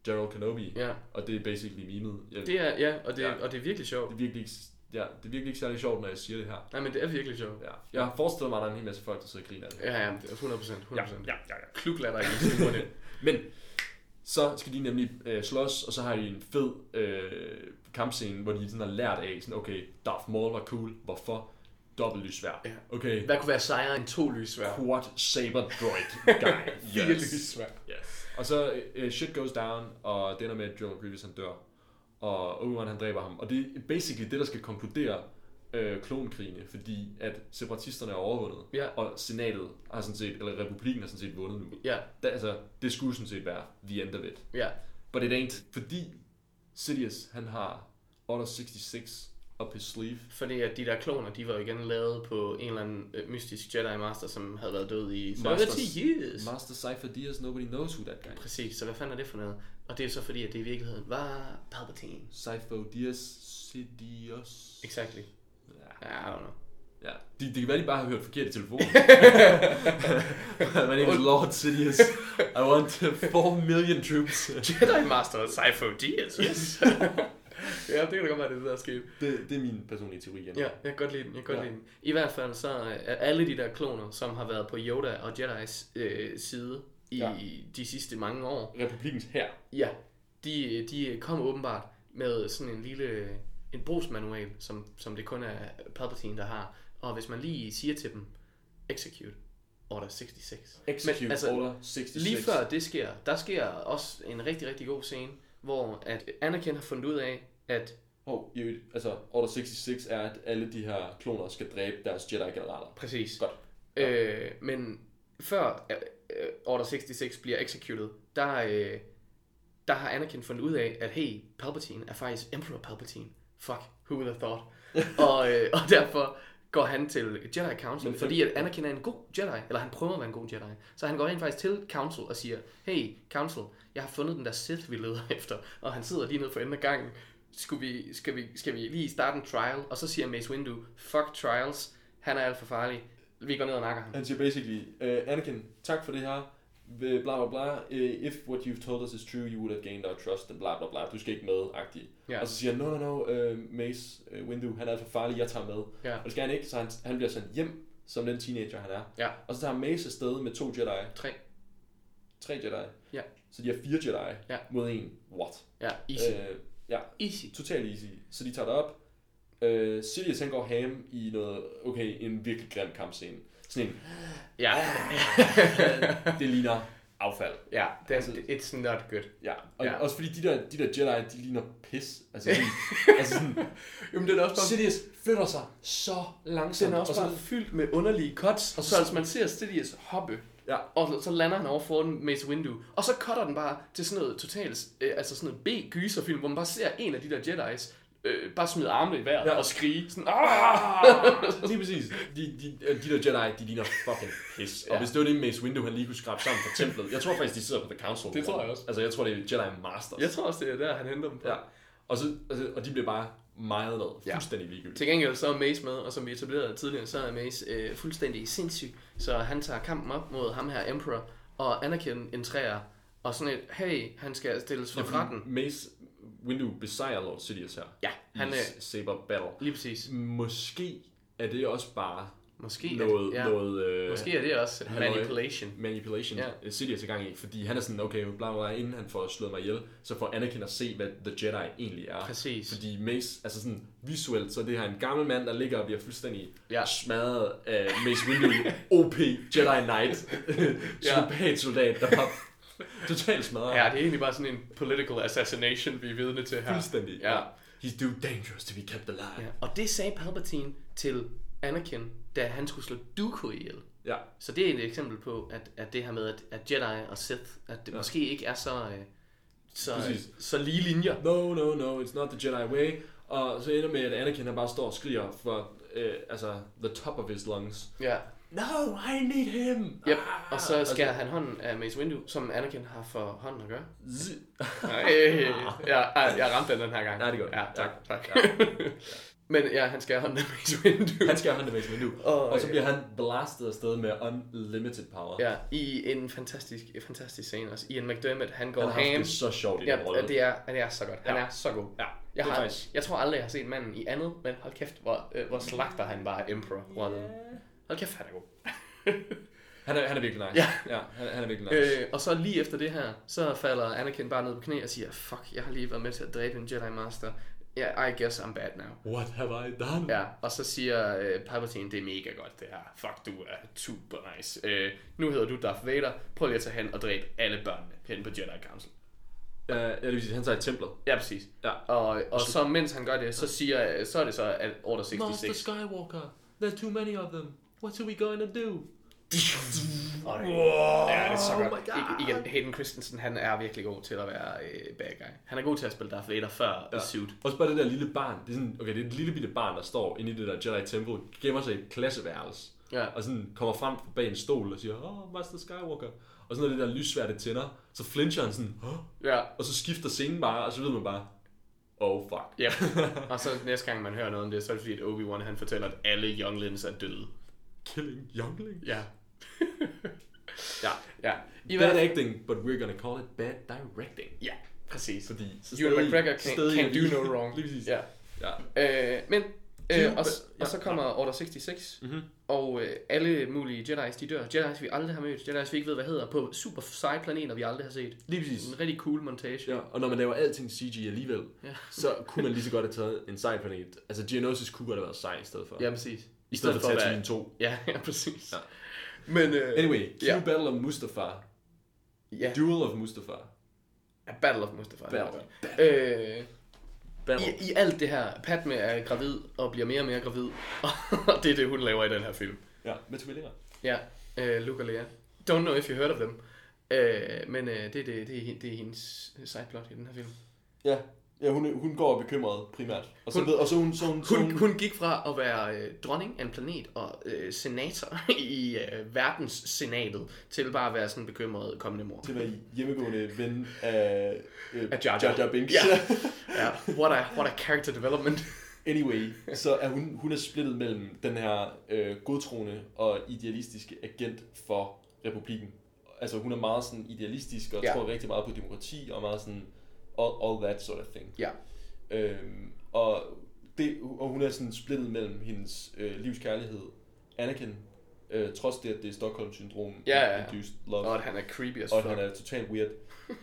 S4: General Kenobi.
S3: Ja.
S4: Og det er basically mimet. Jeg, det
S3: Det er, ja, og det, ja.
S4: Ja.
S3: og det er virkelig sjovt.
S4: er virkelig ikke, ja, det er virkelig ikke særlig sjovt, når jeg siger det her.
S3: Nej, men det er virkelig sjovt.
S4: Ja. Jeg forestiller mig, at der er en hel masse folk, der sidder og griner af det.
S3: Ja, ja, det er 100 procent. 100 procent. Ja,
S4: ja, ja.
S3: Kluglatter i [laughs] det.
S4: Men så skal de nemlig øh, slås, og så har de en fed øh, kampscene, hvor de sådan har lært af, sådan, okay, Darth Maul var cool, hvorfor? dobbelt lysvær.
S3: Ja.
S4: Okay,
S3: Hvad kunne være sejere end to lysvær?
S4: quad saber
S3: [laughs]
S4: droid guy.
S3: Fire lysvær.
S4: Yes. Og så uh, shit goes down, og det ender med, at Joel Grievous han dør. Og Obi-Wan han dræber ham. Og det er basically det, der skal konkludere øh, klonkrigene, fordi at separatisterne er overvundet,
S3: Ja.
S4: og senatet har sådan set, eller republikken har sådan set vundet nu.
S3: Ja,
S4: Da, altså, det skulle sådan set være the end of it.
S3: ja.
S4: But it ain't, fordi Sidious, han har Order 66 up his sleeve.
S3: Fordi at de der kloner, de var jo igen lavet på en eller anden øh, mystisk Jedi Master, som havde været død i... Så
S4: Masters-
S3: 10 years.
S4: Master Cypher Diaz, nobody knows who that guy is.
S3: Præcis, så hvad fanden er det for noget? Og det er så fordi, at det i virkeligheden var Palpatine.
S4: Cypher Diaz, Sidious.
S3: Exactly.
S4: Ja.
S3: Ja, I don't know. [laughs]
S4: Ja, de, det kan være, de bare har hørt forkert i telefonen. My name is Lord Sidious. I want 4 million troops.
S3: Jedi Master Cypher Diaz, yes. [laughs] ja, det kan da godt være, det er det, der er sket.
S4: Det, det er min personlige teori. Jan.
S3: Ja, jeg kan godt lide den, jeg kan godt
S4: Ja.
S3: lide den. I hvert fald så øh, er alle de der kloner, som har været på Yoda og Jedis øh, side i
S4: Ja.
S3: ja. de sidste mange år,
S4: Republikens her.
S3: ja, de, de kom åbenbart med sådan en lille en brugsmanual, som, som det kun er Palpatine, der har. Og hvis man lige siger til dem, execute order 66.
S4: Execute
S3: Men, altså,
S4: Order 66.
S3: Lige før det sker, der sker også en rigtig, rigtig god scene, hvor at Anakin har fundet ud af, at
S4: Og i øvrigt, altså, Order 66 er, at alle de her kloner skal dræbe deres Jedi-generaler.
S3: Præcis.
S4: Godt.
S3: Øh, men før øh, øh, Order 66 bliver executed, der, øh, der har Anakin fundet ud af, at hey, Palpatine er faktisk Emperor Palpatine. Fuck, who would have thought? og, øh, og derfor går han til Jedi Council,
S4: Men-
S3: fordi at Anakin er en god Jedi, eller han prøver at være en god Jedi. Så han går rent faktisk til Council og siger, hey Council, jeg har fundet den der Sith, vi leder [laughs] efter. Og han sidder lige nede for enden af gangen. Skulle vi, skal, vi, skal vi lige starte en trial? Og så siger Mace Windu, fuck trials, han er alt for farlig. Vi går ned og nakker ham.
S4: Han siger basically, uh, Anakin, tak for det her. Øh, Bla bla bla. Uh, if what you've told us is true, you would have gained our trust. And bla bla bla. Du skal ikke med, agtig.
S3: Ja.
S4: Og så siger han, no no no, uh, Mace uh, Windu, han er alt for farlig, jeg tager med.
S3: Ja.
S4: Og det skal han ikke, så han, han bliver sendt hjem, som den teenager han er.
S3: Ja.
S4: Og så tager Mace afsted med to Jedi,
S3: Tre.
S4: tre Jedi.
S3: Ja.
S4: Så de har fire Jedi
S3: Ja.
S4: mod en. What?
S3: Ja, easy. Øh.
S4: Øh, ja,
S3: Easy.
S4: totalt easy. Så de tager det op. Øh, Sidious han går ham i noget, okay, en virkelig grim kampscene. Sådan en,
S3: Ja,
S4: det ligner affald.
S3: ja. Det er, it's not good.
S4: Ja, og ja.
S3: Ja.
S4: også fordi de der, de der Jedi, de ligner pis. Altså, sådan,
S3: [laughs]
S4: altså sådan,
S3: Jamen, det er også
S4: Sidious flytter sig så langsomt.
S3: Den er også
S4: og så,
S3: bare fyldt med underlige cuts, og så altså, man ser Sidious hoppe,
S4: Ja.
S3: og så lander han over foran Mace Windu, og så cutter den bare til sådan noget totalt, øh, altså sådan noget B-gyserfilm, hvor man bare ser en af de der Jedi's øh, bare smide armene i vejret
S4: Ja.
S3: ja. og skrige sådan, "Ah!"
S4: [laughs]
S3: Aah!
S4: Lige præcis. De, de, øh, de der Jedi, de ligner fucking pis. Ja. Og
S3: Ja.
S4: hvis det var det Mace Windu, han lige kunne skrabe sammen fra templet. Jeg tror faktisk, de sidder på The Council.
S3: Det tror jeg også.
S4: Altså, jeg tror, det er Jedi Masters.
S3: Jeg tror også, det er der, han henter dem på.
S4: Ja. Og, så, altså, og de bliver bare meget ned.
S3: Ja.
S4: Fuldstændig ligegyldigt.
S3: Til gengæld så er Mace med, og som vi etablerede tidligere, så er Mace øh, fuldstændig sindssyg, så han tager kampen op mod ham her Emperor, og Anakin entrerer, og sådan et, hey, han skal stilles for retten.
S4: Mace Mm. Windu besejrer Lord Sidious her.
S3: Ja, han
S4: I
S3: er,
S4: Saber Battle.
S3: lige præcis,
S4: Måske er det også bare
S3: måske,
S4: noget,
S3: at, ja.
S4: noget øh,
S3: Måske er det også
S4: Halløj.
S3: manipulation.
S4: manipulation
S3: Ja.
S4: ja. Sidious er gang i, fordi han er sådan, okay, bla bla, bla, inden han får slået mig ihjel, så får Anakin at se, hvad The Jedi egentlig er.
S3: Præcis.
S4: Fordi Mace, altså sådan visuelt, så er det her en gammel mand, der ligger og bliver fuldstændig ja.
S3: Ja.
S4: smadret af Mace Windu, OP, Jedi
S3: [laughs]
S4: Knight, [laughs] soldat, der bare totalt smadret.
S3: Ja, det er egentlig bare sådan en political assassination, vi er vidne til her.
S4: Fuldstændig.
S3: Ja.
S4: He's too dangerous to be kept alive.
S3: ja. Og det sagde Palpatine til Anakin, da han skulle slå Dooku ihjel.
S4: Ja.
S3: Så det er et eksempel på, at, at det her med, at, at Jedi og Sith, at det ja. måske ikke er så, øh, så,
S4: Præcis.
S3: så lige linjer.
S4: No, no, no, it's not the Jedi way. Og så ender med, at Anakin han bare står og skriger for, øh, altså, the top of his lungs.
S3: Ja. Ah,
S4: No, I need him!
S3: Yep. Og så skærer han hånden af Mace Windu, som Anakin har for hånden at [laughs] gøre.
S4: Z-
S3: Øh, ja, ej, jeg ramte den den her gang.
S4: Ja, det er godt.
S3: Ja, tak.
S4: Ja.
S3: tak. [laughs] Men ja, han skærer hånden af Mace Windu.
S4: han skærer hånden af Mace Windu.
S3: Åh,
S4: og så
S3: ja.
S4: bliver han blastet afsted med unlimited power.
S3: Ja, i en fantastisk, en fantastisk scene også. Ian McDermott, han går
S4: Han har haft
S3: ham.
S4: det så sjovt i den rolle.
S3: Ja, det er, han er så godt. Han
S4: Ja.
S3: er så god.
S4: Ja,
S3: Jeg,
S4: det er
S3: har,
S4: faktisk-
S3: jeg tror aldrig, jeg har set manden i andet, men hold kæft, hvor, øh, hvor slagter han bare Emperor. Yeah. Hold kæft, han er god.
S4: Han er, han er virkelig nice.
S3: Ja.
S4: ja han, er- han er virkelig nice.
S3: Øh, og så lige efter det her, så falder Anakin bare ned på knæ og siger, fuck, jeg har lige været med til at dræbe en Jedi Master. yeah, I guess I'm bad now.
S5: What have I done?
S3: Ja, og så siger øh, Palpatine, det er mega godt det her. Fuck, du er super nice. Øh, nu hedder du Darth Vader. Prøv lige at tage hen og dræbe alle børnene hen på Jedi Council.
S5: Uh, ja, det vil sige, han tager i templet.
S3: Ja, præcis.
S5: Ja.
S3: Og, og så mens han gør det, så, siger, øh, så er det så at Order 66.
S5: Skywalker, there's too many of them. What are we going to do?
S3: Ja, det er så godt. Altså, I, igen, Hayden Christensen, han er virkelig god til at være øh, bad guy. Han er god til at spille Darth Vader før ja. The Suit.
S5: Også bare det der lille barn. Det er sådan, okay, det er et lille bitte barn, der står inde i det der Jedi tempel, gemmer sig i et klasseværelse.
S3: Ja.
S5: Og sådan kommer frem bag en stol og siger, åh, oh, Master Skywalker. Og så når det der lyssværte tænder, så flincher han sådan, oh,
S3: Ja,
S5: og så skifter scenen bare, og så ved man bare, oh fuck.
S3: [laughs] ja. og så næste gang man hører noget om det, så er det fordi, at Obi-Wan han fortæller, at alle younglings er døde.
S5: Killing youngling.
S3: Ja.
S5: Ja.
S3: [laughs] ja. I
S5: Bad
S3: hvert
S5: acting, but we're gonna call it bad directing.
S3: Ja, præcis. Fordi
S5: Fordi, så
S3: Ewan
S5: stadig-
S3: McGregor can,
S5: stadig-
S3: can do no wrong.
S5: [laughs] Lige præcis.
S3: Ja.
S5: ja.
S3: Øh, men, øh, og, s-
S5: Ja. Mhm.
S3: og så kommer Order 66, mm-hmm. og øh, alle mulige Jedi's, de dør. Jedi's, vi aldrig har mødt. Jedi's, vi ikke ved, hvad hedder. På super seje planeter, vi aldrig har set.
S5: Lige præcis.
S3: En rigtig cool montage.
S5: Ja, og når man laver alting CG alligevel,
S3: Ja.
S5: ja. så kunne man lige så godt have taget en sej planet. Altså Geonosis kunne godt have været sej i stedet for.
S3: Ja, præcis.
S5: I stedet for
S3: at være-
S5: Tatooine 2.
S3: Ja, [laughs] ja, præcis. Ja.
S5: Ja.
S3: Men øh,
S5: Anyway, Q
S3: Ja.
S5: Battle of Mustafar.
S3: ja,
S5: Duel of Mustafar.
S3: A Battle of Mustafar.
S5: Battle.
S3: Øh,
S5: Battle.
S3: i, I alt det her, Padme er gravid og bliver mere og mere gravid, [laughs] og det er det, hun laver i den her film.
S5: Ja, med tvillinger.
S3: Ja, øh, Luke og Leia. Don't know if you heard of them. Øh, men øh, det, er det, det, er, hen- det er hendes sideplot i den her film.
S4: Ja, ja hun, hun går og er bekymret primært. Og så,
S3: Hun-
S4: hun, ved, og så hun... Så hun, så hun,
S3: Hun, hun gik fra at være øh, dronning af en planet og øh, senator [laughs] i øh, verdenssenatet, til bare at være sådan en bekymret kommende mor.
S4: til at være hjemmegående ven af, øh,
S3: Af Jar Jar.
S4: Jar Jar Binks. [laughs]
S3: Ja. Ja, what a, what a character development.
S4: Anyway, så er hun, hun er splittet mellem den her øh, godtroende og idealistiske agent for republikken. Altså hun er meget sådan idealistisk og
S3: Ja.
S4: ja. tror rigtig meget på demokrati og meget sådan all, all that sort of thing.
S3: Ja.
S4: Øhm, og, det, og hun er sådan splittet mellem hendes øh, livskærlighed, Anakin, øh, trods det, at det er Stockholm-syndrom,
S3: Ja, ja, ja.
S4: induced love.
S3: Og at han er creepy as
S4: Og
S3: fuck.
S4: han er totalt weird.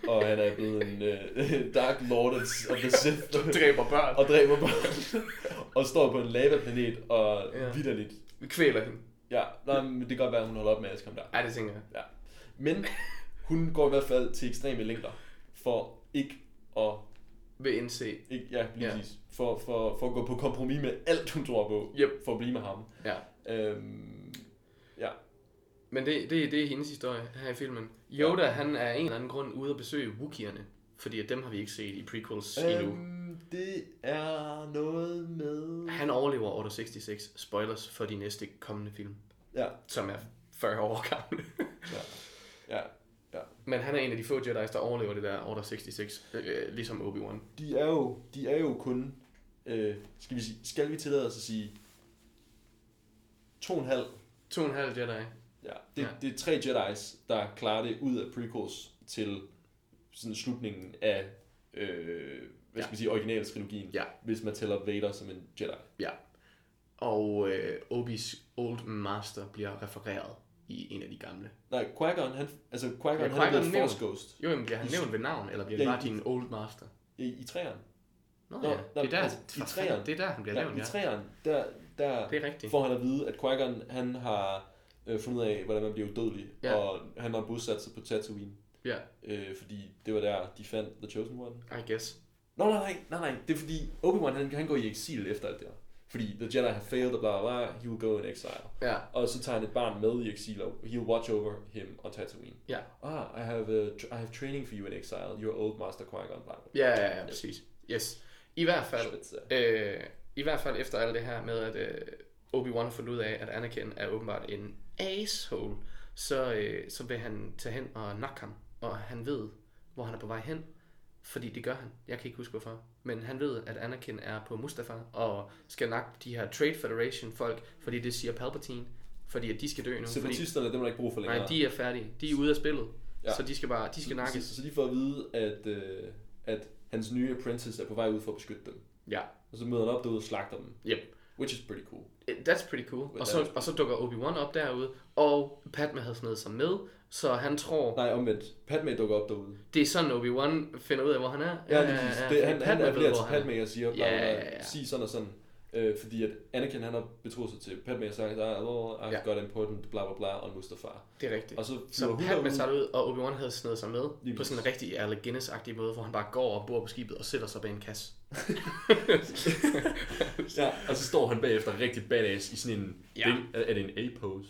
S4: Og han er blevet en uh, [laughs] Dark Lord of, of
S3: [laughs]
S4: the Sith.
S3: dræber børn.
S4: og dræber børn. [laughs] og står på en lavaplanet og
S3: Ja.
S4: ja. vidderligt.
S3: Vi kvæler hende.
S4: Ja, nej, men det kan godt være, at hun holder op med at komme der.
S3: Ja, det tænker jeg.
S4: Ja. Men hun går i hvert fald til ekstreme længder for ikke at
S3: Vil indse.
S4: ikke, ja, lige
S3: Ja.
S4: ja. For, for, for at gå på kompromis med alt, hun tror på,
S3: Yep.
S4: for at blive med ham.
S3: Ja.
S4: Øhm, ja,
S3: Men det, det, det er hendes historie her i filmen. Yoda, ja. han er af en eller anden grund ude at besøge Wookieerne. Fordi at dem har vi ikke set i prequels øhm. endnu.
S4: øhm, det er noget med...
S3: Han overlever Order 66. Spoilers for de næste kommende film.
S4: Ja,
S3: Som er 40 år gamle.
S4: ja, ja.
S3: [laughs] Men han er en af de få Jedi's, der overlever det der Order 66. Øh, ligesom Obi-Wan.
S4: de er jo, de er jo kun, øh, skal, vi sige, skal vi tillade os at sige, to og en halv.
S3: To og en halv Jedi.
S4: Ja, det,
S3: Ja.
S4: ja. det er tre Jedi's, der klarer det ud af prequels til sådan slutningen af, øh,
S3: Ja.
S4: hvad skal ja. man sige, originaltrilogien,
S3: Ja.
S4: hvis man tæller Vader som en Jedi.
S3: Ja. Og øh, Obis Old Master bliver refereret i en af de gamle.
S4: Nej, Qui-Gon, han, altså Qui-Gon,
S3: Ja,
S4: ja, han er
S3: Qui-Gon
S4: blevet
S3: nævnt.
S4: Force Ghost
S3: Jo, jamen bliver han nævnt ved navn, eller bliver det
S4: Ja, i-
S3: bare din Old Master?
S4: i, i træeren.
S3: Nå,
S4: Nå,
S3: ja.
S4: der-
S3: det, er der,
S4: altså, i
S3: for
S4: treeren.
S3: fanden, det er der, han bliver
S4: Ja,
S3: nævnt,
S4: I
S3: ja.
S4: træeren, der, der
S3: Det er rigtigt.
S4: får han at vide, at Qui-Gon, han har øh, fundet ud af, hvordan man bliver udødelig,
S3: Ja.
S4: ja. og han har bosat sig på Tatooine.
S3: Ja,
S4: øh, fordi det var der, de fandt The Chosen One.
S3: I guess.
S4: Nå, nej, nej, nej, nej. Det er fordi, Obi-Wan, han, han går i eksil efter alt det her. Fordi The Jedi have failed, og bla, bla, bla, he will go in exile.
S3: Ja,
S4: Og så tager han et barn med i eksil, og he'll watch over him on Tatooine.
S3: ja,
S4: Ah, I have, uh, tr- I have training for you in exile, your old master Qui-Gon, bla, bla.
S3: ja, ja, ja præcis. Yes. I hvert fald,
S4: Schwitzer.
S3: øh, i hvert fald efter alt det her med, at øh, Obi-Wan har fundet ud af, at Anakin er åbenbart en asshole, så, øh, så vil han tage hen og nakke ham, og han ved, hvor han er på vej hen, fordi det gør han. Jeg kan ikke huske hvorfor. Men han ved, at Anakin er på Mustafar og skal nakke de her Trade Federation folk, fordi det siger Palpatine, fordi at de skal dø nu. Fordi,
S4: Separatisterne, dem er der ikke brug for længere.
S3: Nej, de er færdige. De er ude af spillet. Ja.
S4: Ja.
S3: Så de skal bare, de skal
S4: så,
S3: nakkes.
S4: så, så de får at vide, at, øh, at hans nye apprentice er på vej ud for at beskytte dem.
S3: Ja,
S4: Og så møder han op derude og slagter dem.
S3: yep.
S4: Which is pretty cool.
S3: That's pretty cool. Og så, og så dukker Obi-Wan op derude, og Padme havde snedet sig med, så han tror,
S4: Nej, omvendt. Padme dukker op derude.
S3: det er sådan Obi-Wan finder ud af, hvor han er.
S4: Ja, lige præcis.
S3: øh,
S4: Det, han, han
S3: Padme ved,
S4: appellerer
S3: hvor
S4: til
S3: han er.
S4: Padme og siger,
S3: Ja, ja,
S4: yeah,
S3: ja.
S4: yeah. sig sådan og sådan. Øh, fordi at Anakin, han har betroet sig til Padme og sagt, oh, I've
S3: Ja.
S4: yeah. got important, bla bla bla, og Mustafar.
S3: Det er rigtigt.
S4: Og så flyver
S3: Så
S4: hun
S3: Padme
S4: derude.
S3: tager det ud, og Obi-Wan havde snedet sig med
S4: Lige
S3: på sådan en rigtig Erle Guinness-agtig måde, hvor han bare går og bor på skibet og sætter sig bag en kasse.
S4: Ja,
S5: Og så står han bagefter rigtig badass i sådan en...
S3: Ja.
S5: Ja. Er, er det en A-pose?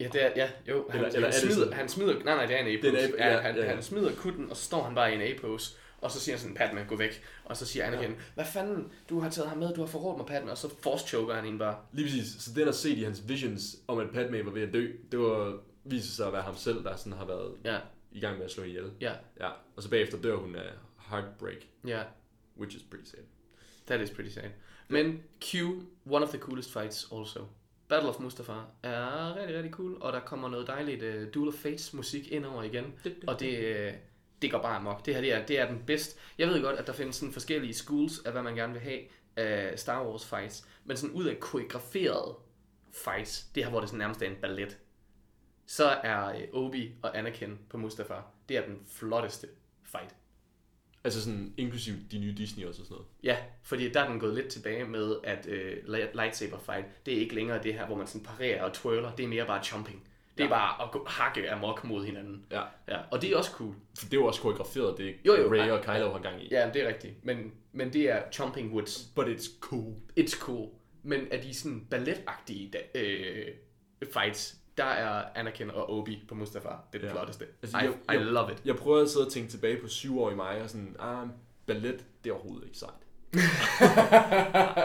S3: Ja, det er, ja, jo.
S5: Eller-
S3: Han,
S5: eller
S3: eller,
S5: er
S3: eller
S5: det
S3: han, smider,
S5: sådan-
S3: han smider, nej, nej, det er en
S5: Det er
S3: A-pose.
S5: en A-
S3: ja,
S5: ja,
S3: han,
S5: ja, ja.
S3: han smider kutten, og så står han bare i en A-pose. Og så siger han sådan, Padme, gå væk. Og så siger Anakin, hvad fanden, du har taget ham med, du har forrådt mig, Padme. Og så force-choker han hende bare.
S5: Lige præcis. Så den at se i hans visions om, at Padme var ved at dø, det var viser sig at være ham selv, der sådan har været
S3: Ja,
S5: i gang med at slå ihjel.
S3: ja,
S5: Ja. Og så bagefter dør hun af heartbreak,
S3: ja.
S5: which is pretty sad.
S3: That is pretty sad. Men Q, one of the coolest fights also. Battle of Mustafar er rigtig, rigtig cool, og der kommer noget dejligt uh, Duel of Fates musik ind over igen, og det, uh, det går bare amok. Det her det er, det er den bedste. Jeg ved godt, at der findes sådan forskellige schools af, hvad man gerne vil have af Star Wars fights, men sådan ud af koreograferet fights, det her, hvor det sådan nærmest er en ballet, så er øh, Obi og Anakin på Mustafar, det er den flotteste fight.
S5: Altså sådan inklusiv de nye Disney også og sådan noget.
S3: Ja, fordi der er den gået lidt tilbage med, at øh, light- lightsaber fight, det er ikke længere det her, hvor man sådan parerer og twirler, det er mere bare chomping. Det er
S5: Ja.
S3: bare at gå, hakke amok mod hinanden.
S5: Ja.
S3: Ja, og det er også cool.
S5: For det var også koreograferet, det
S3: Jo, jo,
S5: Ray
S3: ja.
S5: og Kylo har gang i.
S3: Ja, men det er rigtigt. Men, men det er chomping woods.
S5: But it's cool.
S3: It's cool. Men af de sådan balletagtige da- øh, fights, der er Anakin og Obi på Mustafar. Det er det
S5: Ja.
S3: flotteste.
S5: Altså,
S3: I,
S5: jeg-
S3: I
S5: jeg-
S3: love it.
S5: Jeg prøver at sidde og tænke tilbage på syv år i mig og sådan, ah, ballet, det er overhovedet ikke
S3: [laughs]
S5: sejt.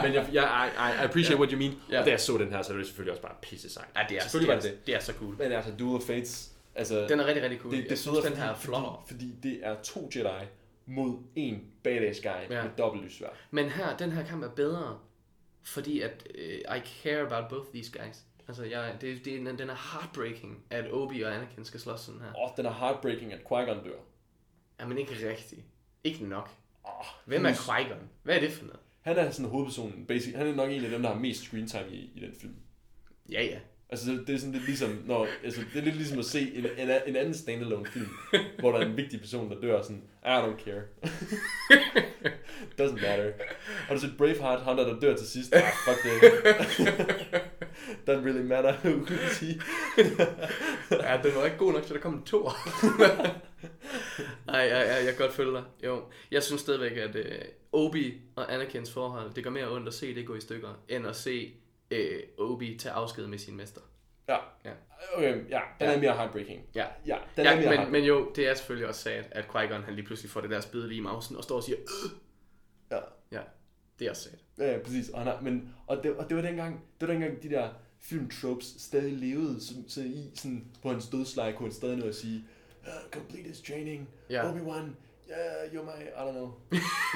S5: Men jeg, jeg I, I- I appreciate what you mean.
S3: Ja.
S5: Og da jeg så den her, så er det selvfølgelig også bare pisse sejt.
S3: Ja, det er,
S4: Selvfølgelig var
S3: det, er,
S4: det
S3: det er så cool.
S4: men altså Duel of Fates, altså...
S3: Den er rigtig, rigtig cool.
S4: det,
S3: jeg
S4: det
S3: synes,
S4: federe,
S3: den her er
S4: fordi-
S3: flot.
S4: Fordi, fordi det er to Jedi mod en badass guy
S3: Ja.
S4: ja. med dobbelt lysvær.
S3: Men her, den her kamp er bedre, fordi at øh, I care about both these guys. Altså, jeg, det, det, er- den, den er heartbreaking, at Obi og Anakin skal slås sådan her.
S4: Og den er heartbreaking, at Qui-Gon dør.
S3: Ja, men ikke rigtigt. Ikke nok.
S4: Oh,
S3: Hvem er Qui-Gon? Hvad er det for noget?
S4: Han er sådan hovedpersonen, basic. Han er nok en af dem, der har mest screen time i, i den film.
S3: Ja, ja.
S4: Altså, det, det er sådan lidt ligesom, når, altså, det er lidt ligesom at se en, en, en anden standalone film, hvor der er en vigtig person, der dør, og sådan, I don't care. [laughs] Doesn't matter. Har du set Braveheart, han der, der dør til sidst? Ah, fuck det. [laughs] Doesn't really matter, [laughs] who can see.
S3: ja, den var ikke god nok, så der kom en [laughs] to. Nej, ja, ja, jeg kan godt følge dig. Jo. Jeg synes stadigvæk, at øh, Obi og Anakins forhold, det gør mere ondt at se det gå i stykker, end at se øh, Obi tage afsked med sin mester.
S4: Ja.
S3: Ja.
S4: Okay, ja, den er mere heartbreaking.
S3: Ja,
S4: Ja, den er mere
S3: Ja, men,
S4: heartbreaking.
S3: men jo, det er selvfølgelig også sad, at Qui-Gon han lige pludselig får det der spid lige i mausen og står og siger, "Øh."
S4: Ja.
S3: ja, det er også sad.
S4: Ja, ja, præcis. Og, han har, men, og, det, og det var dengang, det var dengang de der filmtropes stadig levede, så, så i sådan, på hans dødsleje kunne han stadig noget at sige, uh, complete his training,
S3: Ja.
S4: yeah. Obi-Wan, yeah, you're my, I don't know, [laughs]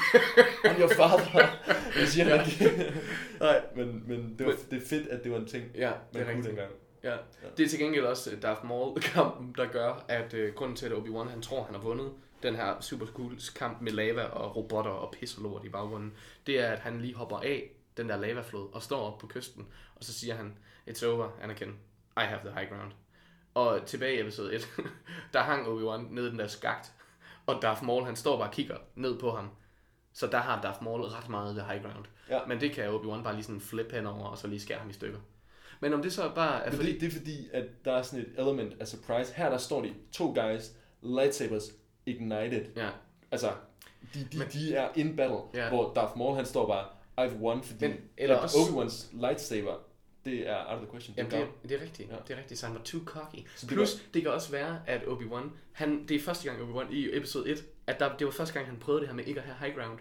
S4: I'm your
S3: [laughs]
S4: father. Det siger han ikke. Nej, men, men det, var, det er fedt, at det var en ting,
S3: Ja, det
S4: man
S3: er
S4: kunne
S3: rigtigt.
S4: dengang.
S3: Ja. Det er til gengæld også øh, Darth Maul-kampen, der gør, at øh, grunden til, at Obi-Wan han tror, han har vundet den her super cool kamp med lava og robotter og pis og lort i baggrunden, det er, at han lige hopper af den der lavaflod og står op på kysten, og så siger han, it's over, Anakin, I have the high ground. Og tilbage i episode 1, [laughs] der hang Obi-Wan nede i den der skagt, og Darth Maul, han står bare og kigger ned på ham. Så der har Darth Maul ret meget the high ground.
S4: Ja.
S3: Men det kan Obi-Wan bare lige sådan flip henover, og så lige skære ham i stykker. Men om det så bare er
S4: Men
S3: fordi...
S4: det, det er fordi, at der er sådan et element af surprise. Her der står de to guys, lightsabers ignited.
S3: Ja,
S4: Altså, de, de, men, de er in battle,
S3: Ja.
S4: ja. hvor Darth Maul han står bare, I've won, fordi
S3: Men- eller
S4: at
S3: også-
S4: Obi-Wans lightsaber, det er out of the question.
S3: Jamen,
S4: det,
S3: det,
S4: er
S3: er,
S4: gone.
S3: det er rigtigt. Ja.
S4: Ja.
S3: Det er rigtigt, så han var too cocky.
S4: det
S3: Plus, det kan også være, at Obi-Wan, han, det er første gang Obi-Wan i episode 1, at der, det var første gang, han prøvede det her med ikke at have high ground.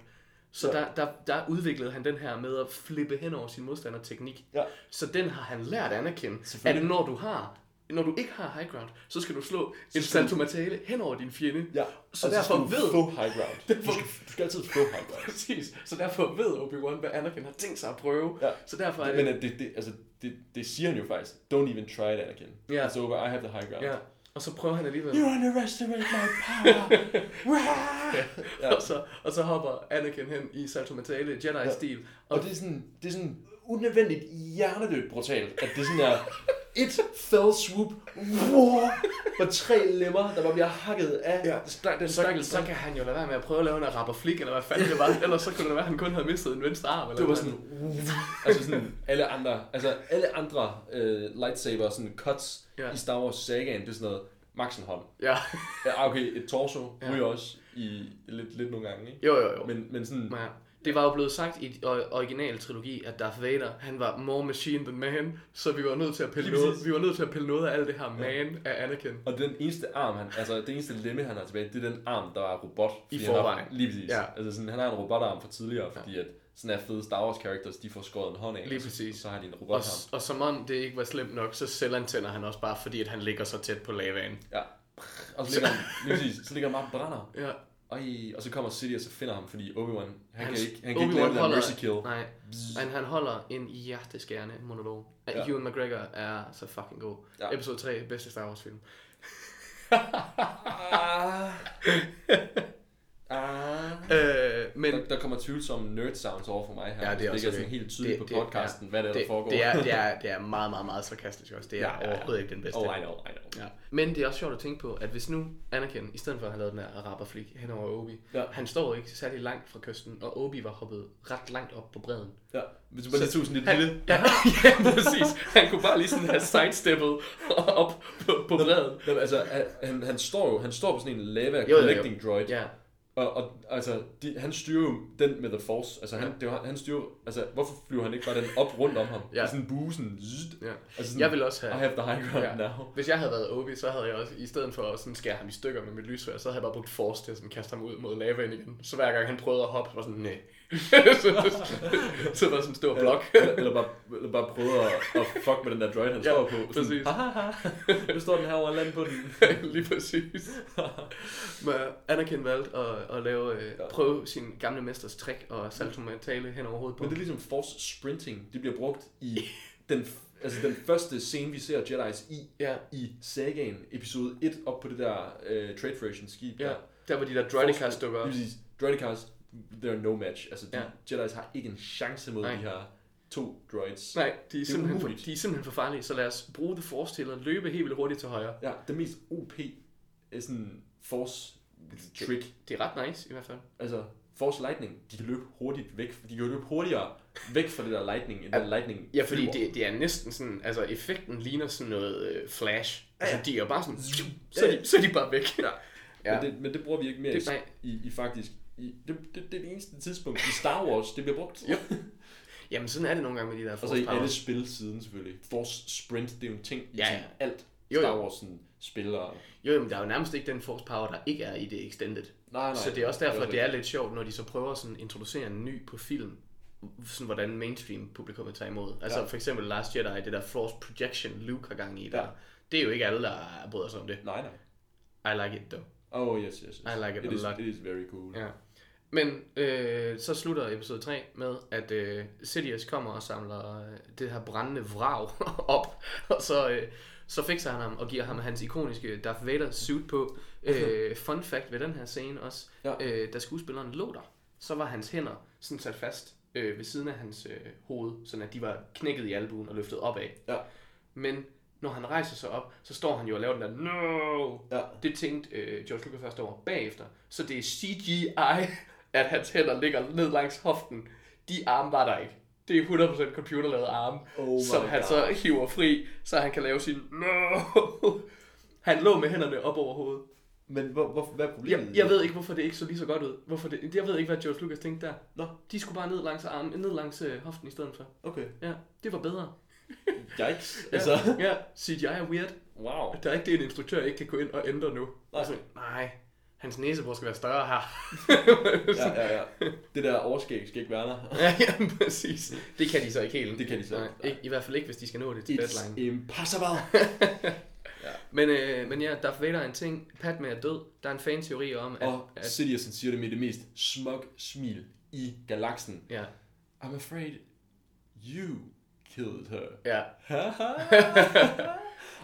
S3: Så
S4: Ja.
S3: der, der, der udviklede han den her med at flippe hen over sin modstanderteknik.
S4: Ja.
S3: Så den har han lært Anakin, at
S4: Selvfølgelig.
S3: når du har når du ikke har high ground, så skal du slå en salto matale hen over din fjende.
S4: ja.
S3: Så
S4: og
S3: derfor
S4: skal du
S3: ved-
S4: få high ground.
S3: Derfor-
S4: Du skal, du skal altid få high ground.
S3: [laughs] Præcis. Så derfor ved Obi-Wan, hvad Anakin har tænkt sig at prøve.
S4: Ja.
S3: Så derfor er det...
S4: Men at det, det, altså, det, det siger han jo faktisk. Don't even try it, Anakin.
S3: Ja.
S4: It's over, I have the high ground.
S3: ja. Og så prøver han alligevel.
S4: You underestimate my
S3: [laughs]
S4: power. Wah!
S3: Ja. Og, så, og så hopper Anakin hen i Salto Matale, Jedi-stil. Ja.
S4: Og det er sådan, det er sådan unødvendigt hjernedødt brutalt, at det sådan er et fell swoop, wow, og tre lemmer, der bare bliver hakket af
S3: Ja.
S4: ja. den
S3: Så,
S4: stakkels
S3: så kan han jo lade være med at prøve at lave en rapperflik, eller hvad fanden [laughs] det var. Ellers så kunne det være, at han kun havde mistet en venstre arm. Eller
S4: Det var
S3: hvad.
S4: sådan, altså sådan alle andre, altså alle andre øh, lightsaber sådan cuts
S3: Ja.
S4: ja. i Star Wars sagaen, det er sådan noget, max en hånd.
S3: Ja.
S4: Ja, okay, et torso
S3: Ja.
S4: ja. ryger også i lidt, lidt nogle gange, ikke?
S3: Jo, jo, jo.
S4: Men, men sådan,
S3: Ja. Det var jo blevet sagt i original trilogi, at Darth Vader, han var more machine than man, så vi var nødt til at pille,
S4: Lige
S3: noget,
S4: præcis.
S3: vi var nødt til at pille noget af alt det her man af Anakin.
S4: og den eneste arm, han, altså det eneste lemme, han har tilbage, det er den arm, der var robot. fordi Han
S3: forvejen.
S4: har, lige præcis.
S3: Ja.
S4: Ja. Altså sådan, han har en robotarm fra tidligere, fordi at sådan er fede Star Wars characters, de får skåret en hånd af.
S3: Lige
S4: og så-
S3: præcis.
S4: Og så har de en
S3: Og,
S4: robotarm.
S3: og som om det ikke var slemt nok, så selvantænder han også bare, fordi at han ligger så tæt på lavaen.
S4: Ja. Og så ligger han, lige præcis, så ligger han bare og brænder.
S3: Ja.
S4: Ej, og så kommer Sidious og finder ham, fordi Obi-Wan, han kan
S3: Hans-
S4: ikke, han kan ikke
S3: Obi-Wan
S4: lave den der
S3: holder-
S4: mercy kill.
S3: Nej, men han holder en hjerteskærende monolog. Ja.
S4: Ja.
S3: Ewan McGregor er så fucking god. Ja.
S4: Ja.
S3: Episode 3, bedste Star Wars film.
S4: Ah. ah.
S3: Øh, men
S4: Der, der kommer tvivlsomme nerd sounds over for mig her.
S3: Ja, det er
S4: det
S3: også
S4: ikke er sådan
S3: det.
S4: helt tydeligt
S3: Det-
S4: på
S3: det-
S4: podcasten,
S3: ja.
S4: hvad det er, der
S3: det,
S4: foregår.
S3: det, er, det,
S4: [laughs]
S3: er, det er meget, meget, meget sarkastisk også. Det er ja,
S4: Ja,
S3: ja,
S4: ja, ja.
S3: overhovedet ikke den bedste.
S4: Oh, I know, I know.
S3: Ja. Men det er også sjovt at tænke på, at hvis nu Anakin, i stedet for at have lavet den her araberflik hen over Obi, ja.
S4: Ja.
S3: han står jo ikke særlig langt fra kysten, og Obi var hoppet ret langt op på bredden.
S4: Ja. Hvis du bare lige tog sådan lidt lille...
S3: Ja, [laughs] ja, præcis. Han kunne bare lige sådan have sidesteppet op på, på bredden.
S4: Jamen, altså, han- han, han, står jo han står på sådan en lava
S3: jo, jo.
S4: collecting droid,
S3: Ja,
S4: og, og altså, de, han styrer jo den med The Force. Altså, han,
S3: Ja.
S4: det er jo- han styrer altså, hvorfor flyver han ikke bare den op rundt om ham?
S3: Ja.
S4: Ja. I sådan en bue, sådan... Zzzt.
S3: ja.
S4: Altså sådan,
S3: Jeg vil også have...
S4: I have the high ground
S3: Ja.
S4: now.
S3: Hvis jeg havde været Obi, så havde jeg også, i stedet for at sådan skære ham i stykker med mit lysvær, så havde jeg bare brugt force til at sådan kaste ham ud mod lavaen igen. Så hver gang han prøvede at hoppe, så var sådan, nej. [laughs] så, så var sådan en stor blok. [laughs]
S4: Eller, eller, bare, eller bare prøve at, at fuck med den der droid, han
S3: Ja,
S4: ja, står på.
S3: præcis.
S4: Sådan, Hahaha, nu står den her over land på den.
S3: Lige præcis. Men Anakin valgte at, at lave, øh,
S4: Ja.
S3: prøve sin gamle mesters trick og salto mentale hen over hovedet på.
S4: Men det er ligesom force sprinting. Det bliver brugt
S3: [laughs]
S4: i den, f- altså den første scene, vi ser Jedi's i,
S3: Ja,
S4: i sagaen, episode 1, op på det der uh, trade version skib.
S3: ja.
S4: der.
S3: Der var de der droidicars dukker op.
S4: Lige præcis. Droidicars, they're no match. Altså, de,
S3: Ja.
S4: Jedi's har ikke en chance mod
S3: Nej.
S4: de her to droids.
S3: Nej, de er,
S4: er
S3: simpelthen for,
S4: umuligt.
S3: de er simpelthen for farlige, så lad os bruge det force til at løbe helt vildt hurtigt til højre.
S4: Ja, det mest OP er sådan force trick.
S3: Det er ret nice i hvert fald.
S4: Altså, Force Lightning, de kan løbe hurtigt væk. De kan løbe hurtigere væk fra det der Lightning, end den Lightning
S3: Ja, fordi
S4: flyver.
S3: det, det er næsten sådan, altså effekten ligner sådan noget øh, flash. Altså
S4: Ja, ja.
S3: de er jo bare sådan, så
S4: Ja,
S3: er de, så er de bare væk. Ja.
S4: Ja. Men, det, men det bruger vi ikke mere
S3: Det-
S4: det,
S3: nej.
S4: i, i faktisk. I, det, det, det er det eneste tidspunkt i Star Wars, det bliver brugt. [laughs]
S3: Yep. Jamen sådan er det nogle gange med de der
S4: Og så i
S3: force
S4: alle
S3: powers.
S4: spil siden selvfølgelig. Force Sprint, det er jo en ting i
S3: Ja,
S4: ja,
S3: ja.
S4: ja. alt
S3: Jo, jo.
S4: Star Wars sådan, spillere.
S3: Jo, jamen, der er jo nærmest ikke den force power, der ikke er i det extended.
S4: Nej, nej.
S3: Så det er også derfor,
S4: det
S3: det er lidt sjovt, når de så prøver sådan at introducere en ny på film, sådan hvordan mainstream publikummet tager imod. Altså ja.
S4: Ja.
S3: for eksempel Last Jedi, det der force projection Luke har gang i der.
S4: Ja.
S3: Det er jo ikke alle, der bryder sig om det.
S4: Nej, nej.
S3: I like it though.
S4: Oh, yes, yes, yes.
S3: I like it
S4: it
S3: a
S4: is,
S3: lot.
S4: It is very cool.
S3: Ja. Men øh, så slutter episode 3 med, at øh, Sidious kommer og samler øh, det her brændende vrag [laughs] op, og så, øh, så fikser han ham og giver ham hans ikoniske Darth Vader suit på. [laughs] Øh, fun fact ved den her scene også, ja.
S4: Ja.
S3: øh, da skuespilleren lå der, så var hans hænder sådan sat fast øh, ved siden af hans øh, hoved, sådan at de var knækket i albuen og løftet opad.
S4: Ja.
S3: Men når han rejser sig op, så står han jo og laver den der, no,
S4: Ja.
S3: det tænkte øh, George Lucas først over bagefter. Så det er CGI, [laughs] at hans hænder ligger ned langs hoften. De arme var der ikke. Det er 100% computerlavede arme,
S4: Oh my
S3: som han
S4: God.
S3: så hiver fri, så han kan lave sin... No! [laughs] Han lå med hænderne op over hovedet.
S4: Men hvor, hvor, hvad er problemet?
S3: Jeg, jeg ved ikke, hvorfor det ikke så lige så godt ud. Hvorfor det, jeg ved ikke, hvad George Lucas tænkte der.
S4: Nå,
S3: De skulle bare ned langs, armen, ned langs øh, hoften i stedet for.
S4: okay.
S3: Ja, det var bedre.
S4: Yikes.
S3: Ja, [laughs]
S4: Altså,
S3: ja CGI er weird.
S4: wow.
S3: Der er ikke det, en instruktør ikke kan gå ind og ændre nu.
S4: Nej.
S3: Altså, nej, hans næsebor skal være større her.
S4: [laughs] Ja, ja, ja. Det der overskæg skal ikke være
S3: [laughs]
S4: der.
S3: ja, ja, præcis. Det kan de så ikke helt.
S4: Det kan de så
S3: Nej,
S4: ikke.
S3: ikke. I hvert fald ikke, hvis de skal nå det til
S4: It's
S3: deadline. [laughs]
S4: impossible.
S3: Men, øh, men ja, Darth Vader er en ting. Padme er død. Der er en fan-teori om, at...
S4: Og
S3: at
S4: Sidious han siger det med det mest smug smil i galaksen.
S3: ja,
S4: I'm afraid you killed
S3: [laughs]
S4: her.
S3: ja,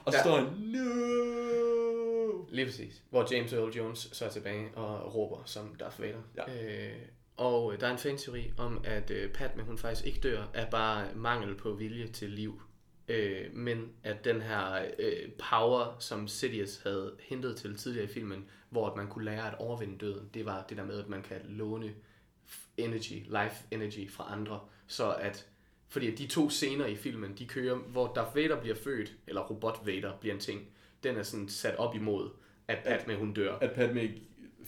S4: og så står han, no!
S3: lige præcis. Hvor James Earl Jones så er tilbage og råber som Darth Vader.
S4: Ja.
S3: Øh, Og øh, der er en fanteori om, at øh, Padme, hun faktisk ikke dør, er bare mangel på vilje til liv. Øh, men at den her øh, power, som Sidious havde hentet til tidligere i filmen, hvor at man kunne lære at overvinde døden, det var det der med, at man kan låne f- energy, life energy fra andre, så at fordi at de to scener i filmen, de kører, hvor Darth Vader bliver født, eller robot Vader bliver en ting, den er sådan sat op imod, at Padme hun dør.
S4: At Padme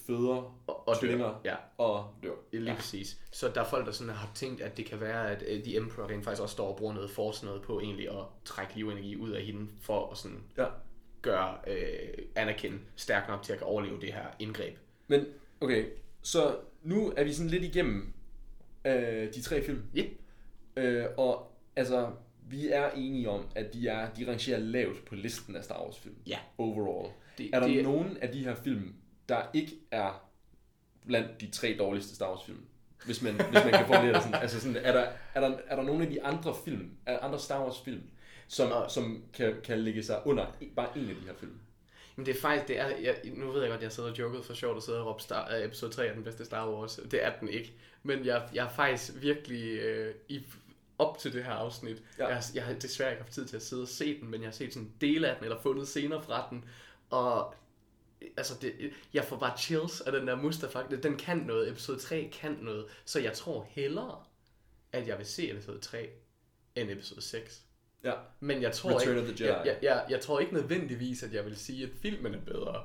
S4: føder
S3: Og, og dør.
S4: tvillinger.
S3: Ja,
S4: og dør.
S3: Lige ja. præcis. Så der er folk, der sådan har tænkt, at det kan være, at øh, The Emperor rent faktisk også står og bruger noget force noget på egentlig at trække livenergi ud af hende, for at sådan
S4: Ja.
S3: gøre øh, Anakin stærk nok til at kan overleve det her indgreb.
S4: Men, okay, så nu er vi sådan lidt igennem øh, de tre film.
S3: Ja.
S4: Øh, og altså, vi er enige om, at de, er, de rangerer lavt på listen af Star Wars film.
S3: Ja.
S4: Overall.
S3: Det-
S4: Det, er der
S3: det-
S4: det... nogen af de her film, der ikke er blandt de tre dårligste Star Wars film? Hvis man, hvis man kan formulere det sådan. Altså sådan, er der, er der, er der nogen af de andre film, af andre Star Wars film, som, som kan, kan ligge sig under en- bare en af de her film?
S3: Men det er faktisk, det er, jeg, nu ved jeg godt, jeg sidder og joket for sjovt og sidder og råber Star, øh, episode 3 er den bedste Star Wars. Det er den ikke. Men jeg, jeg er faktisk virkelig øh, i, op til det her afsnit. Ja.
S4: Ja.
S3: Jeg, har- jeg har desværre ikke haft tid til at sidde og se den, men jeg har set sådan dele af den, eller fundet scener fra den. Og øh, altså, det, jeg får bare chills af den der Mustafa. Den kan noget. Episode 3 kan noget. Så jeg tror hellere, at jeg vil se episode 3 end episode 6.
S4: Ja.
S3: Men jeg tror
S4: Return
S3: ikke,
S4: of the Jedi.
S3: Jeg, jeg, jeg, jeg tror ikke nødvendigvis, at jeg vil sige, at filmen er bedre.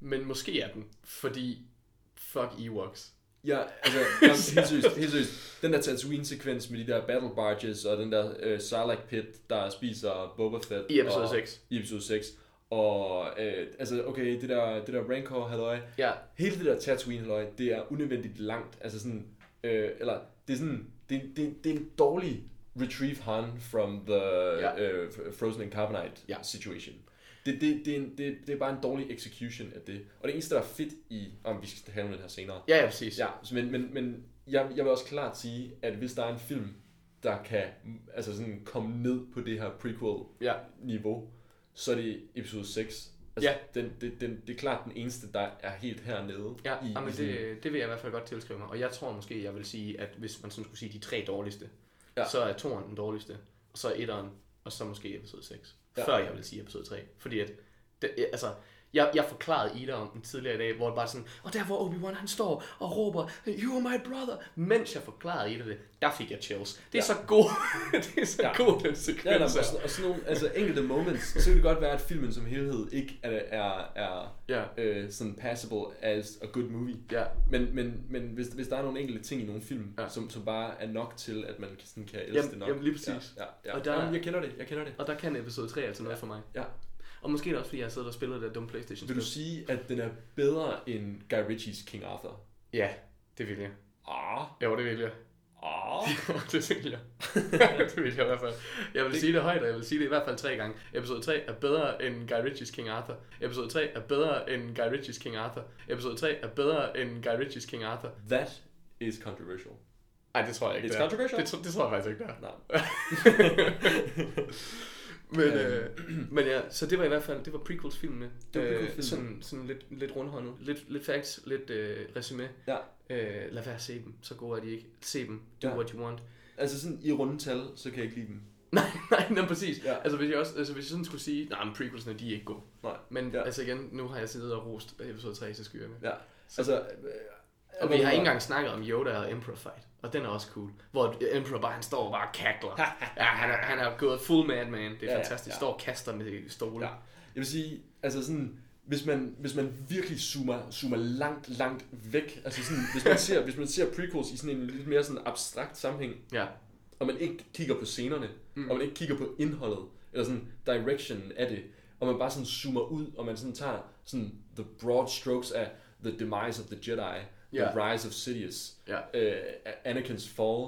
S3: Men måske er den, fordi fuck Ewoks.
S4: Ja, altså, jamen, helt seriøst, helt seriøst. Den der Tatooine-sekvens med de der battle barges og den der øh, Sarlacc pit, der spiser Boba Fett.
S3: I episode
S4: og,
S3: seks.
S4: I episode 6. Og øh, altså, okay, det der, det der rancor halløj
S3: Ja,
S4: Hele det der Tatooine halløj det er unødvendigt langt. Altså sådan, øh, eller det er sådan, det, det, det er en dårlig retrieve Han from the
S3: Ja.
S4: øh, Frozen in Carbonite
S3: Ja.
S4: situation. Det, det, det, er en, det, det er bare en dårlig execution af det. Og det eneste, der er fedt i... Om vi skal have den her senere.
S3: ja, ja præcis.
S4: Ja, så Altså, men, men, men jeg, jeg vil også klart sige, at hvis der er en film, der kan mm, altså sådan komme ned på det her prequel-niveau,
S3: ja.
S4: så er det episode 6. Altså,
S3: Ja.
S4: den, den, den, det er klart den eneste, der er helt hernede.
S3: Ja, i, jamen
S4: sådan-
S3: det, det vil jeg i hvert fald godt tilskrive mig. Og jeg tror måske, jeg vil sige, at hvis man sådan skulle sige de tre dårligste, ja.
S4: Ja.
S3: så er toeren den dårligste, og så er etteren, og så måske episode 6. Ja.
S4: Ja.
S3: Før jeg vil sige episode 3. Fordi at, det, altså, jeg, jeg forklarede Ida om den tidligere i dag, hvor det bare sådan, og der hvor Obi-Wan han står og råber, you are my brother, mens jeg forklarede Ida det, der fik jeg chills. Det er ja. så god, [laughs] det er så ja.
S4: Ja.
S3: god den
S4: Ja, der, og,
S3: sekvens.
S4: sådan, og sådan nogle altså, enkelte moments, så kan det godt være, at filmen som helhed ikke er, er, er
S3: Ja.
S4: øh, sådan passable as a good movie.
S3: ja,
S4: Men, men, men hvis, hvis der er nogle enkelte ting i nogle film,
S3: Ja.
S4: ja. som, som bare er nok til, at man kan- sådan kan elske
S3: Jamen-
S4: det nok.
S3: jamen, lige præcis.
S4: Ja, ja, ja.
S3: Og
S4: Og
S3: der-
S4: der, Jamen, jeg kender det, jeg kender det.
S3: og der kan episode 3 altså noget ja. for mig.
S4: Ja.
S3: Og måske er det også, fordi jeg sidder og spiller det der dumme Playstation.
S4: Vil du sige, at den er bedre end Guy Ritchies King Arthur?
S3: Ja, det vil jeg.
S4: Ah,
S3: Jo, det vil jeg. [laughs]
S4: ah.
S3: det vil
S4: [laughs]
S3: jeg. det vil jeg i hvert fald. Jeg vil sige det højt, og jeg vil sige det i hvert fald tre gange. Episode 3 er bedre end Guy Ritchies King Arthur. Episode 3 er bedre end Guy Ritchies King Arthur. Episode 3 er bedre end Guy Ritchies King Arthur.
S4: That is controversial.
S3: Nej, det tror jeg ikke,
S4: It's
S3: det er.
S4: controversial.
S3: Det, tro- det tror jeg faktisk ikke, det er.
S4: Nej.
S3: [laughs] men,
S4: Øhm.
S3: øh, men ja, så det var i hvert fald, det var prequels-filmene.
S4: Det var
S3: Øh,
S4: prequels-filmene.
S3: sådan, sådan lidt, lidt rundhåndet. Lidt, lidt facts, lidt øh, resume.
S4: Ja.
S3: Øh, lad være at se dem, så gode er de ikke. Se dem, do
S4: Ja.
S3: what you want.
S4: Altså sådan i runde tal, så kan jeg ikke lide dem.
S3: [laughs] Nej, nej, nej, præcis. Ja.
S4: Ja.
S3: Altså, hvis jeg også, altså, hvis jeg sådan skulle sige, nej, men prequelsene, de er ikke gode.
S4: Nej.
S3: Men ja.
S4: Ja.
S3: altså igen, nu har jeg siddet og rost episode 3 til skyerne. Ja.
S4: Ja. Altså, øh,
S3: Og vi har ikke engang snakket om Yoda og Emperor fight. Og den er også cool. Hvor Emperor bare, han står og bare kakler. ja, han er, han er gået full madman. Det er ja,
S4: Ja,
S3: fantastisk. Ja.
S4: ja.
S3: Står og kaster med stole.
S4: Ja. Jeg vil sige, altså sådan, hvis man, hvis man virkelig zoomer, zoomer langt, langt væk, altså sådan, hvis man ser, hvis man ser prequels i sådan en lidt mere sådan abstrakt sammenhæng,
S3: ja.
S4: og man ikke kigger på scenerne, mm. og man ikke kigger på indholdet, eller sådan directionen af det, og man bare sådan zoomer ud, og man sådan tager sådan the broad strokes af the demise of the Jedi,
S3: Ja.
S4: the rise of Sidious,
S3: Ja.
S4: øh, Anakin's fall,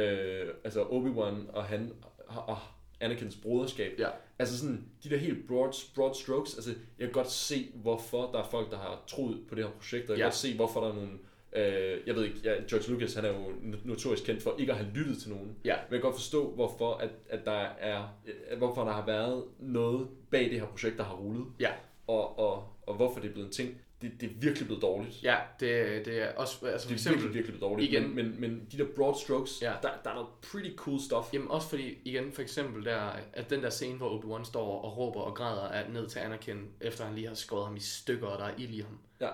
S4: øh, altså Obi-Wan og han og Anakins broderskab.
S3: Ja.
S4: Altså sådan, de der helt broad, broad strokes, altså jeg kan godt se, hvorfor der er folk, der har troet på det her projekt, og jeg kan
S3: Ja.
S4: godt se, hvorfor der er nogle, øh, jeg ved ikke, ja, George Lucas, han er jo no- notorisk kendt for ikke at have lyttet til nogen.
S3: Ja.
S4: Men jeg kan godt forstå, hvorfor, at, at der er, at hvorfor der har været noget bag det her projekt, der har rullet.
S3: Ja.
S4: Og, og, og hvorfor det er blevet en ting. det, det er virkelig blevet dårligt.
S3: Ja, det, det er også, altså for
S4: Det er virkelig,
S3: eksempel,
S4: virkelig blevet dårligt.
S3: Igen.
S4: Men, men, men de der broad strokes,
S3: Ja.
S4: ja. der, der er noget pretty cool stuff.
S3: jamen også fordi, igen, for eksempel der, at den der scene, hvor Obi-Wan står og råber og græder er ned til Anakin, efter han lige har skåret ham i stykker, og der er ild i ham.
S4: Ja.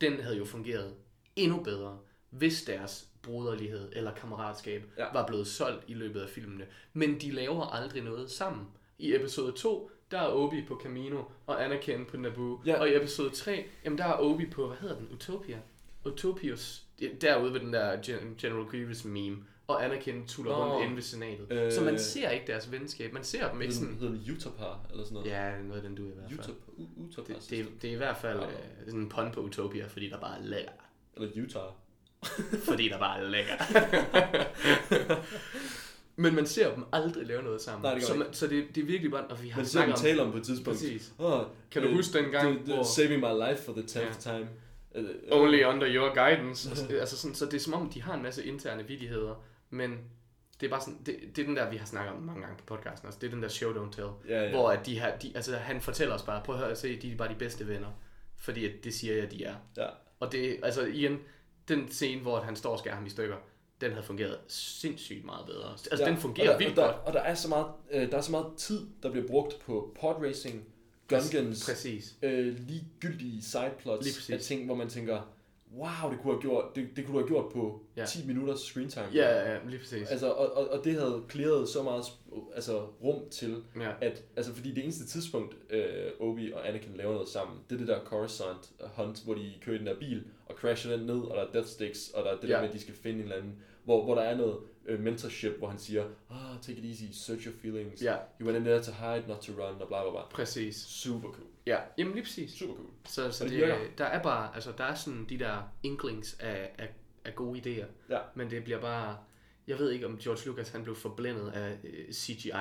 S3: den havde jo fungeret endnu bedre, hvis deres broderlighed eller kammeratskab ja.
S4: Ja.
S3: var blevet solgt i løbet af filmene. Men de laver aldrig noget sammen. I episode 2, der er Obi på Camino og Anakin på Naboo. Ja.
S4: Ja.
S3: Og i episode 3, jamen der er Obi på, hvad hedder den? Utopia? Utopius. Ja, Derude ved den der Gen- General Grievous meme. Og Anakin tuller
S4: Nå.
S3: rundt inde ved senatet. Øh,
S4: Øh.
S3: så man ser ikke deres venskab. Man ser dem ikke
S4: Hedder den,
S3: sådan...
S4: hedder den Utapar, eller sådan noget?
S3: Ja, noget af den du i hvert fald.
S4: Utap, U- Utapar
S3: Det,
S4: det,
S3: det, det er i hvert fald
S4: Ja.
S3: øh, sådan en pun på Utopia, fordi der bare er lækker
S4: Eller Utah.
S3: fordi der bare er lækker. [laughs] Men man ser dem aldrig lave noget sammen.
S4: Nej, det gør
S3: så,
S4: man
S3: man, så det, det er virkelig bare... Og vi har
S4: Men så vi
S3: snakket
S4: taler om på et tidspunkt.
S3: Præcis.
S4: Oh,
S3: Kan du huske dengang,
S4: det, det,
S3: hvor-
S4: Saving my life for the 10th time. Øh, øh,
S3: Only under your guidance. Og så- [laughs] altså sådan, så det er som om, de har en masse interne vidigheder, men det er bare sådan, det, det er den der, vi har snakket om mange gange på podcasten også, det er den der show don't tell,
S4: Ja, ja.
S3: hvor at de her, de, altså han fortæller os bare, prøv at høre, se, de er bare de bedste venner, fordi at det siger jeg, de er.
S4: Ja.
S3: Og det, altså igen, den scene, hvor han står og skærer ham i stykker, den havde fungeret sindssygt meget bedre. Altså ja. den fungerer
S4: og der,
S3: vildt
S4: og der,
S3: godt.
S4: Og der er, så meget, øh, der er så meget tid, der bliver brugt på podracing, gunguns,
S3: Præcis.
S4: øh, ligegyldige
S3: Lige
S4: sideplots
S3: præcis.
S4: af ting, hvor man tænker, wow, det kunne, have gjort, det, det kunne du have gjort på
S3: Ja.
S4: ja. 10 minutters screen time.
S3: Ja, ja, lige præcis.
S4: Altså, og, og, og det havde klæret så meget sp- altså, rum til,
S3: Ja.
S4: at, altså, fordi det eneste tidspunkt, øh, Obi og Anakin laver noget sammen, det er det der Coruscant Hunt, hvor de kører i den der bil, og crasher den ned, og der er death sticks, og der er det
S3: Ja.
S4: der med, at de skal finde en eller anden, hvor, hvor der er noget øh, mentorship, hvor han siger, ah, take it easy, search your feelings,
S3: Ja.
S4: you went in there to hide, not to run, og bla bla bla.
S3: Præcis.
S4: Super cool,
S3: Ja, jamen lige præcis.
S4: super cool.
S3: Så, så det,
S4: Og det
S3: det
S4: virker.
S3: der er bare, altså der er sådan de der inklings af, af, af gode idéer,
S4: Ja.
S3: men det bliver bare, jeg ved ikke om George Lucas han blev forblændet af øh,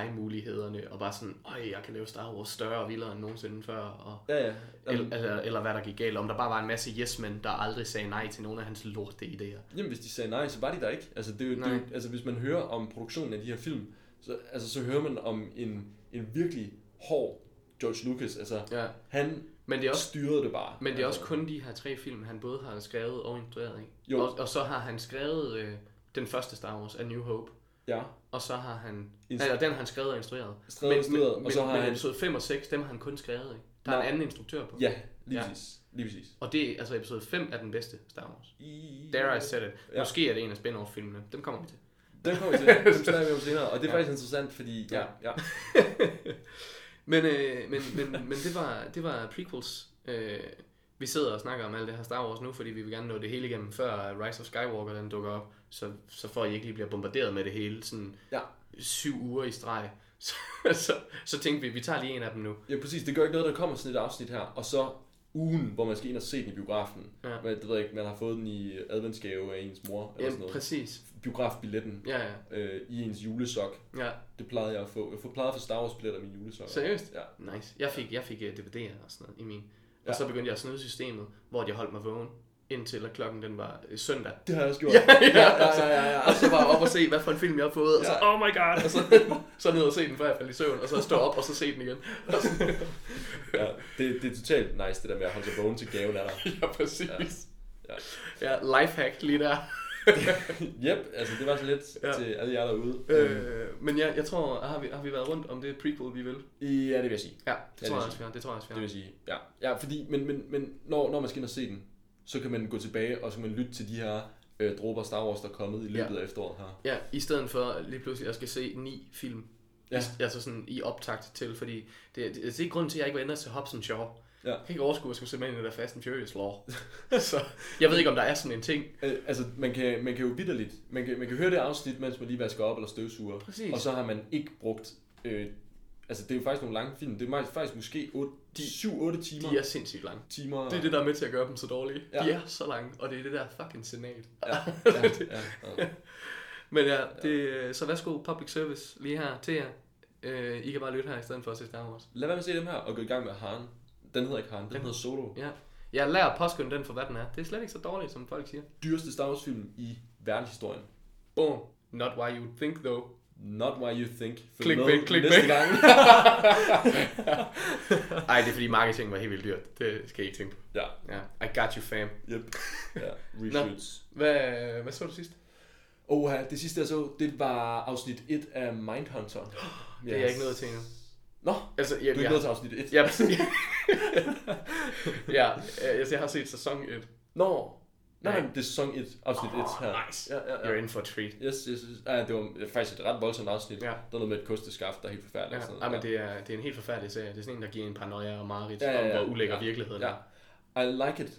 S3: CGI-mulighederne, og bare sådan, øj, jeg kan lave Star Wars større og vildere end nogensinde før, og
S4: Ja, ja. Jamen,
S3: eller, eller, eller hvad der gik galt, om der bare var en masse yes-men, der aldrig sagde nej til nogle af hans lorte idéer.
S4: Jamen, hvis de sagde nej, så var de der ikke. Altså, det er jo, det er jo,
S3: Nej.
S4: altså hvis man hører om produktionen af de her film, så, altså, så hører man om en, en virkelig hård George Lucas. Altså,
S3: Ja.
S4: han
S3: Men det er også,
S4: styrede det bare.
S3: men det er også
S4: altså,
S3: kun de her tre film, han både har skrevet og instrueret, ikke?
S4: Jo.
S3: Og, og så har han skrevet øh, den første Star Wars, A New Hope,
S4: Ja,
S3: og så har han...
S4: Inst-
S3: Altså, den har han skrevet og instrueret.
S4: Skrevet og instrueret,
S3: men,
S4: og så har
S3: men,
S4: han-
S3: episode 5 og 6, dem har han kun skrevet, ikke? Der er
S4: Nej.
S3: en anden instruktør på.
S4: ja lige
S3: Ja.
S4: ja. præcis. Lige præcis.
S3: Og det, altså episode 5 er den bedste Star Wars.
S4: I...
S3: Dare I said it.
S4: Ja.
S3: Måske er det en af spin-off-filmene. Dem kommer vi til.
S4: Den kommer vi
S3: [laughs]
S4: til. Den snakker vi om senere. Og det er
S3: Ja.
S4: ja. faktisk interessant, fordi... Ja, ja.
S3: Men, øh, men, men, men det, var, det var prequels. Øh, vi sidder og snakker om alt det her Star Wars nu, fordi vi vil gerne nå det hele igennem, før Rise of Skywalker den dukker op, så, så for at I ikke lige bliver bombarderet med det hele, sådan
S4: Ja.
S3: syv uger i streg. [laughs] Så, så, så tænkte vi, vi tager lige en af dem nu.
S4: ja, præcis. Det gør ikke noget, der kommer sådan et afsnit her. Og så ugen, hvor man skal ind og se den i biografen.
S3: Ja.
S4: Men, det ved jeg ikke, man har fået den i adventsgave af ens mor, eller
S3: Ja,
S4: sådan noget.
S3: præcis.
S4: Biografbilletten
S3: Ja, ja.
S4: øh, i ens julesok.
S3: ja.
S4: Det plejede jeg at få. Jeg får plejet at få Star Wars billetter i min julesokker.
S3: Seriøst?
S4: Ja.
S3: Nice. Jeg fik, jeg fik øh, DVD'er og sådan noget i min. Og
S4: Ja.
S3: så begyndte jeg at snyde systemet, hvor jeg holdt mig vågen, indtil at klokken den var øh, søndag.
S4: Det har jeg også gjort.
S3: Ja, ja,
S4: [laughs] ja, ja, ja.
S3: Og så bare op og se, hvad for en film jeg har fået, og så,
S4: Ja.
S3: oh my god, og så, [laughs] så ned og se den, før jeg faldt i søvn, og så stå op og så se den igen. Og så-
S4: [laughs] ja. Det, det er totalt nice, det der med at holde sig vågen til gaven af dig.
S3: ja, præcis.
S4: Ja.
S3: Ja, lifehack lige der.
S4: Yep, altså det var så lidt
S3: Ja.
S4: ja. til alle jer derude. Øh.
S3: øh, men ja, jeg tror, har vi, har vi været rundt om det prequel, vi vil?
S4: Ja, det vil jeg sige.
S3: Ja, det
S4: det
S3: tror jeg
S4: vil
S3: også, vi har. Det tror jeg også, vi har.
S4: Det vil jeg sige, ja. Ja, fordi, men, men, men når, når man skal ind og se den, så kan man gå tilbage, og så kan man lytte til de her øh, dråber Star Wars, der er kommet i løbet
S3: Ja.
S4: ja. af efteråret her.
S3: Ja, i stedet for lige pludselig at skal se ni film. Ja.
S4: Ja.
S3: Altså sådan i optakt til, fordi det, altså, det, det er grunden til, at jeg ikke var inde til Hobbs and Shaw.
S4: Ja.
S3: Jeg kan ikke overskue, at jeg skulle se mig ind i det der Fast and Furious lore. [laughs] så jeg ved ikke, om der er sådan en ting.
S4: Øh, altså, man kan, man kan jo vidderligt, man kan, man kan høre det afsnit, mens man lige vasker op eller støvsuger.
S3: Præcis.
S4: Og så har man ikke brugt, øh, altså det er jo faktisk nogle lange film, det er maj- faktisk måske 7-8 timer.
S3: De er sindssygt lange.
S4: timer.
S3: Det er det, der er med til at gøre dem så dårlige. Ja.
S4: Ja.
S3: De er så lange, og det er det der fucking senat. [laughs]
S4: Ja, ja, ja, ja.
S3: Men ja, det, så værsgo public service lige her til jer. Øh, I kan bare lytte her i stedet for at se Star Wars.
S4: Lad være med at se dem her og gå i gang med Haren. Den hedder ikke Haren, den,
S3: Den-
S4: den hedder Solo.
S3: Ja. Jeg lærer påskynde den for, hvad den er. Det er slet ikke så dårligt, som folk siger.
S4: Dyreste Star Wars film i verdenshistorien.
S3: Boom. Not why you think
S4: [laughs]
S3: though.
S4: Not why you think. Følg
S3: Clickbait,
S4: med
S3: clickbait.
S4: Næste
S3: [laughs]
S4: gang.
S3: Ej, det er fordi marketing var helt vildt dyrt. Det skal I ikke tænke på.
S4: ja.
S3: Ja. got you, fam.
S4: Yep. Ja, reshoots.
S3: Hvad, hvad så du sidst?
S4: No. Oha, det sidste jeg så, det var afsnit 1 af Mindhunter. Yes.
S3: [gasps] Det er jeg ikke nået til endnu.
S4: Nå,
S3: Altså, jeg,
S4: du er ikke
S3: jeg,
S4: nået
S3: [laughs]
S4: til afsnit 1.
S3: Ja, præcis. ja, øh, altså, jeg har set sæson 1.
S4: Nå, nej,
S3: Nej.
S4: nej, det er sæson 1, afsnit 1 her.
S3: nice.
S4: Ja, ja,
S3: You're
S4: ja.
S3: in for a treat.
S4: Yes, yes, yes. Ja, det var faktisk et ret voldsomt afsnit.
S3: Ja.
S4: Der er noget med et kosteskaft, der er helt forfærdeligt.
S3: Ja,
S4: og sådan
S3: ej,
S4: noget.
S3: men det er, det er en helt forfærdelig serie. Det er sådan en, der giver en paranoia og mareridt
S4: Ja, ja, ja.
S3: om, hvor ulækker
S4: Ja.
S3: virkeligheden
S4: Ja.
S3: er.
S4: I like it.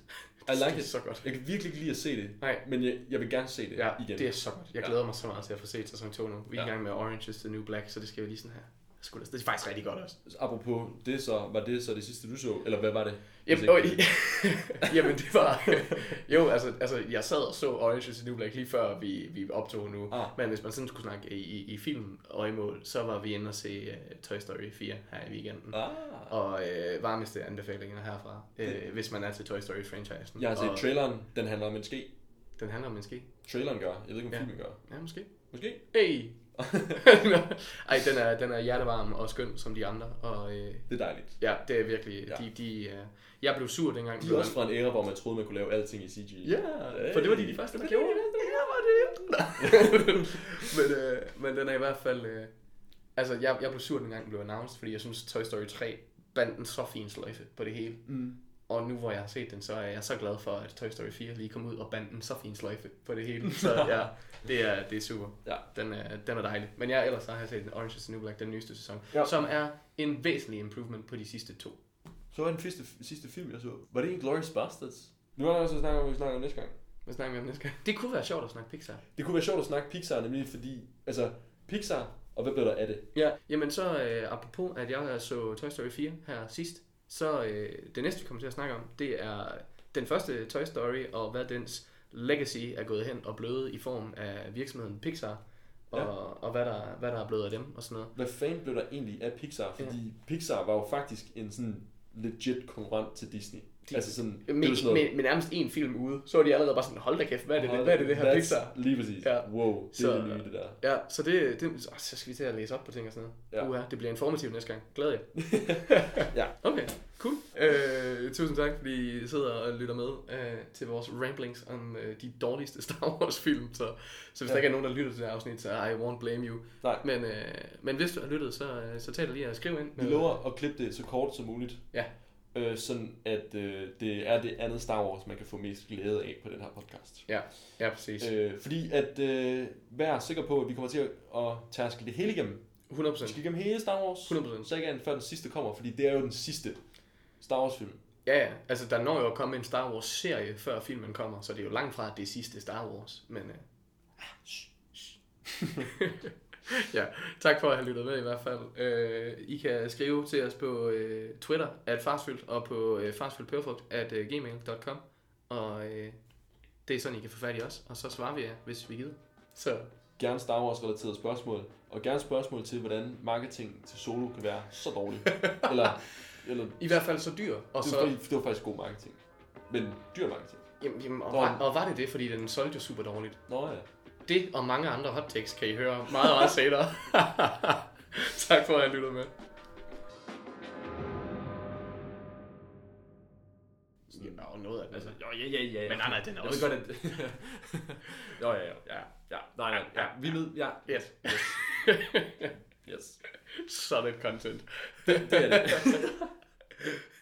S4: I
S3: Det
S4: like
S3: er
S4: it.
S3: så godt.
S4: Jeg kan virkelig ikke lide at se det.
S3: Nej.
S4: Men jeg, jeg vil gerne se det
S3: Ja,
S4: igen.
S3: det er så godt. Jeg
S4: Ja.
S3: glæder mig så meget til at få set sæson 2 nu. Vi er i
S4: Ja.
S3: gang med Orange is the New Black, så det skal vi lige sådan her. Sgu da- Det er faktisk rigtig godt også.
S4: Apropos det så, var det så det sidste du så? Eller hvad var det? Hvis
S3: Jamen,
S4: ikke-
S3: og, [laughs] jamen det var... jo, altså, altså, jeg sad og så Orange is the New Black lige før vi, vi optog nu.
S4: Ah.
S3: Men hvis man sådan skulle snakke i, i, i filmøjemål, så var vi inde og se uh, Toy Story 4 her i weekenden.
S4: Ah.
S3: Og øh, varmeste anbefalinger herfra, øh, hvis man er til Toy Story-franchisen.
S4: Jeg har set
S3: Og
S4: traileren. Den handler om en ske.
S3: Den handler om en ske.
S4: Traileren gør. Jeg ved ikke, om
S3: Ja.
S4: filmen gør.
S3: Ja, måske.
S4: Måske.
S3: Hey!
S4: [laughs]
S3: Ej, den er, den er hjertevarm og skøn som de andre. Og øh,
S4: Det er dejligt.
S3: ja, det er virkelig...
S4: Ja.
S3: Ja. De, de, øh, jeg blev sur dengang.
S4: De er også fra en æra, hvor man troede, man kunne lave alting i CG.
S3: Ja, for det var de de første, der gjorde. Ja, var det. [laughs] men, øh, men den er i hvert fald... Øh, altså, jeg, jeg blev sur dengang den blev announced, fordi jeg synes, Toy Story 3 bandt en så fin sløjfe på det hele.
S4: Mm.
S3: Og nu hvor jeg har set den, så er jeg så glad for, at Toy Story 4 lige kom ud og bandt en så fin sløjfe på det hele. Så [laughs] ja, det er, det er super.
S4: Ja.
S3: Den er, den er dejlig. Men jeg ellers så har jeg set Orange is the New Black, den nyeste sæson,
S4: Ja.
S3: ja. som er en væsentlig improvement på de sidste to.
S4: Så var den sidste, sidste film, jeg så. Var det ikke Glorious Bastards? Nu er der også snakker om, vi snakker om næste gang.
S3: Hvad snakker vi om næste gang? Det kunne være sjovt at snakke Pixar.
S4: Det kunne være sjovt at snakke Pixar, nemlig fordi, altså, Pixar, og hvad blev der af det?
S3: Ja, jamen så øh, apropos, at jeg så Toy Story 4 her sidst, så øh, det næste, vi kommer til at snakke om, det er den første Toy Story, og hvad dens legacy er gået hen og blevet i form af virksomheden Pixar, og,
S4: Ja.
S3: ja. og hvad, der, hvad der er blevet af dem og sådan noget.
S4: Hvad fanden blev der egentlig af Pixar? Fordi Pixar var jo faktisk en sådan legit konkurrent til Disney.
S3: De-
S4: altså sådan, det
S3: Med,
S4: var sådan noget,
S3: med, med nærmest en film ude, så var de allerede bare sådan, hold da kæft, hvad er det, det, hvad er det, det her
S4: That's-
S3: Pixar?
S4: Lige præcis.
S3: Ja.
S4: Wow, det
S3: Så-
S4: er det nye, det der.
S3: Ja, så det, det åh, så skal vi til at læse op på ting og sådan noget.
S4: Ja.
S3: Ja. Uha, det bliver informativt næste gang. Glæder jeg.
S4: [laughs] Ja.
S3: Okay, cool. Øh, tusind tak, fordi I sidder og lytter med øh, til vores ramblings om øh, de dårligste Star Wars film. Så, så hvis
S4: Ja.
S3: ja. der ikke er nogen, der lytter til det her afsnit, så I won't blame you.
S4: Nej.
S3: Men, øh, men hvis du har lyttet, så, øh, så tag dig lige og skriv ind.
S4: Vi lover at klippe det så kort som muligt.
S3: Ja.
S4: Øh, sådan at øh, det er det andet Star Wars, man kan få mest glæde af på den her podcast.
S3: Ja, ja præcis.
S4: Øh, fordi at øh, vær sikker på, at vi kommer til at, at tærske det hele igennem.
S3: 100%.
S4: Vi skal igennem hele Star Wars.
S3: 100%.
S4: Så ikke andet, før den sidste kommer, fordi det er jo den sidste Star Wars film.
S3: Ja, ja. Altså, der når jo at komme en Star Wars-serie, før filmen kommer, så det er jo langt fra, at det er sidste Star Wars. Men, øh... [laughs] ja, tak for at have lyttet med i hvert fald. Øh, I kan skrive til os på øh, Twitter, at farsfyldt, og på øh, farsfyldtpørfrugt, at øh, gmail.com. Og øh, det er sådan, I kan få fat i os, og så svarer vi jer, hvis vi gider. Så
S4: Gerne Star Wars-relaterede spørgsmål. Og gerne spørgsmål til, hvordan marketing til solo kan være så dårlig.
S5: [laughs]
S4: eller, eller
S3: i hvert fald så dyr. Og
S4: det, var,
S3: så,
S4: det var faktisk god marketing. Men dyr marketing.
S3: jamen, jamen, og,
S4: Nå.
S3: var, og var det det, fordi den solgte jo super dårligt.
S4: Nå ja.
S3: Det og mange andre hot takes kan I høre meget, meget senere. [laughs] tak for at have lyttet med. Ja, og noget af det. Altså,
S5: jo, ja, ja, ja, ja.
S3: Men nej, nej, den er
S5: Jeg
S3: også-
S5: ved godt, at... [laughs] jo, ja, ja, ja, ja, nej, nej, ja, vi er med, ja,
S3: yes.
S5: yes.
S3: [laughs] Solid content.
S4: [laughs] Det er det.